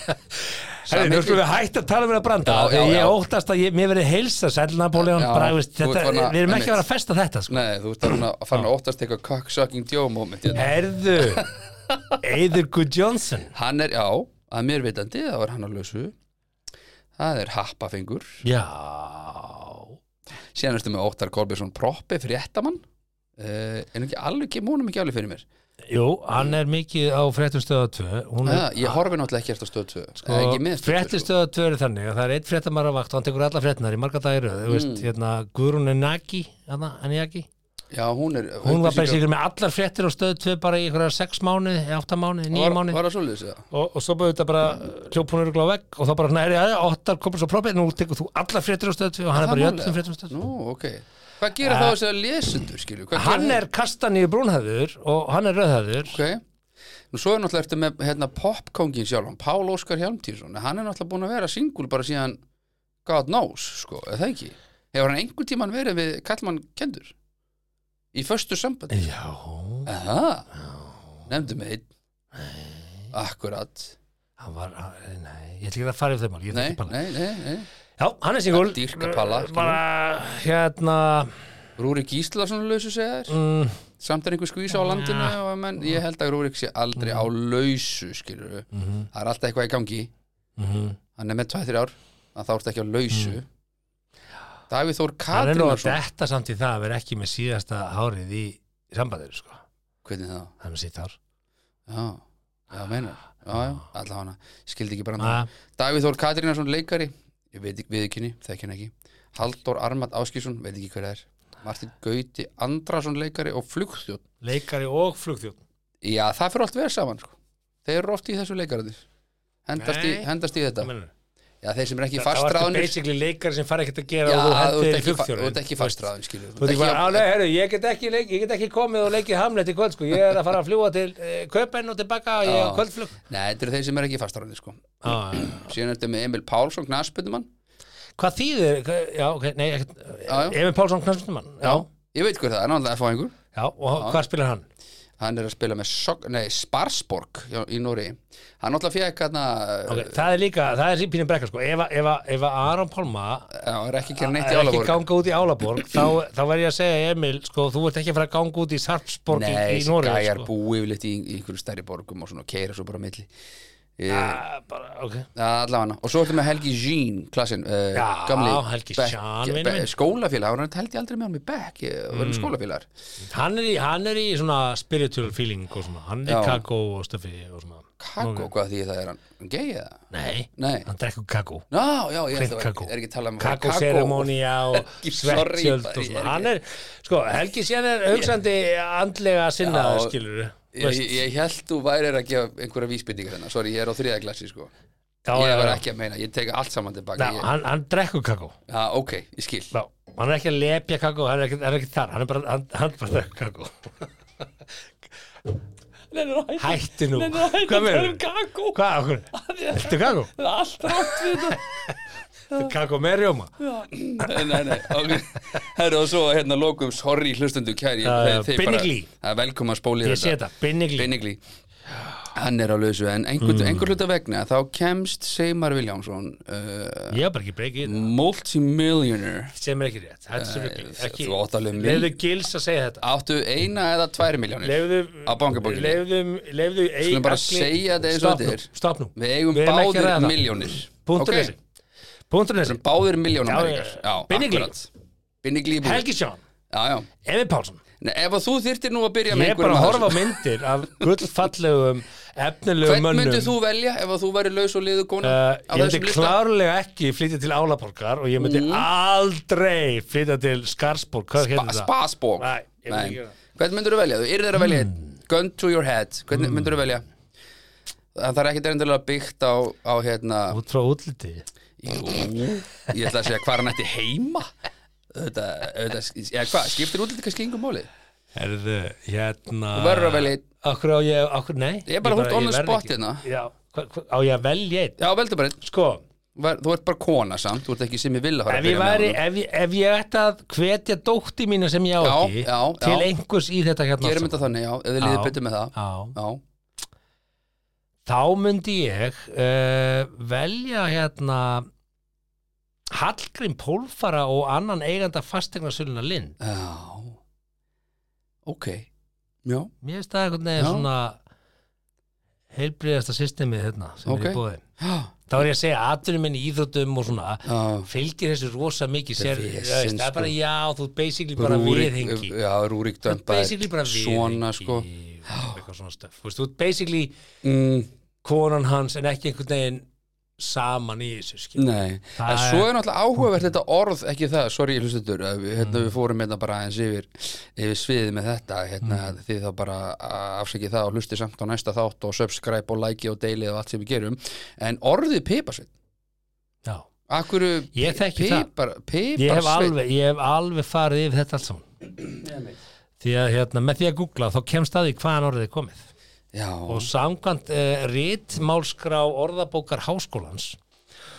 Speaker 2: Herri, nú
Speaker 3: samhengi?
Speaker 2: skulum við hætta að tala um þetta branda
Speaker 3: Já, já,
Speaker 2: Þegar
Speaker 3: já.
Speaker 2: ég óttast að ég, mér verið heilsa sæll Napoleon,
Speaker 3: Já,
Speaker 2: bara, veist,
Speaker 3: þú
Speaker 2: þetta,
Speaker 3: ert svona-
Speaker 2: við erum ekki að vera
Speaker 3: einmitt.
Speaker 2: að festa þetta sko.
Speaker 3: Nei, þú ert orðinn að fara að óttast eitthvað cocksucking Joe moment hérna.
Speaker 2: Herðu Eidur Good Johnson
Speaker 3: Hann er, já, að mér vitandi þá er hann á lausu Það er happafengur
Speaker 2: Já
Speaker 3: Síðan ertu með Óttar Kolbjörnsson Proppi, fréttamann uh, En ekki alveg, kemur honum ekki alveg fyrir mér
Speaker 2: Jú, hann er mikið á fréttustöða 2 Hún
Speaker 3: ja,
Speaker 2: er
Speaker 3: Ah, Ég horfi náttúrulega ekki eftir stöð 2 sko, Ekki með stöð 2 sko.
Speaker 2: Fréttustöða 2 er þannig að það er einn fréttamar á vakt og hann tekur alla fréttnar í marga dagir mm. veist, hérna, Guðrún Enaki hana, Enaki
Speaker 3: Já, hún er
Speaker 2: Hún var bara
Speaker 3: upplýsingar-
Speaker 2: sigur með allar fréttir á stöðu 2 bara í einhverja 6 mánuði, 8 mánuði, 9
Speaker 3: var,
Speaker 2: mánuði
Speaker 3: var það svoleiðis, já
Speaker 2: og, og svo bara þetta bara uh, hljópunur og vegg og þá bara næri aðeins, óttar komur svo proppið, nú tekur þú allar fréttir á stöðu tvö og hann er bara í
Speaker 3: málið?
Speaker 2: öllum fréttir á stöðu tvö.
Speaker 3: Nú, ok Hvað gera þá þess að lesendur, skilju? Hvað
Speaker 2: Eh, Hann
Speaker 3: gera
Speaker 2: er kastan í brúnhæður og hann er rauðhæður
Speaker 3: þeir? Ok Nú svo er náttúrulega eftir með hérna, popkongin sjálfan Pál Óskar Hjálmtíðsson Hann er náttúrulega búin að vera singul bara síðan God knows, sko, eða það ekki Hefur hann einhvern tímann verið við kallmann kendur? Í föstu sambandi?
Speaker 2: Já,
Speaker 3: Aha Nefndu mig einn Akkurat
Speaker 2: hann var, hann- nei, ég ætla ekki að fara yfir þau mál, ég ætla
Speaker 3: Nei,
Speaker 2: ekki að palla
Speaker 3: nei, nei, nei
Speaker 2: Já, hann er singul
Speaker 3: Dýrka palla, skilur.
Speaker 2: Bara, Uh, hérna
Speaker 3: Rúrik Gíslason lausu segja þér
Speaker 2: Mm,
Speaker 3: samt er einhver skvísa á landinu
Speaker 2: Ja.
Speaker 3: og, menn, ég held að Rúrik sé aldrei á
Speaker 2: Mm.
Speaker 3: lausu skilur það er alltaf eitthvað í gangi
Speaker 2: mhm.
Speaker 3: hann er með 2-3 ár að þá ertu ekki á lausu Davíð Þór
Speaker 2: Hann Mm. er nú að
Speaker 3: Katrinarsson
Speaker 2: detta samt í það að vera ekki með síðasta hárið í sambandinu sko.
Speaker 3: hvernig það
Speaker 2: Hann er sitt hár.
Speaker 3: já, já meinar já, já, allavega hana, skildi ekki bara hann
Speaker 2: Ah,
Speaker 3: Davíð Þór Katrinarsson leikari ég veit ekki, við ekki henni, þekki henni ekki Halldór Armat Áskísson, veit ekki hver það er Martin Gauti Andrason leikari og flugþjótt
Speaker 2: leikari og flugþjótt.
Speaker 3: já, það fyrir allt verð saman sko. þeir eru oft í þessu leikariðir hendast, í-
Speaker 2: Nei.
Speaker 3: hendast í þetta
Speaker 2: Hvað meinarðu?
Speaker 3: já, þeir sem er ekki
Speaker 2: Það var
Speaker 3: fastraðunir
Speaker 2: basically leikari sem fari ekkert að
Speaker 3: já,
Speaker 2: gera og þú
Speaker 3: þú
Speaker 2: hendur
Speaker 3: ert
Speaker 2: í
Speaker 3: ekki, fa- þú
Speaker 2: flugþjóðin.
Speaker 3: ert ekki fastraðun skilur
Speaker 2: Þú veit ekki bara, alveg, herru, ég get ekki, leik, ég get ekki komið og leikið hamlet í kvöld, sko, ég er að fara að fljúa til eh, Köpen og tilbaka og ég er
Speaker 3: Já.
Speaker 2: á kvöldflug.
Speaker 3: Nei, þetta eru þeir sem er ekki fastraðunir sko.
Speaker 2: Ah,
Speaker 3: síðan ertu með Emil Pálsson, knassbundumann
Speaker 2: hvað þýðir, hvað- já, ok, nei, ekkert,
Speaker 3: Já, já.
Speaker 2: Emil Pálsson Knarfsnumann, já,
Speaker 3: ég veit hver það er, náttúrulega að fá einhver
Speaker 2: já, og hvað spilar hann?
Speaker 3: hann er að spila með Sog- nei, Sparsborg já, í Nóri hann náttúrulega fekk hann
Speaker 2: Ok, það er líka, það er sípínum brekka, sko, ef, að- ef, að- ef að Aron Pálma
Speaker 3: eh, er ekki að gera neitt í
Speaker 2: er ekki
Speaker 3: Álaborg
Speaker 2: ganga út í Álaborg, þá, þá verð ég að segja, Emil, sko, þú ert ekki að fara að ganga út í Sarpsborg í,
Speaker 3: Nei,
Speaker 2: í
Speaker 3: þessi
Speaker 2: Noregi,
Speaker 3: gæjar
Speaker 2: sko.
Speaker 3: búi yfirleitt í í einhverju stærri borgum og svona keira svo bara á milli
Speaker 2: Ah, bara, ok,
Speaker 3: allavega, og svo ertu með Helgi Jean klassin, uh,
Speaker 2: Já,
Speaker 3: gamli
Speaker 2: Helgi
Speaker 3: bekk-
Speaker 2: Jean, vinur
Speaker 3: bekk-
Speaker 2: minn. Mm.
Speaker 3: skólafélag, hann held ég aldrei með hann með Beck við erum skólafélagar
Speaker 2: hann er, í, hann er í svona spiritual feeling og svona, hann er
Speaker 3: Já.
Speaker 2: í kakó og stöfi og svona.
Speaker 3: kakó, hvað því það er hann, hann gei eða?
Speaker 2: Nei,
Speaker 3: Nei.
Speaker 2: hann drekkur kakó
Speaker 3: Ná, já, ég
Speaker 2: Hreint
Speaker 3: held að það
Speaker 2: kakó.
Speaker 3: var- er ekki að tala um
Speaker 2: kakóseremónia og
Speaker 3: Ekki, sorry,
Speaker 2: svertsjöld
Speaker 3: bara,
Speaker 2: og
Speaker 3: ég er
Speaker 2: svona
Speaker 3: ekki-
Speaker 2: hann er, sko, Helgi séð er auksandi andlega sinnaður
Speaker 3: Já,
Speaker 2: skilur
Speaker 3: Ég, ég held þú værir að gefa einhverja vísbendingar hennar, sorry, ég er á þriða klassi sko.
Speaker 2: já,
Speaker 3: Ég
Speaker 2: já,
Speaker 3: var
Speaker 2: já.
Speaker 3: ekki að meina, ég tek allt saman tilbaka
Speaker 2: Ná,
Speaker 3: ég,
Speaker 2: hann, hann drekkur kakó
Speaker 3: Já, ok, ég skil
Speaker 2: Ná, hann er ekki að lepja kakó hann er ekki, hann er ekki þar, hann er bara, hann, hann bara drekkur kakó
Speaker 4: Nennir að hætta
Speaker 2: hætti nú,
Speaker 4: Nennir að
Speaker 2: hvað
Speaker 4: hætta að tala
Speaker 2: meður
Speaker 4: um kakó
Speaker 2: hvað, okkur, viltu kakó
Speaker 4: Það er allt rátt við þetta
Speaker 2: kakó með rjóma
Speaker 3: Nei, nei, nei, ok Herru og svo hérna lokum, sorry hlustundu kæri
Speaker 2: Já, já,
Speaker 3: þeir- þeir
Speaker 2: Binni
Speaker 3: bara-
Speaker 2: Glee.
Speaker 3: Það er velkoma að spóli
Speaker 2: ég sé þetta, binnigli
Speaker 3: Binnigli Hann er á lausu, en einhvern,
Speaker 2: Mm.
Speaker 3: einhver hluta vegna þá kemst Seymar Viljámsson uh,
Speaker 2: ég var bara ekki breykið
Speaker 3: multimillionaire
Speaker 2: sem er ekki rétt, þetta er svo rugl.
Speaker 3: þú-
Speaker 2: ekki
Speaker 3: þú átt alveg mynd.
Speaker 2: leiðu gils að segja þetta
Speaker 3: Áttu eina eða tvær miljónir
Speaker 2: Leifðu,
Speaker 3: Á bankabókinni.
Speaker 2: Leifðu, leifðu
Speaker 3: Skulum bara segja þetta eins og þetta er.
Speaker 2: Stopp nú
Speaker 3: Við eigum
Speaker 2: erum ekki að
Speaker 3: báðir
Speaker 2: ræða það.
Speaker 3: miljónir
Speaker 2: Punktur
Speaker 3: Ok?
Speaker 2: þessi Punktur
Speaker 3: Við
Speaker 2: þessi
Speaker 3: erum báðir
Speaker 2: Já,
Speaker 3: miljónum já, já,
Speaker 2: Binnigli.
Speaker 3: akkurat. Binnigli í búð.
Speaker 2: Helgi Sjón,
Speaker 3: Já, já
Speaker 2: Emil Pálsson
Speaker 3: Nei, ef að þú þyrtir nú að byrja með
Speaker 2: Ég er bara
Speaker 3: einhverjum
Speaker 2: að
Speaker 3: af
Speaker 2: horfa á
Speaker 3: þessu,
Speaker 2: myndir af gullfallegum efnilegum
Speaker 3: Hvern
Speaker 2: mönnum
Speaker 3: myndir þú velja ef að þú væri laus og liðu kona
Speaker 2: Uh, ég
Speaker 3: á
Speaker 2: myndi
Speaker 3: þessum lista? Mm.
Speaker 2: klárlega ekki flytja til Álaborgar og ég myndi aldrei flytja til Skarsborg, hvað
Speaker 3: Spa,
Speaker 2: heitir það?
Speaker 3: Spasbók
Speaker 2: Nei, ég myndi ekki gera það. Hmm.
Speaker 3: Hvern myndir þú velja? Þú yrðir að velja einn. Gun to your head Hvern mm. myndir þú velja? Það er ekkit erendilega byggt á, á hérna
Speaker 2: Út frá útliti
Speaker 3: Jú, ég ætla að segja hvað hann ætti heima Þetta, þetta, eða hvað, skiptir útlítið kannski yngum máli?
Speaker 2: Erðu, hérna
Speaker 3: Þú verður að velja einn.
Speaker 2: Akkur á ég, akkur, nei
Speaker 3: Ég er bara hútt on the
Speaker 2: verð
Speaker 3: spot
Speaker 2: ekki.
Speaker 3: hérna.
Speaker 2: Já, hva, hva, á ég að velja einn
Speaker 3: Já, veldu bara, einn.
Speaker 2: Sko,
Speaker 3: Ver- þú ert bara kona samt, þú ert ekki sem ég vil að fara
Speaker 2: ef
Speaker 3: að
Speaker 2: ég,
Speaker 3: byrja með
Speaker 2: væri,
Speaker 3: honum.
Speaker 2: ef, ég, ef ég ætti að hvetja dótti mína sem ég á
Speaker 3: Já,
Speaker 2: ekki
Speaker 3: já, já.
Speaker 2: til einhvers í þetta hérna
Speaker 3: Gerum
Speaker 2: allt
Speaker 3: þetta þannig, já, ef þið liðið
Speaker 2: Já.
Speaker 3: betur með
Speaker 2: saman.
Speaker 3: það
Speaker 2: Já.
Speaker 3: Já,
Speaker 2: Þá myndi ég uh, velja hérna Hallgrim Pólfara og annan eiganda fastegnarsöluna Lind
Speaker 3: já Ok, já,
Speaker 2: Mér finnst það einhvern veginn
Speaker 3: Já.
Speaker 2: svona heilbriðasta systemið hérna sem
Speaker 3: Ok.
Speaker 2: er í bóði
Speaker 3: já,
Speaker 2: Þá er ég að segja atunum minn í íþróttum og svona
Speaker 3: já
Speaker 2: fylgir þessu rosa mikið
Speaker 3: Þetta er
Speaker 2: sér,
Speaker 3: vesen,
Speaker 2: þú veist, það er bara
Speaker 3: sko.
Speaker 2: já, þú ert basically bara viðhengi
Speaker 3: Já, Rúrik
Speaker 2: þú ert basically
Speaker 3: dömpaði
Speaker 2: bara viðhengi
Speaker 3: svona sko
Speaker 2: og eitthvað svona stöf, þú veist, þú ert basically
Speaker 3: mm,
Speaker 2: konan hans en ekki einhvern veginn saman í þessu skil
Speaker 3: Nei,
Speaker 2: Það
Speaker 3: en svo
Speaker 2: er-
Speaker 3: er náttúrulega áhugavert þetta orð, ekki það, sorry hlustendur, að við- hérna við fórum hérna bara aðeins yfir, yfir sviðið með þetta, hérna
Speaker 2: Mm.
Speaker 3: þið þá bara a- afsakið það og hlustið samt á næsta þátt og subscribe og like og deilið og allt sem við gerum, en orðið pipasveit,
Speaker 2: já,
Speaker 3: akkur
Speaker 2: Ég þekki það.
Speaker 3: pipar,
Speaker 2: ég hef
Speaker 3: piparsveit,
Speaker 2: alveg ég hef alveg farið yfir þetta allt saman því að hérna, með því að googla þá kemst að því hvaðan orðið er komið
Speaker 3: já,
Speaker 2: og samkvæmt uh, rítmálskrá orðabókar háskólans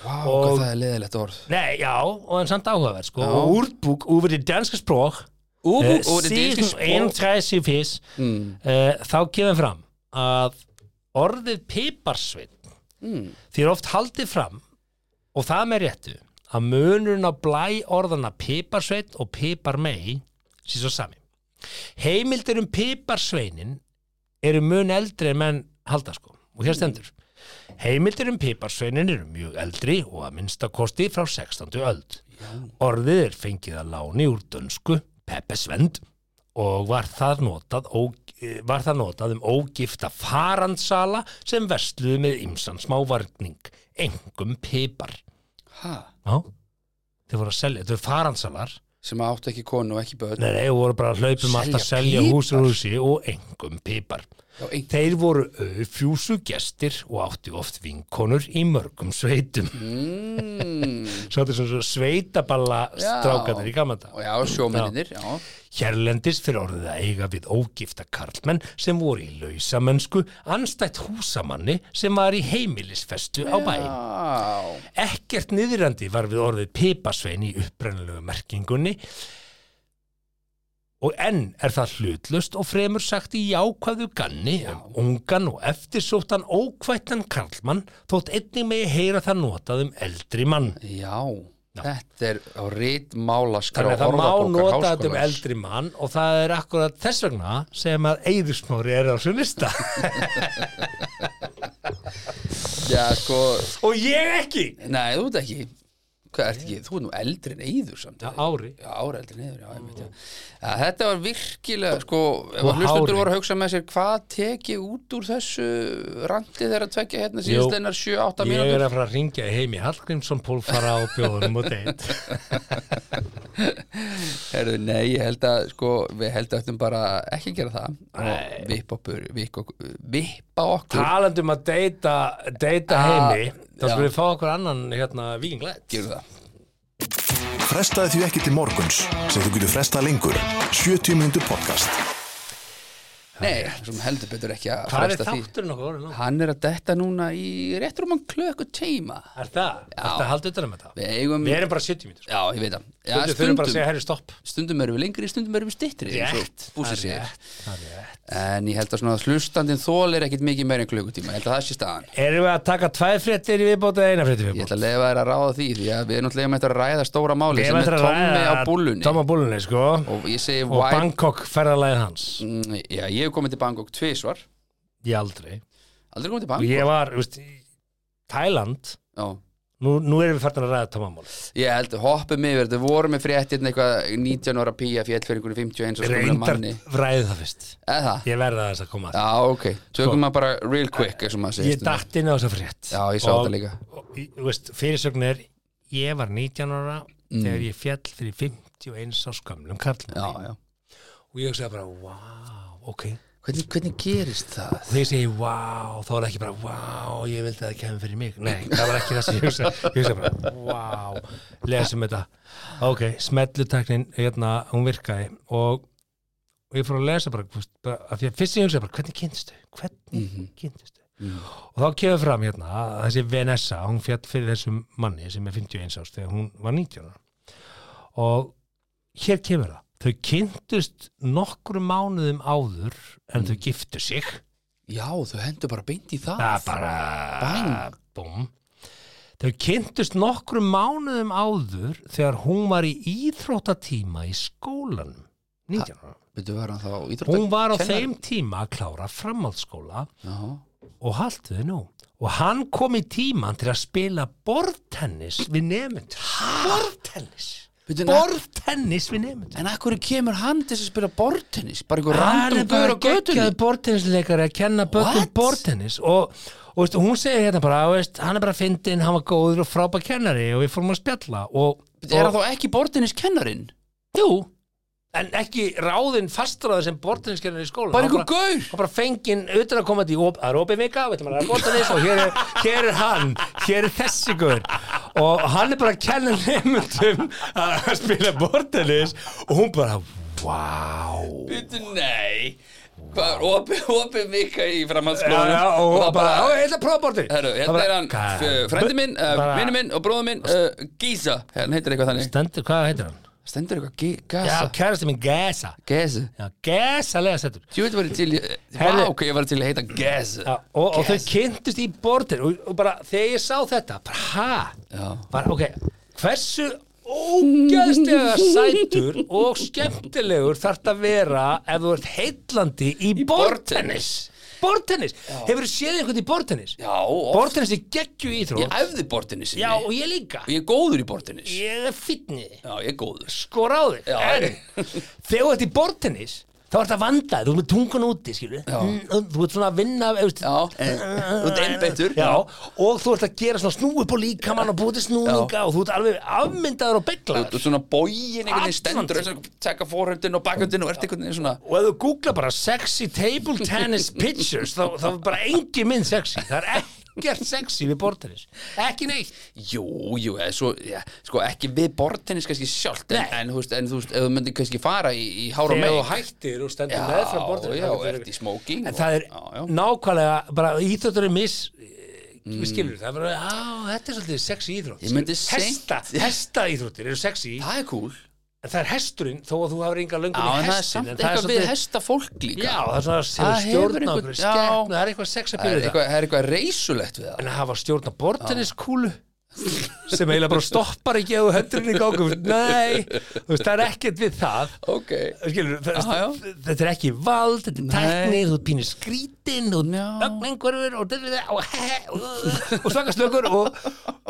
Speaker 3: vá,
Speaker 2: og- Eh,
Speaker 3: hvað það er leðilegt orð.
Speaker 2: nei, já, og en samt áhugaverð sko, og úrbúk úr því danska sprók
Speaker 3: Úbú, og þetta er
Speaker 2: síðan
Speaker 3: einskis,
Speaker 2: 31
Speaker 3: Mm.
Speaker 2: uh, þá kemur fram að orðið piparsveit
Speaker 3: Mm.
Speaker 2: því er oft haldið fram og það með réttu að munurinn á blæ orðana piparsveit og piparmei síðan sami heimildir um piparsveinin eru mun eldri en menn halda sko og
Speaker 3: Mm.
Speaker 2: hér stendur heimildir um piparsveinin eru mjög eldri og að minnsta kosti frá 16. öld orðið er fengið að láni úr dönsku peppesvend og var það notað, ó, eh, var það notað um ógifta farandsala sem versluðu með ymsan smávarning, engum pipar
Speaker 3: Ha?
Speaker 2: Já, þau voru að selja, þau voru farandsalar
Speaker 3: Sem áttu ekki konu og ekki börn
Speaker 2: Nei, nei, þau voru bara að hlaupum
Speaker 3: Selja
Speaker 2: allt að selja
Speaker 3: pipar?
Speaker 2: hús og húsi og engum pipar
Speaker 3: Já, ein...
Speaker 2: Þeir voru auðfjúsu gestir og áttu oft vinkonur í mörgum sveitum
Speaker 3: mm.
Speaker 2: Svo þetta er svona svo sveitaballa
Speaker 3: Já.
Speaker 2: strákanir í gamanda
Speaker 3: Og já, sjómennir, já
Speaker 2: Hérlendis fyrir orðið að eiga við ógifta karlmenn sem voru í lausamönsku anstætt húsamanni sem var í heimilisfestu á bæn
Speaker 3: Já,
Speaker 2: Ekkert niðrandi var við orðið pipasvein í upprennilegu merkingunni og enn er það hlutlust og fremur sagt í jákvæðu ganni um ungan og eftirsóttan ókvættan karlmann þótt einnig megi heyra það notað um eldri mann.
Speaker 3: já Þetta er á rítmálaskrá
Speaker 2: Þannig að það má
Speaker 3: Orðabókar
Speaker 2: nota þetta um
Speaker 3: Háskólans.
Speaker 2: eldri mann og það er akkurat þess vegna sem að Eiðusnóri er á svo lista.
Speaker 3: Já, sko,
Speaker 2: og ég ekki!
Speaker 3: nei, þú ert ekki Hvað ert ekki, þú ert nú eldri en eyður samt
Speaker 2: Já, ári.
Speaker 3: Já, ára eldri en eyður, já, ég veit já. Já, Þetta var virkilega, sko Ef
Speaker 2: Og
Speaker 3: að hlustundur
Speaker 2: hári.
Speaker 3: voru að hugsa með sér Hvað tek ég út úr þessu randi þegar að tvekja hérna
Speaker 2: Jú.
Speaker 3: síðustleinar 7-8
Speaker 2: Ég er
Speaker 3: mínútur
Speaker 2: að fara að ringja heim í Hallgrímsson pólfara og bjóðunum og deitt.
Speaker 3: Herðu, nei, ég held að, sko, við held að ættum bara ekki að gera það og vippa okkur, vippa okkur, vippa okkur.
Speaker 2: talandum um að deyta, deyta
Speaker 3: Ah,
Speaker 2: heimi þá
Speaker 3: já.
Speaker 2: skulum við fá okkur annan hérna vikinglætt
Speaker 3: Gerum það.
Speaker 1: Frestaði því ekki til morguns sem þú getur frestað lengur 70 mínútur podcast
Speaker 3: Nei, sem heldur betur ekki að
Speaker 2: hvað er
Speaker 3: fresta því.
Speaker 2: þátturinn okkur orðin langur?
Speaker 3: Hann er að detta núna í rétt rúman klöku teima.
Speaker 2: er það, er það haldið utan um þetta
Speaker 3: Við eigum,
Speaker 2: við erum bara 70 mítur
Speaker 3: já, ég veit það. Já,
Speaker 2: við þurfum bara að segja
Speaker 3: stundum,
Speaker 2: herri stopp
Speaker 3: stundum erum við lengri, stundum erum við styttri. eins og
Speaker 2: Rétt,
Speaker 3: Bússi
Speaker 2: það er
Speaker 3: segir.
Speaker 2: rétt, það er rétt.
Speaker 3: En ég held að svona hlustandinn þól er ekkit mikið meir en klukkutíma. Ég held að það sé staðan.
Speaker 2: erum við að taka tvær fréttir í viðbót eða eina fréttir í
Speaker 3: Ég
Speaker 2: viðbót
Speaker 3: ætla að lefa þér að ráða því því að við erum náttúrulega með þetta að ræða stóra máli sem er tómi á búlunni
Speaker 2: Tommi á búlunni sko og,
Speaker 3: og ég segi
Speaker 2: og
Speaker 3: wide
Speaker 2: Bangkok ferðalagið hans
Speaker 3: Mm, Já, ég hef komið til Bangkok tvisvar
Speaker 2: ég aldrei
Speaker 3: Aldrei komið til
Speaker 2: og
Speaker 3: Bangkok
Speaker 2: ég var, þú veist, í Thailand
Speaker 3: Já.
Speaker 2: nú, nú erum við færdin að ræða Tommi á búlunni
Speaker 3: Ég held, hoppum yfir, þetta voru með fréttirn eitthvað 19 ára pía fjall fyrir einhverju 51 og skumlega
Speaker 2: reyndar
Speaker 3: manni
Speaker 2: ræði það fyrst
Speaker 3: Eða það?
Speaker 2: ég verða þess að koma að
Speaker 3: Já, ok, tökum maður bara real quick eins og maður
Speaker 2: því. ég
Speaker 3: segist um
Speaker 2: datt inn á þessa frétt
Speaker 3: Já, ég sá
Speaker 2: Og-
Speaker 3: þetta líka.
Speaker 2: og, í- þú veist, fyrirsögn er ég var 19 ára
Speaker 3: Mm.
Speaker 2: þegar ég fjall fyrir 51 á skamlum karlum
Speaker 3: Já, já
Speaker 2: og ég hugsaði bara, wow, ok
Speaker 3: Hvernig, hvernig gerist það?
Speaker 2: og þegar ég segi, wow, þá er ekki bara wow, ég vildi að það kemur fyrir mig nei, það var ekki það sem ég hugsaði ég hugsaði bara, wow, lesum þetta ok, smetlutaknin, hérna hún virkaði og, og ég fór að lesa bara, þú veist, bara af því að fyrst sem ég hugsaði bara, hvernig kynntistu, hvernig mm kynntistu og þá kemur fram hérna að þessi Vanessa, hún fjall fyrir þessum manni sem er 51 ást þegar hún var 19 ára. og hér kemur það þau kynntust nokkrum mánuðum áður en þau giftu sig
Speaker 3: Já, þau hendur bara beint í það
Speaker 2: það er bara
Speaker 3: Bang.
Speaker 2: búm þau kynntust nokkrum mánuðum áður þegar hún var í íþróttatíma í skólanum 19 ára
Speaker 3: Veitu, var hann þá íþrótta
Speaker 2: hún var á þeim tíma að klára framhaldsskóla
Speaker 3: Já,
Speaker 2: og haltu þið nú og hann kom í tíman til að spila borðtennis við nefnendur borðtennis
Speaker 3: Bíddu, na-
Speaker 2: borðtennis við nefnendur
Speaker 3: En að hverju kemur hann til þess að spila bortennis? Bara einhver
Speaker 2: hann
Speaker 3: random
Speaker 2: er
Speaker 3: gaur
Speaker 2: bara
Speaker 3: á götunni?
Speaker 2: geggjaði borðtennisleikari að kenna börnum
Speaker 3: What?
Speaker 2: borðtennis og, og veist, hún segir hérna bara veist, hann er bara fyndinn, hann var góður og frábær kennari og við fórum að spjalla og,
Speaker 3: Er hann
Speaker 2: og
Speaker 3: þá ekki bortennis kennarinn?
Speaker 2: jú, en ekki ráðinn fastráður sem borðtenniskennari í skóla
Speaker 3: Bara
Speaker 2: Hann
Speaker 3: einhver gaur?
Speaker 2: og bara fenginn utan að koma til op, að Róbi Mika, veitum að bóta þess og hér er, hér er hann, hér er þessi guður og hann er bara að kenna nefndum að spila bortelis og hún bara wow
Speaker 3: Býttu, nei Bara opið, opið mika í framhaldsskólanum
Speaker 2: Já, já, og, og
Speaker 3: það
Speaker 2: bara, já, ég ætla að prófa bortið
Speaker 3: Herru, hérna er hann, f- frændi minn, uh, vinnu minn og bróðu minn, uh, Gísa Hérna heitir eitthvað þannig
Speaker 2: Stendur, hvað heitir hann?
Speaker 3: Stendur eitthvað, Gí-
Speaker 2: Já,
Speaker 3: Gasa
Speaker 2: kærasti minn Gesa
Speaker 3: Gesa
Speaker 2: Já, Gesa lega stendur
Speaker 3: Þú veit, var ég til, í- vá,
Speaker 2: Herru.
Speaker 3: ok, ég var til að heita
Speaker 2: Já,
Speaker 3: Gesa
Speaker 2: og, og þau
Speaker 3: Gesa.
Speaker 2: kynntust í bortin og, og bara þegar ég sá þetta, bara hæ
Speaker 3: Já.
Speaker 2: bara ok, hversu ógeðslega sætur og skemmtilegur þarft að vera ef þú ert heillandi í, í bortennis bortennis, hefur þú séð einhvern í bortennis?
Speaker 3: Já, oft.
Speaker 2: bortennis er geggju íþrótt
Speaker 3: Ég æfði bortinni sinni.
Speaker 2: já og ég líka
Speaker 3: Og ég er góður í bortinni.
Speaker 2: ég er fitniði
Speaker 3: Já, ég er góður.
Speaker 2: skora á þig
Speaker 3: Já.
Speaker 2: en þegar þú ert í bortennis þá ert að vanda, þú ert með tungun úti skilur, þú ert svona að vinna þú veist,
Speaker 3: Já, þú ert einbeittur.
Speaker 2: já, og þú ert að gera svona snúi upp á líkamann og búið til snúninga og þú ert alveg afmyndaður og
Speaker 3: Og
Speaker 2: beklaður
Speaker 3: og svona bógin einhvern veginn stendur
Speaker 2: Allan
Speaker 3: þess að taka fórhöndin og bakhöndin og ert einhvern veginn svona
Speaker 2: og ef þú googla bara sexy table tennis pictures þá, þá er bara engin mynd sexy það er ekkert sexy við bortennis ekki neitt
Speaker 3: Jú, jú, eða svo, ja, sko ekki við bortinnis kannski sjálft en,
Speaker 2: Nei.
Speaker 3: en þú veist, en þú veist, ef þú myndir kannski fara í, í hára
Speaker 2: þegar
Speaker 3: með
Speaker 2: þú hættir og stendur
Speaker 3: Já,
Speaker 2: meðfram bortennis
Speaker 3: já,
Speaker 2: þá getur
Speaker 3: ert í smoking
Speaker 2: en
Speaker 3: og-
Speaker 2: það er
Speaker 3: já, já.
Speaker 2: nákvæmlega bara íþjóttur er miss mm. við skilur það er bara, á, þetta er svolítið sexy íþrótt
Speaker 3: Ég myndi
Speaker 2: Skilur, hesta,
Speaker 3: seint-
Speaker 2: hesta íþróttir eru sexy
Speaker 3: Það er cool
Speaker 2: en það er hesturinn þó að þú hafur enga
Speaker 3: Já,
Speaker 2: löngun
Speaker 3: en
Speaker 2: í
Speaker 3: það er
Speaker 2: hestin
Speaker 3: samt eitthvað við hesta fólk líka
Speaker 2: já, það er svona
Speaker 3: Það
Speaker 2: það
Speaker 3: hefur
Speaker 2: stjórn á
Speaker 3: einhvern-
Speaker 2: einhverju
Speaker 3: já.
Speaker 2: skepnu það er eitthvað sex að
Speaker 3: Það er
Speaker 2: byrja
Speaker 3: eitthvað, það er eitthvað reysulegt við það
Speaker 2: en að hafa stjórn á borteniskúlu sem eiginlega bara stoppar ekki að þú höndurinn í gangu nei, þú veist, það er ekkert við það
Speaker 3: Ok
Speaker 2: Skilur, það,
Speaker 3: Já, já.
Speaker 2: þetta er ekki vald, þetta er
Speaker 3: Nei.
Speaker 2: tækni þú pínir skrítin og
Speaker 3: Já.
Speaker 2: ögnengurfur og, og, og, he- uh, og, og svakastökkur og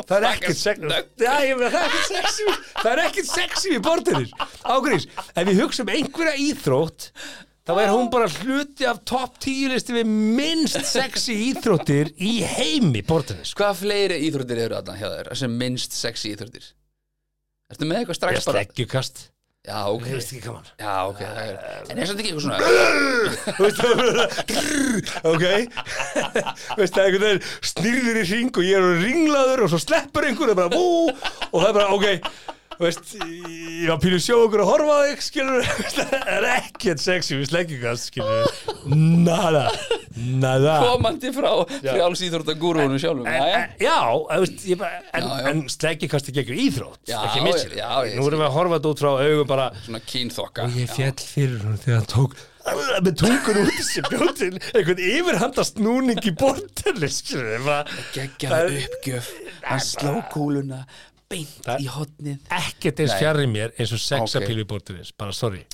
Speaker 2: það er ekkert sexy
Speaker 3: Snöggur.
Speaker 2: Já, ég meina, það er ekkert sexy það er ekkert sexy við bortinir ágríns, ef við hugsa um einhverja íþrótt þá er hún bara hluti af topp tíu listi við minnst sexy íþróttir í heimi bortinir sko.
Speaker 3: Hvaða fleiri íþróttir eru þarna hjá þér sem minnst sexy íþróttir? Ertu með eitthvað strax
Speaker 2: ég
Speaker 3: bara?
Speaker 2: sleggjukast,
Speaker 3: Já, ok
Speaker 2: þú veist ekki hvað mann
Speaker 3: Já, ok það er-
Speaker 2: Eh,
Speaker 3: En er þetta ekki eitthvað svona
Speaker 2: Þú veist, það er bara- ok Þú veist, það er einhvern veginn snýrður í ring og ég er ringlaður og svo sleppur einhver og bara vú og það er bara ok Þú veist, ég var pínu sjó okkur að horfa á þig skilur, það er ekkert sexy við sleggjumkast skilur nada, nada
Speaker 3: komandi frá frjáls íþrótta gúrúinu sjálfum
Speaker 2: En,
Speaker 3: Jæja.
Speaker 2: en, já, þú veist, ég bara, en,
Speaker 3: Já, já.
Speaker 2: en sleggjumkast er geggjum íþrótt,
Speaker 3: Já,
Speaker 2: ekki mitsil
Speaker 3: já, já, ég
Speaker 2: nú erum við að horfa þetta út frá augum bara
Speaker 3: Svona kínþokka
Speaker 2: Ég fjall fyrir hún þegar hann tók með tungun út í sér bjótin einhvern yfirhanda snúning í bortinni skilur bara
Speaker 3: Gekkjað
Speaker 2: Það er-
Speaker 3: uppgjöf Hann sló kúluna beint
Speaker 2: Það-
Speaker 3: í hotnið
Speaker 2: ekkert eins
Speaker 3: Nei.
Speaker 2: fjarrir mér eins og
Speaker 3: Ok.
Speaker 2: sexapílu í bortinni bara sorry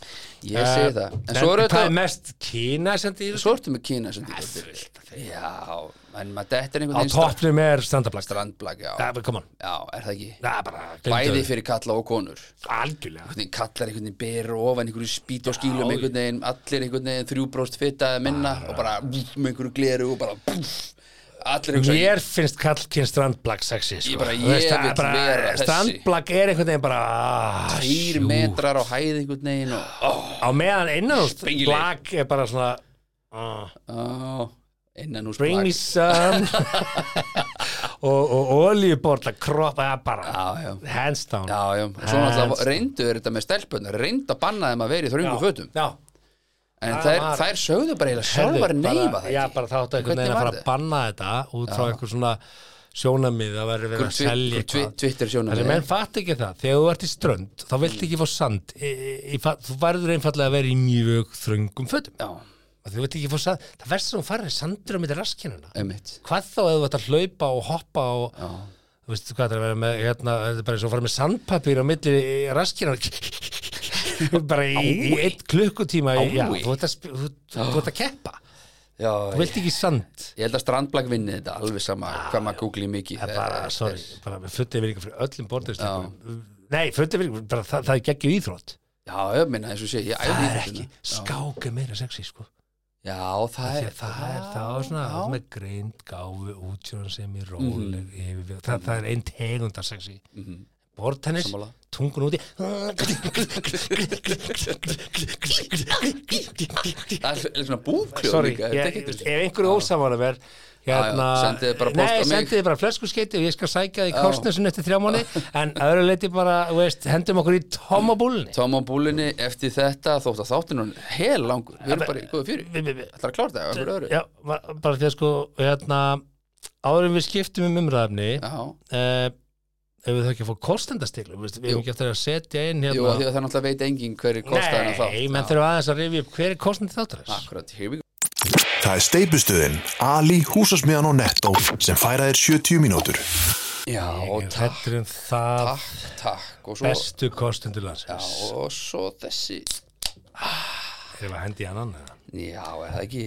Speaker 3: Ég segi það En
Speaker 2: Eh,
Speaker 3: svo eru
Speaker 2: það er
Speaker 3: þetta
Speaker 2: mest kína sem því
Speaker 3: Svo ertu með kína sem þetta Já, en maður
Speaker 2: á
Speaker 3: þetta er einhvern veginn
Speaker 2: toppnum er standablag
Speaker 3: strandblag Já,
Speaker 2: kom on
Speaker 3: já, er það ekki?
Speaker 2: Það er bara-
Speaker 3: Bæði fyrir kalla og konur
Speaker 2: algjörlega
Speaker 3: einhvern veginn kallar einhvern veginn beru ofan einhverju spýt og skýlum einhvern veginn allir einhvern veginn þrjúbróst fitta eða minna
Speaker 2: Ah.
Speaker 3: og bara vff, með einhverju gleru og bara pff, allir einhvern veginn
Speaker 2: Mér finnst kallkinn strandblag sexy sko.
Speaker 3: Ég bara-
Speaker 2: Þú veist,
Speaker 3: ég
Speaker 2: það er
Speaker 3: vill vera þessi.
Speaker 2: Strandblag er einhvern veginn bara ah,
Speaker 3: þýr
Speaker 2: sjú.
Speaker 3: metrar á hæð einhvern veginn og ó,
Speaker 2: Á meðan innan
Speaker 3: Spengileg.
Speaker 2: blag er bara svona ah.
Speaker 3: ó, innan úr
Speaker 2: Bring me
Speaker 3: plagg.
Speaker 2: some og, og olíuborla kroppa það bara
Speaker 3: Já, já.
Speaker 2: hands down
Speaker 3: Já, já, og svo náttúrulega reyndu er þetta með stelpunar reyndu að banna þeim að vera í þröngu fötum
Speaker 2: já,
Speaker 3: en
Speaker 2: Það
Speaker 3: þær,
Speaker 2: var-
Speaker 3: þær sögðu bara eiginlega
Speaker 2: Herðu,
Speaker 3: sjálfar neyfa
Speaker 2: bara, já, bara þá áttu einhvern
Speaker 3: Hvernig
Speaker 2: veginn að
Speaker 3: var
Speaker 2: fara að
Speaker 3: þetta?
Speaker 2: banna þetta út frá einhver svona sjónamið að vera verið að selja eitthvað
Speaker 3: Twitter sjónum
Speaker 2: Þessi menn fatt ekki það, þegar þú ert í strönd þá
Speaker 3: Mm.
Speaker 2: vilt ekki fá sand í, í, í, fa- þú verður einfallega að vera í mjög þröngum fötum
Speaker 3: já,
Speaker 2: og þú vilt ekki fá sand það verður sem þú farir sandur á mitt raskinnuna
Speaker 3: einmitt
Speaker 2: hvað þá ef þú ætti að hlaupa og hoppa og
Speaker 3: Já.
Speaker 2: þú veist hvað það er að vera með hérna, þetta er bara eins og að fara með sandpapír á milli raskina bara í, í eitt klukkutíma í,
Speaker 3: Ái.
Speaker 2: já, þú ert að, sp- þú, þú, þú ert að keppa þú
Speaker 3: já,
Speaker 2: vilt ekki sand
Speaker 3: Ég held að strandblag vinni þetta alveg sama hvað maður googli mikið
Speaker 2: það er
Speaker 3: Þetta-
Speaker 2: bara, sorry, bara með fullið virðingu fyrir öllum borðinstökum nei, fullið virðingu, bara það, það er geggjum íþrótt
Speaker 3: Já, ég minna eins og sé, ég æfði
Speaker 2: það er
Speaker 3: íþróttina.
Speaker 2: ekki, skák er meira sexy sko
Speaker 3: Já, það
Speaker 2: Því
Speaker 3: er
Speaker 2: að það er þá svona þú ert með greind, gáfu, útsjóðan sem er róleg, yfirvið, það, það er einn tegund af sexy bortennis,
Speaker 3: Mhm. Sammála.
Speaker 2: tungun úti
Speaker 3: Það er svona búkljóð
Speaker 2: sorry,
Speaker 3: líka, þetta er
Speaker 2: ég,
Speaker 3: ekkert
Speaker 2: ef
Speaker 3: þessu.
Speaker 2: einhverju ósamála verð hérna,
Speaker 3: Já, já, sendiði bara póst á
Speaker 2: nei,
Speaker 3: mig.
Speaker 2: sendiði bara flöskuskeiti og ég skal sækja því korsnessun eftir þrjá mánu en að öðru leiti bara, þú veist, hendum okkur í tomabúlni
Speaker 3: Tom á búlinni eftir þetta þótt að þáttinu hann hel langur Við erum bara í góðu fyrir
Speaker 2: Við- við- við-
Speaker 3: Það er að klára þetta, okkur öðru Já,
Speaker 2: já, ba- bara því að sko hérna, áðurum við skiptum um umræðafni uh, ef við þau ekki að fá kostendastiglu við við hefum ekki eftir að setja inn
Speaker 3: jú, af
Speaker 2: hérna
Speaker 3: því að það náttúrulega veit enginn hverju kostaði hann
Speaker 2: nei, menn
Speaker 3: þátt
Speaker 2: þurfum
Speaker 3: Já,
Speaker 2: aðeins að rifja upp hver er kostendi þáttarins
Speaker 3: Akkurat, here we go
Speaker 1: Það er steipustuðin Ali, húsasmiðan og Netto sem færa þér 70 mínútur.
Speaker 3: Já,
Speaker 2: Ég er
Speaker 3: takk,
Speaker 2: hættur um það
Speaker 3: takk, takk og svo,
Speaker 2: bestu kostundur landsins.
Speaker 3: já, og svo þessi
Speaker 2: Erum við að hendi í annan? eða?
Speaker 3: Já, er það ekki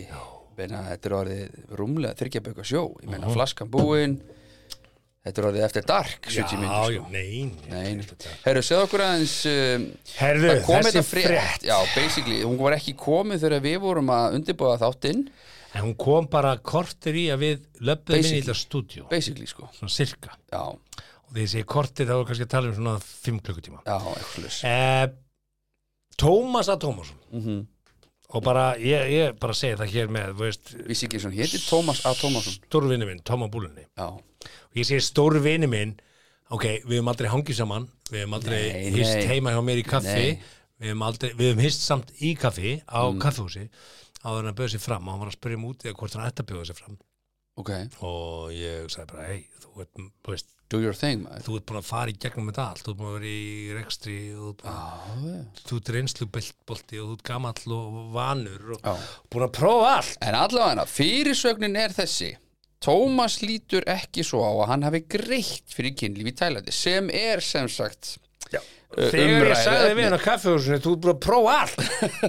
Speaker 3: Meina, þetta er orðið rúmlega þyrkjaböku sjó ég meina flaskan búin þetta er orðið eftir dark 70
Speaker 2: Já, já,
Speaker 3: minnur
Speaker 2: nei.
Speaker 3: sko. Nei, herru, segð okkur aðeins um,
Speaker 2: Herðu,
Speaker 3: það kom
Speaker 2: þessi
Speaker 3: þetta frétt,
Speaker 2: frétt.
Speaker 3: Já, basically, hún var ekki komið þegar við vorum að undirbúða þáttinn
Speaker 2: En hún kom bara kortir í að við löpum inn í
Speaker 3: Basically.
Speaker 2: þetta stúdíu,
Speaker 3: basically, sko
Speaker 2: svona sirka.
Speaker 3: Já,
Speaker 2: Og þegar ég segi kortir þá er kannski að tala um svona 5 klukkutíma.
Speaker 3: já, ekkurlis
Speaker 2: Eh, Tómas A. Tómasson
Speaker 3: mm -hmm.
Speaker 2: og bara, ég, ég bara segi það hér með, þú veist,
Speaker 3: Vissi ekki svona, héti Tómas A. Tómasson
Speaker 2: stórvinni minn, Tóma Búlunni.
Speaker 3: Já,
Speaker 2: Og ég segi stórvinni minn, ok, við höfum aldrei hangið saman, við höfum aldrei
Speaker 3: Nei,
Speaker 2: hist
Speaker 3: nei.
Speaker 2: heima hjá mér í kaffi,
Speaker 3: Nei. Mm.
Speaker 2: við höfum, aldrei, við höfum hist samt í kaffi á kaffihúsi, áður en að bjóða sér fram og hann var að spyrja um út eða hvort hann ætti að bjóða sér fram
Speaker 3: ok,
Speaker 2: og ég sagði bara, hei, þú ert, þú veist,
Speaker 3: do your thing maður.
Speaker 2: þú ert búin að fara í gegnum þetta allt, þú ert búin að vera í rekstri og þú ert búin að
Speaker 3: Já, já.
Speaker 2: þú ert reynslubolti og þú ert gamall og vanur og
Speaker 3: Já.
Speaker 2: búin að prófa allt
Speaker 3: En allavega, fyrirsögnin er þessi Tómas lítur ekki svo á að hann hafi greitt fyrir kynlíf í Tælandi sem er sem sagt uh,
Speaker 2: Þegar ég
Speaker 3: umræðuefni.
Speaker 2: sagði við hann á kaffehúsinu þú ert búin að prófa allt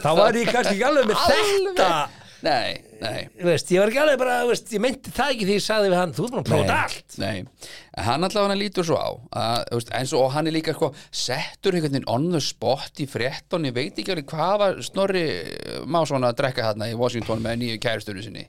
Speaker 2: þá var ég kannski ekki alveg með
Speaker 3: Alveg.
Speaker 2: þetta
Speaker 3: Nei, nei
Speaker 2: Þú veist, ég var ekki alveg bara, þú veist, ég meinti það ekki því ég sagði við hann, þú ert búin að prófa þetta allt
Speaker 3: Nei, En hann allavega lítur svo á að, þú veist, eins og og hann er líka sko, settur einhvern veginn on the spot í frétton ég veit ekki alveg hvað var Snorri eh, Másson að drekka þarna í Washington með nýju kæristunni sinni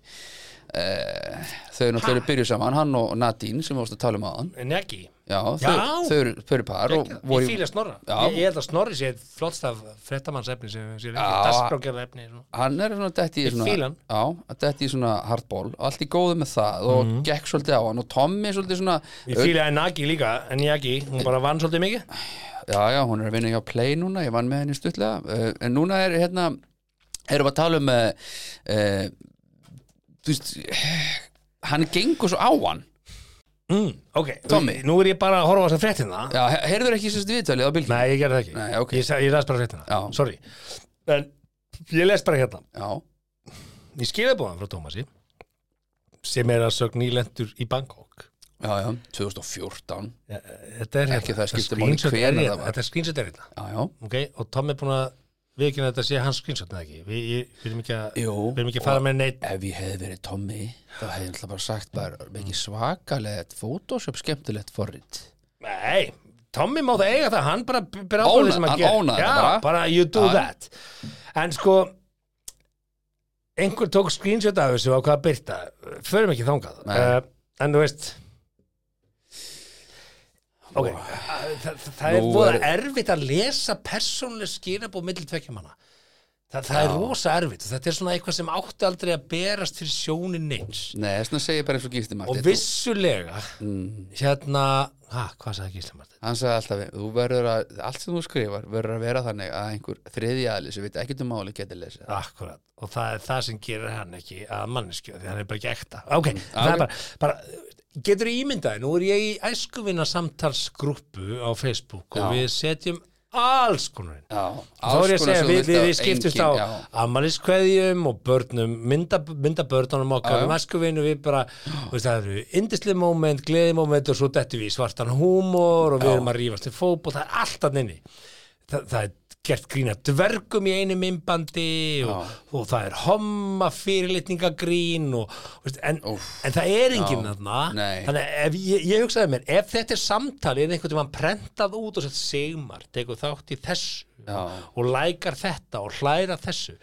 Speaker 3: uh, þau eru náttúrulega byrjuð saman hann og Nadine sem við varst að tala um aðan
Speaker 2: En ekki,
Speaker 3: Já, þau,
Speaker 2: Já.
Speaker 3: þau eru þau eru par og
Speaker 2: ég
Speaker 3: voru í-
Speaker 2: fíla snorra
Speaker 3: Já.
Speaker 2: ég, ég held að snorri sé flottst af frettamannsefni sem sé ekki,
Speaker 3: Já.
Speaker 2: dasgrákjara efni
Speaker 3: hann er svona detti í
Speaker 2: Ég fíla
Speaker 3: svona,
Speaker 2: hann.
Speaker 3: á, detti í svona hardball allt í góðu með það og gekk svolítið á hann og Tommy svolítið svona
Speaker 2: Mhm. Ég fílaði Nagi líka, en Nagi, hún bara vann svolítið mikið
Speaker 3: já já, hún er að vinna hjá Play núna ég vann með henni stuttlega uh, en núna er hérna erum við að tala um uh, uh, þú veist hann gengur svo á hann
Speaker 2: mm, Ok,
Speaker 3: Tommy.
Speaker 2: nú er ég bara að horfa á þess að frettina
Speaker 3: já, he- heyrður ekki sérst viðtalið á bylgjum
Speaker 2: Nei, ég gerði það ekki
Speaker 3: Nei, ok.
Speaker 2: Ég, sa- ég las bara fréttina,
Speaker 3: Já.
Speaker 2: sorry En ég les bara hérna
Speaker 3: já,
Speaker 2: Ég skilja búðan frá Tómasi sem er að sögn nýlendur í Bangkok
Speaker 3: já, já, 2014
Speaker 2: Eh, Þetta er
Speaker 3: Ekki það skiptir máli
Speaker 2: screenshot er
Speaker 3: hvenær
Speaker 2: hérna,
Speaker 3: það var.
Speaker 2: Þetta er screenshot er hérna
Speaker 3: já, já,
Speaker 2: okay? og Tommi er búin að viðkynna að þetta sé hans screenshot eða ekki Við ég- við erum ekki að,
Speaker 3: Jú,
Speaker 2: við erum ekki að
Speaker 3: og-
Speaker 2: fara með neitt
Speaker 3: ef ég hefði verið Tommy þá hefði ég alltaf bara sagt bara mikið svakalegt Photoshop skemmtilegt forrið
Speaker 2: Nei, Tommy má það eiga það, hann bara ber
Speaker 3: Ónar-
Speaker 2: ábyrðið sem
Speaker 3: hann
Speaker 2: að gera.
Speaker 3: ónar
Speaker 2: Já,
Speaker 3: það bara.
Speaker 2: bara you do
Speaker 3: Já.
Speaker 2: that. En sko, einhver tók screenshot af þessu á hvað að byrta. Förum ekki þangað.
Speaker 3: Nei.
Speaker 2: Uh, en þú veist, ok, það, það er
Speaker 3: Nú
Speaker 2: voða
Speaker 3: er-
Speaker 2: erfitt að lesa persónuleg skilabóð millir tvekja manna. Þa, það er rosa erfitt. Þetta er svona eitthvað sem átti aldrei að berast fyrir sjónin neins.
Speaker 3: Nei, þess vegna segir ég bara eins og Gísli Martin
Speaker 2: Og vissulega,
Speaker 3: Mm.
Speaker 2: hérna, ha, hvað sagði Gísli Martin?
Speaker 3: Hann sagði alltaf, þú verður að, allt sem þú skrifar verður að vera þannig að einhver þriðji aðli sem veit ekkert um máli geti lesið það.
Speaker 2: Akkurat, og það er það sem gerir hann ekki að manneskju, því hann er bara ekki ekta Ok, það
Speaker 3: ok.
Speaker 2: er bara, bara getur ímyndaði, nú er ég í æskuvinna samtalsgrúppu á Facebook og
Speaker 3: Já.
Speaker 2: við setjum alls konar inn
Speaker 3: Já,
Speaker 2: Og Þá er ég að segja, við, við, við skiptumst á
Speaker 3: Já,
Speaker 2: ammaliskveðjum og börnum, mynda, mynda börnunum
Speaker 3: Já,
Speaker 2: okkar,
Speaker 3: já.
Speaker 2: maskuvinu, við bara, þú veist, það eru indisli moment, gleði moment og svo dettum við í svartan húmor og við erum að rífast í fótbol, það er allt að nynni. Þa, það er gert grína dvergum í einu mymbandi og, og það er homma fyrirlitningagrín og, þú veist, en,
Speaker 3: Úff.
Speaker 2: en það er enginn þarna.
Speaker 3: Nei.
Speaker 2: Þannig að ef, ég, ég hugsaði mér, ef þetta er samtali, er einhvern tímann prentað út og sett segmar, tekur þátt í þessu
Speaker 3: já,
Speaker 2: og lækar þetta og hlæra þessu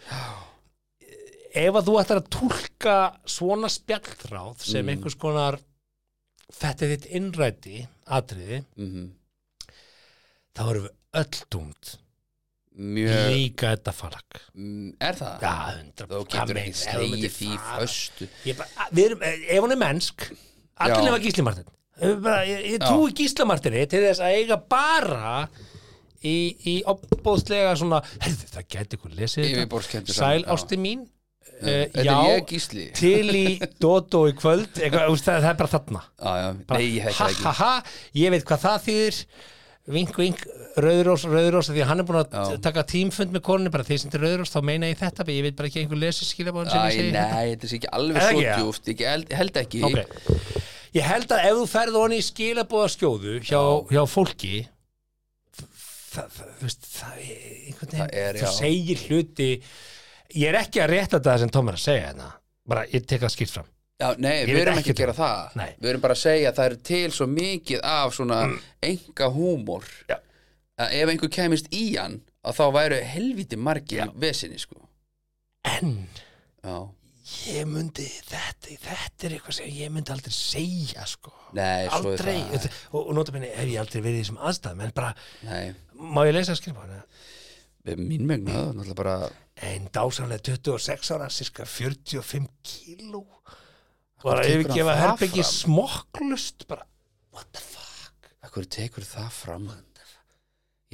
Speaker 2: ef að þú ætlar að túlka svona spjallráð sem
Speaker 3: Mm.
Speaker 2: einhvers konar þetta er þitt innræti atriði,
Speaker 3: mhm.
Speaker 2: þá erum við öll dúmt
Speaker 3: mjög,
Speaker 2: líka þetta falag
Speaker 3: mm, er það?
Speaker 2: Já, hundra
Speaker 3: Þú getur ekki slegið því föstu.
Speaker 2: Við erum, eh, ef hún er mennsk
Speaker 3: Já.
Speaker 2: allir nema Gísli Martin Ég bara, ég, ég trúi Gísla Martini til þess að eiga bara í, í opbóðslega svona, herðu, það gæti ykkur lesið
Speaker 3: Yfirborðskenndur
Speaker 2: sæl
Speaker 3: saman, já.
Speaker 2: ásti mín Uh,
Speaker 3: Þetta er
Speaker 2: já,
Speaker 3: ég, Gísli.
Speaker 2: til í Dótó í kvöld eitthvað, úst, það, það er bara þarna
Speaker 3: Já, já,
Speaker 2: bara,
Speaker 3: nei, ég hef
Speaker 2: ha,
Speaker 3: það
Speaker 2: ha,
Speaker 3: ekki.
Speaker 2: ha, ég veit hvað það þýðir vink, vink, rauðurós, rauðurós því að hann er búin að
Speaker 3: Já.
Speaker 2: taka tímfund með konunni bara því sem þetta er rauðurós, þá meina ég þetta ég veit bara ekki að einhver lesi skilabóðan sem
Speaker 3: Æ,
Speaker 2: ég segi
Speaker 3: nei, þetta er ekki alveg
Speaker 2: Er það
Speaker 3: svo
Speaker 2: ekki, já?
Speaker 3: djúft, ég held, held ekki.
Speaker 2: Ok. ég held að ef þú ferð honi í skilabóðaskjóðu hjá, hjá fólki það, það, þú veist, það er einhvern veginn,
Speaker 3: Það er,
Speaker 2: þú
Speaker 3: já.
Speaker 2: segir hluti ég er ekki að rétta þetta sem Tom er að segja hérna bara ég tek það skilt fram
Speaker 3: Já, nei,
Speaker 2: Ég
Speaker 3: við
Speaker 2: veit
Speaker 3: erum
Speaker 2: ekki
Speaker 3: ekki að gera
Speaker 2: það.
Speaker 3: það
Speaker 2: Nei. Mm.
Speaker 3: Við erum bara að segja að það er til svo mikið af svona enga húmor
Speaker 2: Já.
Speaker 3: að ef einhver kemist í hann að þá væru helviti margir vesinni sko
Speaker 2: en
Speaker 3: Já,
Speaker 2: ég myndi þetta, þetta er eitthvað sem ég myndi aldrei segja sko
Speaker 3: nei, svo
Speaker 2: aldrei,
Speaker 3: er það
Speaker 2: og, og notabene hef ég aldrei verið í þessum aðstæðum en bara,
Speaker 3: Nei,
Speaker 2: má ég lesa að skrifa hana
Speaker 3: við- mín megna það er náttúrulega bara
Speaker 2: en dásamlega 26 ára cirka 45 kíló bara
Speaker 3: tekur hann
Speaker 2: yfirgefa
Speaker 3: það
Speaker 2: herbyggi
Speaker 3: fram?
Speaker 2: smokklust bara, what the fuck
Speaker 3: Akkur tekur það fram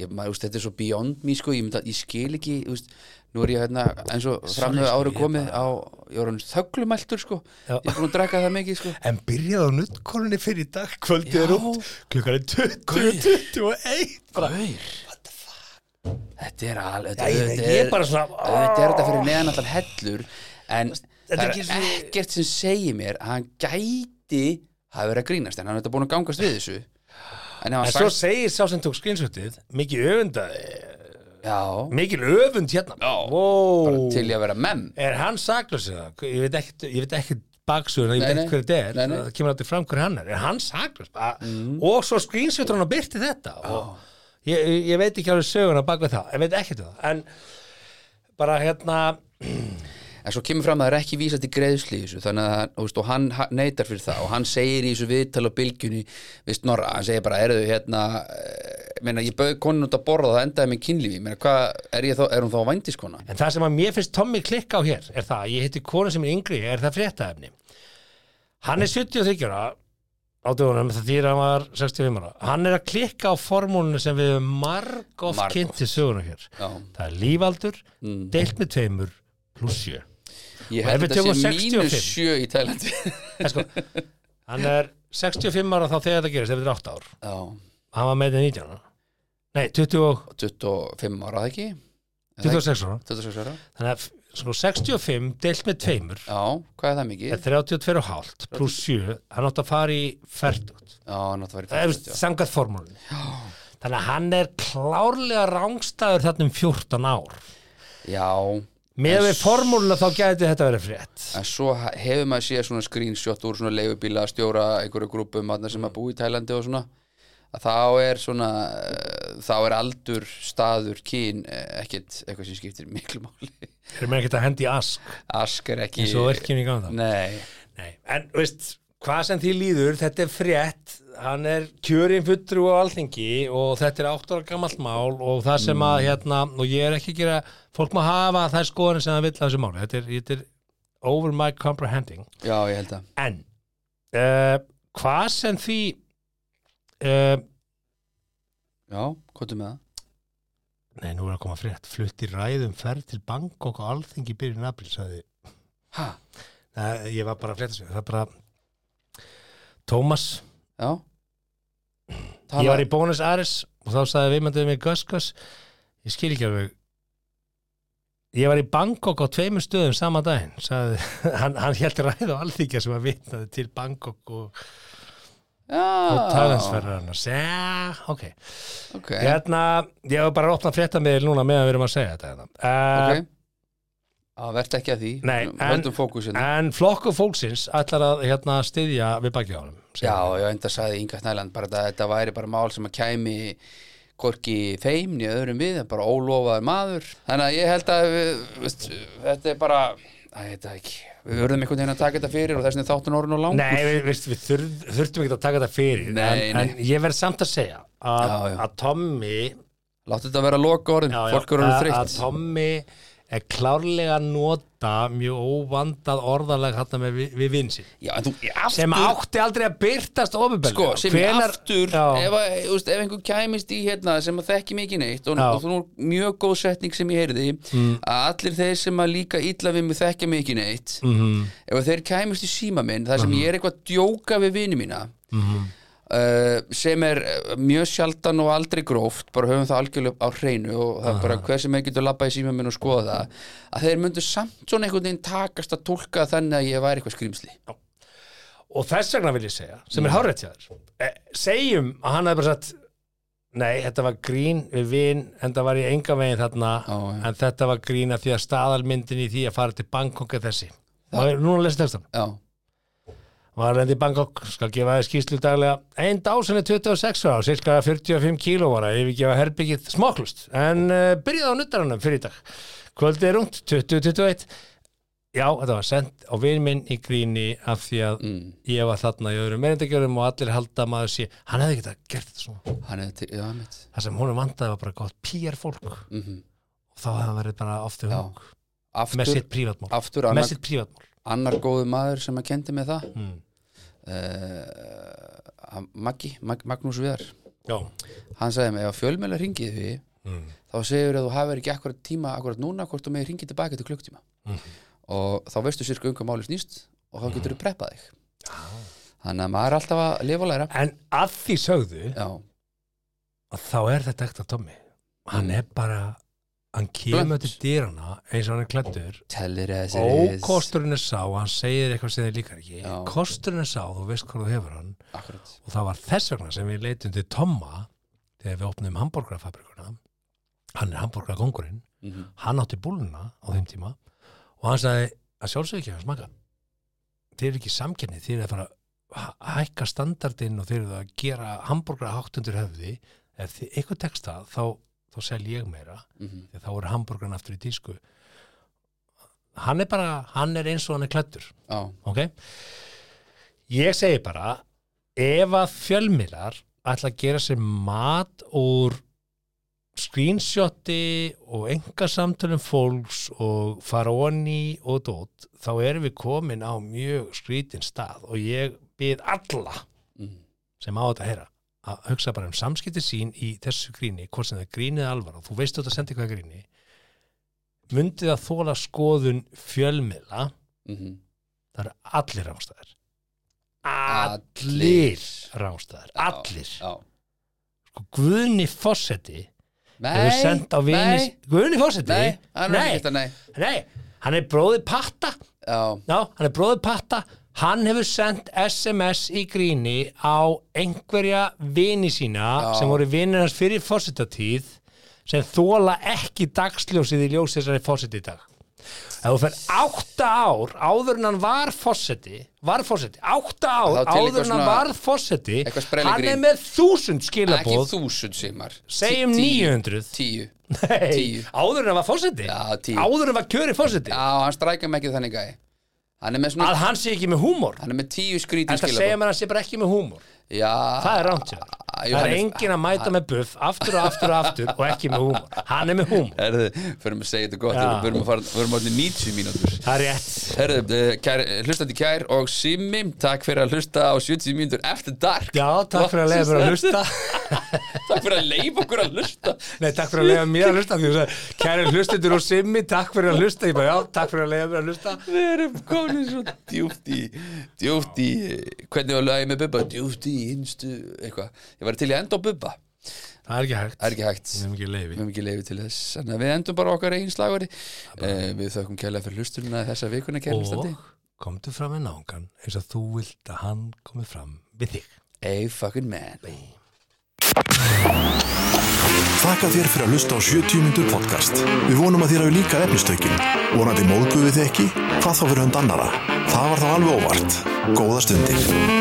Speaker 3: Ég, maður, úst, þetta er svo beyond me sko, ég, mynda, ég skil ekki úst, nú er ég hérna, eins og framöðu
Speaker 2: sko,
Speaker 3: ári
Speaker 2: ég
Speaker 3: komið á, ég var hann þöglumæltur sko,
Speaker 2: Já.
Speaker 3: ég er búin að draka það mikið sko
Speaker 2: en byrjaði á nuttkonunni fyrir í dag kvöldið
Speaker 3: Já.
Speaker 2: er út, klukkan er 20 21 bara,
Speaker 3: Gaur
Speaker 2: what the fuck
Speaker 3: Þetta er alveg
Speaker 2: Já, ég-
Speaker 3: þetta
Speaker 2: ég er bara svona-
Speaker 3: Þetta er þetta fyrir neðan allar hellur En það
Speaker 2: er
Speaker 3: er
Speaker 2: ekki svo-
Speaker 3: ekkert sem segir mér að hann gæti hafa verið að grínast en hann er þetta búin að gangast við þessu En hann
Speaker 2: en svo segir sá sem tók skrýnsvöldið mikið öfundaði,
Speaker 3: Já,
Speaker 2: mikil öfund hérna
Speaker 3: Já.
Speaker 2: wow.
Speaker 3: til ég að vera menn
Speaker 2: er hann saklaus eða? ég veit ekkert, ég veit ekkert baksuguna, ég
Speaker 3: Nei,
Speaker 2: veit
Speaker 3: nei.
Speaker 2: ekkert hver þetta er
Speaker 3: Nei, Mhm. nei.
Speaker 2: það kemur aldrei fram hver hann er, er hann saklaus mm. og svo screenshottur hann og byrti þetta og ég, ég veit ekki alveg söguna bak við það, ég veit ekkert um það en bara hérna
Speaker 3: En svo kemur fram að það er ekki vísa til greiðslu í þessu þannig að hann- þú veist, og hann ha- neitar fyrir það og hann segir í þessu viðtal á bylgjunni við snorra, hann segir bara, erðu hérna eh, meina, ég bauð konun út að borða það endaði með kynlífi, meina, hvað, er, ég þá, er hún þá vændiskona?
Speaker 2: en það sem að mér finnst Tommy klikka á hér er það, að ég hitti konu sem er yngri er það fréttaefni hann er 73 ára á dögunum það þýr að hann var 65 ára hann er að klikka á formúlinu sem við höfum margóft
Speaker 3: Margoft.
Speaker 2: kynnt til söguna hér
Speaker 3: Já.
Speaker 2: það er lífaldur, deilt með tveimur pluss sjö
Speaker 3: Ég
Speaker 2: Mm. Og ef
Speaker 3: held
Speaker 2: við
Speaker 3: að þetta
Speaker 2: tökum
Speaker 3: sé
Speaker 2: 65?
Speaker 3: mínus 7 í Tælandi
Speaker 2: En sko, hann er 65 ára þá þegar þetta gerist, ef þetta er 8 ár
Speaker 3: Já,
Speaker 2: hann var með þetta 19 ára nei, 20, og-
Speaker 3: 25 ára, ekki? Er það ekki?
Speaker 2: 26 ára
Speaker 3: 26 ára?
Speaker 2: þannig að sko, 65 deilt með tveimur
Speaker 3: Já, hvað er það
Speaker 2: er
Speaker 3: mikið?
Speaker 2: 32,5 pluss 7 hann átti að fara í 40
Speaker 3: Já, náttúrulega
Speaker 2: það
Speaker 3: var
Speaker 2: er
Speaker 3: í 40 já.
Speaker 2: sangað formúlun þannig að hann er klárlega rángstæður þarna um 14 ár
Speaker 3: Já,
Speaker 2: með við formúluna þá gæti þetta verið frétt
Speaker 3: en svo ha- hefur maður séð svona screenshot úr svona leigubíla stjóra einhverju grúpum þarna sem
Speaker 2: Mm.
Speaker 3: að búi í Tælandi og svona að þá er svona eh, þá er aldur, staður, kyn eh, ekkert eitthvað sem skiptir miklu máli
Speaker 2: erum við ekkert að hendi í ask
Speaker 3: Ask er ekki
Speaker 2: eins og virkjum í ganga það
Speaker 3: Nei,
Speaker 2: Nei, en veist, hvað sem því líður, þetta er frétt, hann er kjörin fulltrú á alþingi og þetta er átt ára gamalt mál og það sem að, hérna, og ég er ekki að gera, fólk má hafa þær skoðanir sem það vill að þessu máli, þetta er, þetta er over my comprehending,
Speaker 3: já, ég held að
Speaker 2: en uh, hvað sem því, uh,
Speaker 3: Já, hvað með það?
Speaker 2: nei, nú er að koma frétt, flutti ræðum ferð til Bangkok og alþingi byrjun april, sagði
Speaker 3: Ha?
Speaker 2: Nei, ég var bara að frétta það er bara, Tómas,
Speaker 3: Já
Speaker 2: Ég var í Bónus Ares og þá sagði viðmyndið mig Gus Gus Ég skil ekki alveg Ég var í Bangkok á tveimur stöðum sama daginn sagði, hann, hann held ræð á alþykja sem að vitnaði til Bangkok og,
Speaker 3: Ah.
Speaker 2: og
Speaker 3: Já,
Speaker 2: talansferðar hann Já, ok
Speaker 3: ok
Speaker 2: Hérna, ég hef bara að opna frétta með núna meðan við erum að segja þetta hérna. uh,
Speaker 3: Ok Það verðt ekki að því
Speaker 2: Nei, en-
Speaker 3: Höldum fókusinn
Speaker 2: En flokku fólksins ætlar að hérna, styðja við bakið á honum segir
Speaker 3: Já,
Speaker 2: hann.
Speaker 3: já, enda sagði Inga Snæland bara að þetta væri bara mál sem að kæmi hvorki þeim niður öðrum við en bara ólofaður maður þannig að ég held að við, veist, þetta er bara að ég veit það ekki við verðum einhvern veginn að taka þetta fyrir og þess vegna er þáttun orðin og lang
Speaker 2: Nei, við, við, við þurf, þurftum ekki að taka þetta fyrir
Speaker 3: Nei,
Speaker 2: en,
Speaker 3: nei.
Speaker 2: en ég verð samt að segja að,
Speaker 3: Já, já.
Speaker 2: að Tommy
Speaker 3: láttu þetta vera loka orðin,
Speaker 2: já, já,
Speaker 3: fólk eru orðin
Speaker 2: að- að
Speaker 3: þreytt
Speaker 2: Tommy er klárlega að nota mjög óvandað orðalega hérna með við, við vinsinn
Speaker 3: já, en þú, ég
Speaker 2: sem
Speaker 3: aftur,
Speaker 2: átti aldrei að byrtast ofinbelg
Speaker 3: sko, sem ég aftur ef, að, þú veist, ef einhver kæmist í hérna sem að þekki mikið neitt og,
Speaker 2: Já.
Speaker 3: og þú nú mjög góð setning sem ég heyrði að allir þeir sem að líka illa við mig þekki mikið neitt
Speaker 2: -hmm.
Speaker 3: ef þeir kæmust í síma minn þar sem ég er eitthvað að djóka við vini mína uh, sem er uh, mjög sjaldan og aldrei gróft bara höfum það algjörlega á hreinu og það er bara hver sem er getur labbað í síma minn og skoða það að þeir myndu samt svona einhvern veginn takast að tólka þannig að ég væri eitthvað skrýmsli
Speaker 2: og þess vegna vil ég segja, sem
Speaker 3: Mm.
Speaker 2: er hárætt hjá þér eh, segjum að hann hefði bara sagt nei, þetta var grín við vin, en það var ég enga veginn þarna
Speaker 3: Já, já.
Speaker 2: en þetta var grín að því að staðalmyndin í því að fara til Bangkok er þessi það er núna að lesa textan
Speaker 3: já,
Speaker 2: Varlendi Bangkok skal gefa þér skýslu daglega einn dásin er 26 ára, cirka 45 kíló ára, yfirgefa herbyggið smoklust, en uh, byrjaði á nuttaranum fyrir í dag. Kvöldið er rungt 2021. Já, þetta var sendt á vin minn í gríni af því að
Speaker 3: mm.
Speaker 2: ég var þarna í öðrum meirindagjörum og allir halda að maður sé, hann hefði ekki gert þetta svona.
Speaker 3: hann er til, já, mitt
Speaker 2: Það sem honum vandaði var bara gott PR fólk og
Speaker 3: mm
Speaker 2: þá hefði hann verið bara ofta
Speaker 3: já.
Speaker 2: hug
Speaker 3: aftur,
Speaker 2: með sitt prívatmál.
Speaker 3: aftur
Speaker 2: Með
Speaker 3: annar,
Speaker 2: sitt prívatmál.
Speaker 3: annar góðu maður sem að kendi með það
Speaker 2: Mm.
Speaker 3: uh, Maggi, Mag, Magnús Viðar
Speaker 2: Já.
Speaker 3: hann sagði mig, ef fjölmjöla ringið því
Speaker 2: Mm.
Speaker 3: þá segir að þú hafir ekki akkurat tíma akkurat núna, hvort þú megir ringið tilbaka til klukktíma
Speaker 2: Mhm.
Speaker 3: og þá veistu sirka um hvað máli snýst og þá getur þú preppað þig þannig að maður er alltaf að lifa og læra
Speaker 2: En að því sögðu
Speaker 3: já,
Speaker 2: og þá er þetta ekkert að Tommy hann er bara hann kemur
Speaker 3: Blönt.
Speaker 2: til dýrana eins og hann er klættur
Speaker 3: tellir eða
Speaker 2: og
Speaker 3: sér
Speaker 2: kosturinn er sá að hann segir eitthvað sem þið líkar ekki
Speaker 3: Já.
Speaker 2: kosturinn er sá, þú veist hvað þú hefur hann
Speaker 3: akkurat,
Speaker 2: og það var þess vegna sem við leitum til Tomma þegar við opnum hambúrgrafabrikuna hann er hambúrgragongurinn
Speaker 3: mm
Speaker 2: hann átti búluna á þeim tíma og hann sagði að sjálfsög ekki að smaka þeir eru ekki samkennið þeir eru að fara að hæ- hækka standardinn og þeir eru að gera hambúrgra hátt undir höfði ef þið eitthvað tekst það þá, þá sel ég meira
Speaker 3: mhm.
Speaker 2: þegar þá eru hambúrgran aftur í tísku hann er bara hann er eins og hann er klættur
Speaker 3: já,
Speaker 2: ok ég segi bara ef að fjölmiðlar ætla að gera sér mat úr screenshoti og enga samtölum fólks og faroni og dót þá erum við komin á mjög skrítin stað og ég bið alla
Speaker 3: mm.
Speaker 2: sem á þetta að heyra að hugsa bara um samskipti sín í þessu gríni hvort sem það grínið alvar og þú veist þú ert að senda eitthvað gríni myndið að þóla skoðun fjölmiðla
Speaker 3: Mm -hmm.
Speaker 2: það eru allir rángstæðir allir rángstæðir, allir
Speaker 3: já.
Speaker 2: sko, Guðni Fossetti
Speaker 3: Nei,
Speaker 2: hefur sendt á vini
Speaker 3: nei,
Speaker 2: Guðni Fossetti,
Speaker 3: nei, hann er
Speaker 2: Nei.
Speaker 3: ekki þetta, nei
Speaker 2: nei, hann er bróðið patta
Speaker 3: já,
Speaker 2: já, hann er bróðið patta hann hefur sendt SMS í gríni á einhverja vini sína
Speaker 3: Já.
Speaker 2: sem voru vinir hans fyrir fórsetatíð sem þóla ekki dagsljósið í ljós þessari fórseti í dag ef þú fer átta ár áður en hann var fórseti var fórseti, átta
Speaker 3: Þá
Speaker 2: ár
Speaker 3: til
Speaker 2: áður
Speaker 3: eitthvað
Speaker 2: en hann
Speaker 3: svona-
Speaker 2: var fórseti
Speaker 3: eitthvað
Speaker 2: hann
Speaker 3: sprelligrín.
Speaker 2: er með þúsund
Speaker 3: ekki
Speaker 2: skilabóð
Speaker 3: þúsund simar
Speaker 2: segjum 900
Speaker 3: tíu,
Speaker 2: Nei,
Speaker 3: tíu.
Speaker 2: áður en hann var fórseti
Speaker 3: Já, tíu.
Speaker 2: áður en hann var kjöri fórseti
Speaker 3: já, hann strækja mig ekki þannig gæi hann er með svona
Speaker 2: að hann sé ekki með húmor
Speaker 3: hann er með tíu skrítin
Speaker 2: Þetta segja mér að hann sé bara ekki með húmor
Speaker 3: já,
Speaker 2: Það er rámt hjá þér.
Speaker 3: jú,
Speaker 2: Það
Speaker 3: hann
Speaker 2: er engin að mæta með buff aftur og aftur og aftur og ekki með húmor Hann er með húmor
Speaker 3: Herðu, förum að segja þetta gott, við förum að fara, við förum að orðin 90 mínútur.
Speaker 2: Það er rétt
Speaker 3: Herðu, eh, kær, hlustandi kær og Simmi, takk fyrir að hlusta á 70 mínútur eftir dark.
Speaker 2: Já, takk fyrir að leiða mér að hlusta
Speaker 3: takk fyrir að leifa okkur að hlusta.
Speaker 2: Nei, takk fyrir að leiða mér að hlusta því þú sagði, Kæri hlustendur og simmi, takk fyrir að hlusta Ég bara, já, takk fyrir að leiða mér að hlusta
Speaker 3: Við erum komin svo djúft í, djúft í, eh, hvernig var lagið með Bubba? Djúft í, innstu, eitthvað. Ég var til í að enda á Bubba.
Speaker 2: Það er ekki hægt
Speaker 3: Það er ekki hægt.
Speaker 2: Við erum ekki
Speaker 3: Við
Speaker 2: leiði
Speaker 3: höfum ekki leiði til þess. Þannig að við endum bara á okkar eigin slagari. Eh, við þökkum kærlega fyrir hlustununa þessa vikuna, kæri hlustandi.
Speaker 2: Og komdu fram með náungan eins og þú vilt að hann komi fram við þig
Speaker 3: A fucking man.
Speaker 1: Þakka þér fyrir að hlusta á 70 mínútur podcast. Við vonum að þér hafi líka efnistökin. Vonandi móðguðu þið ekki? Hvað þá fyrir hund annara? Það var þá alveg óvart. Góða stundir.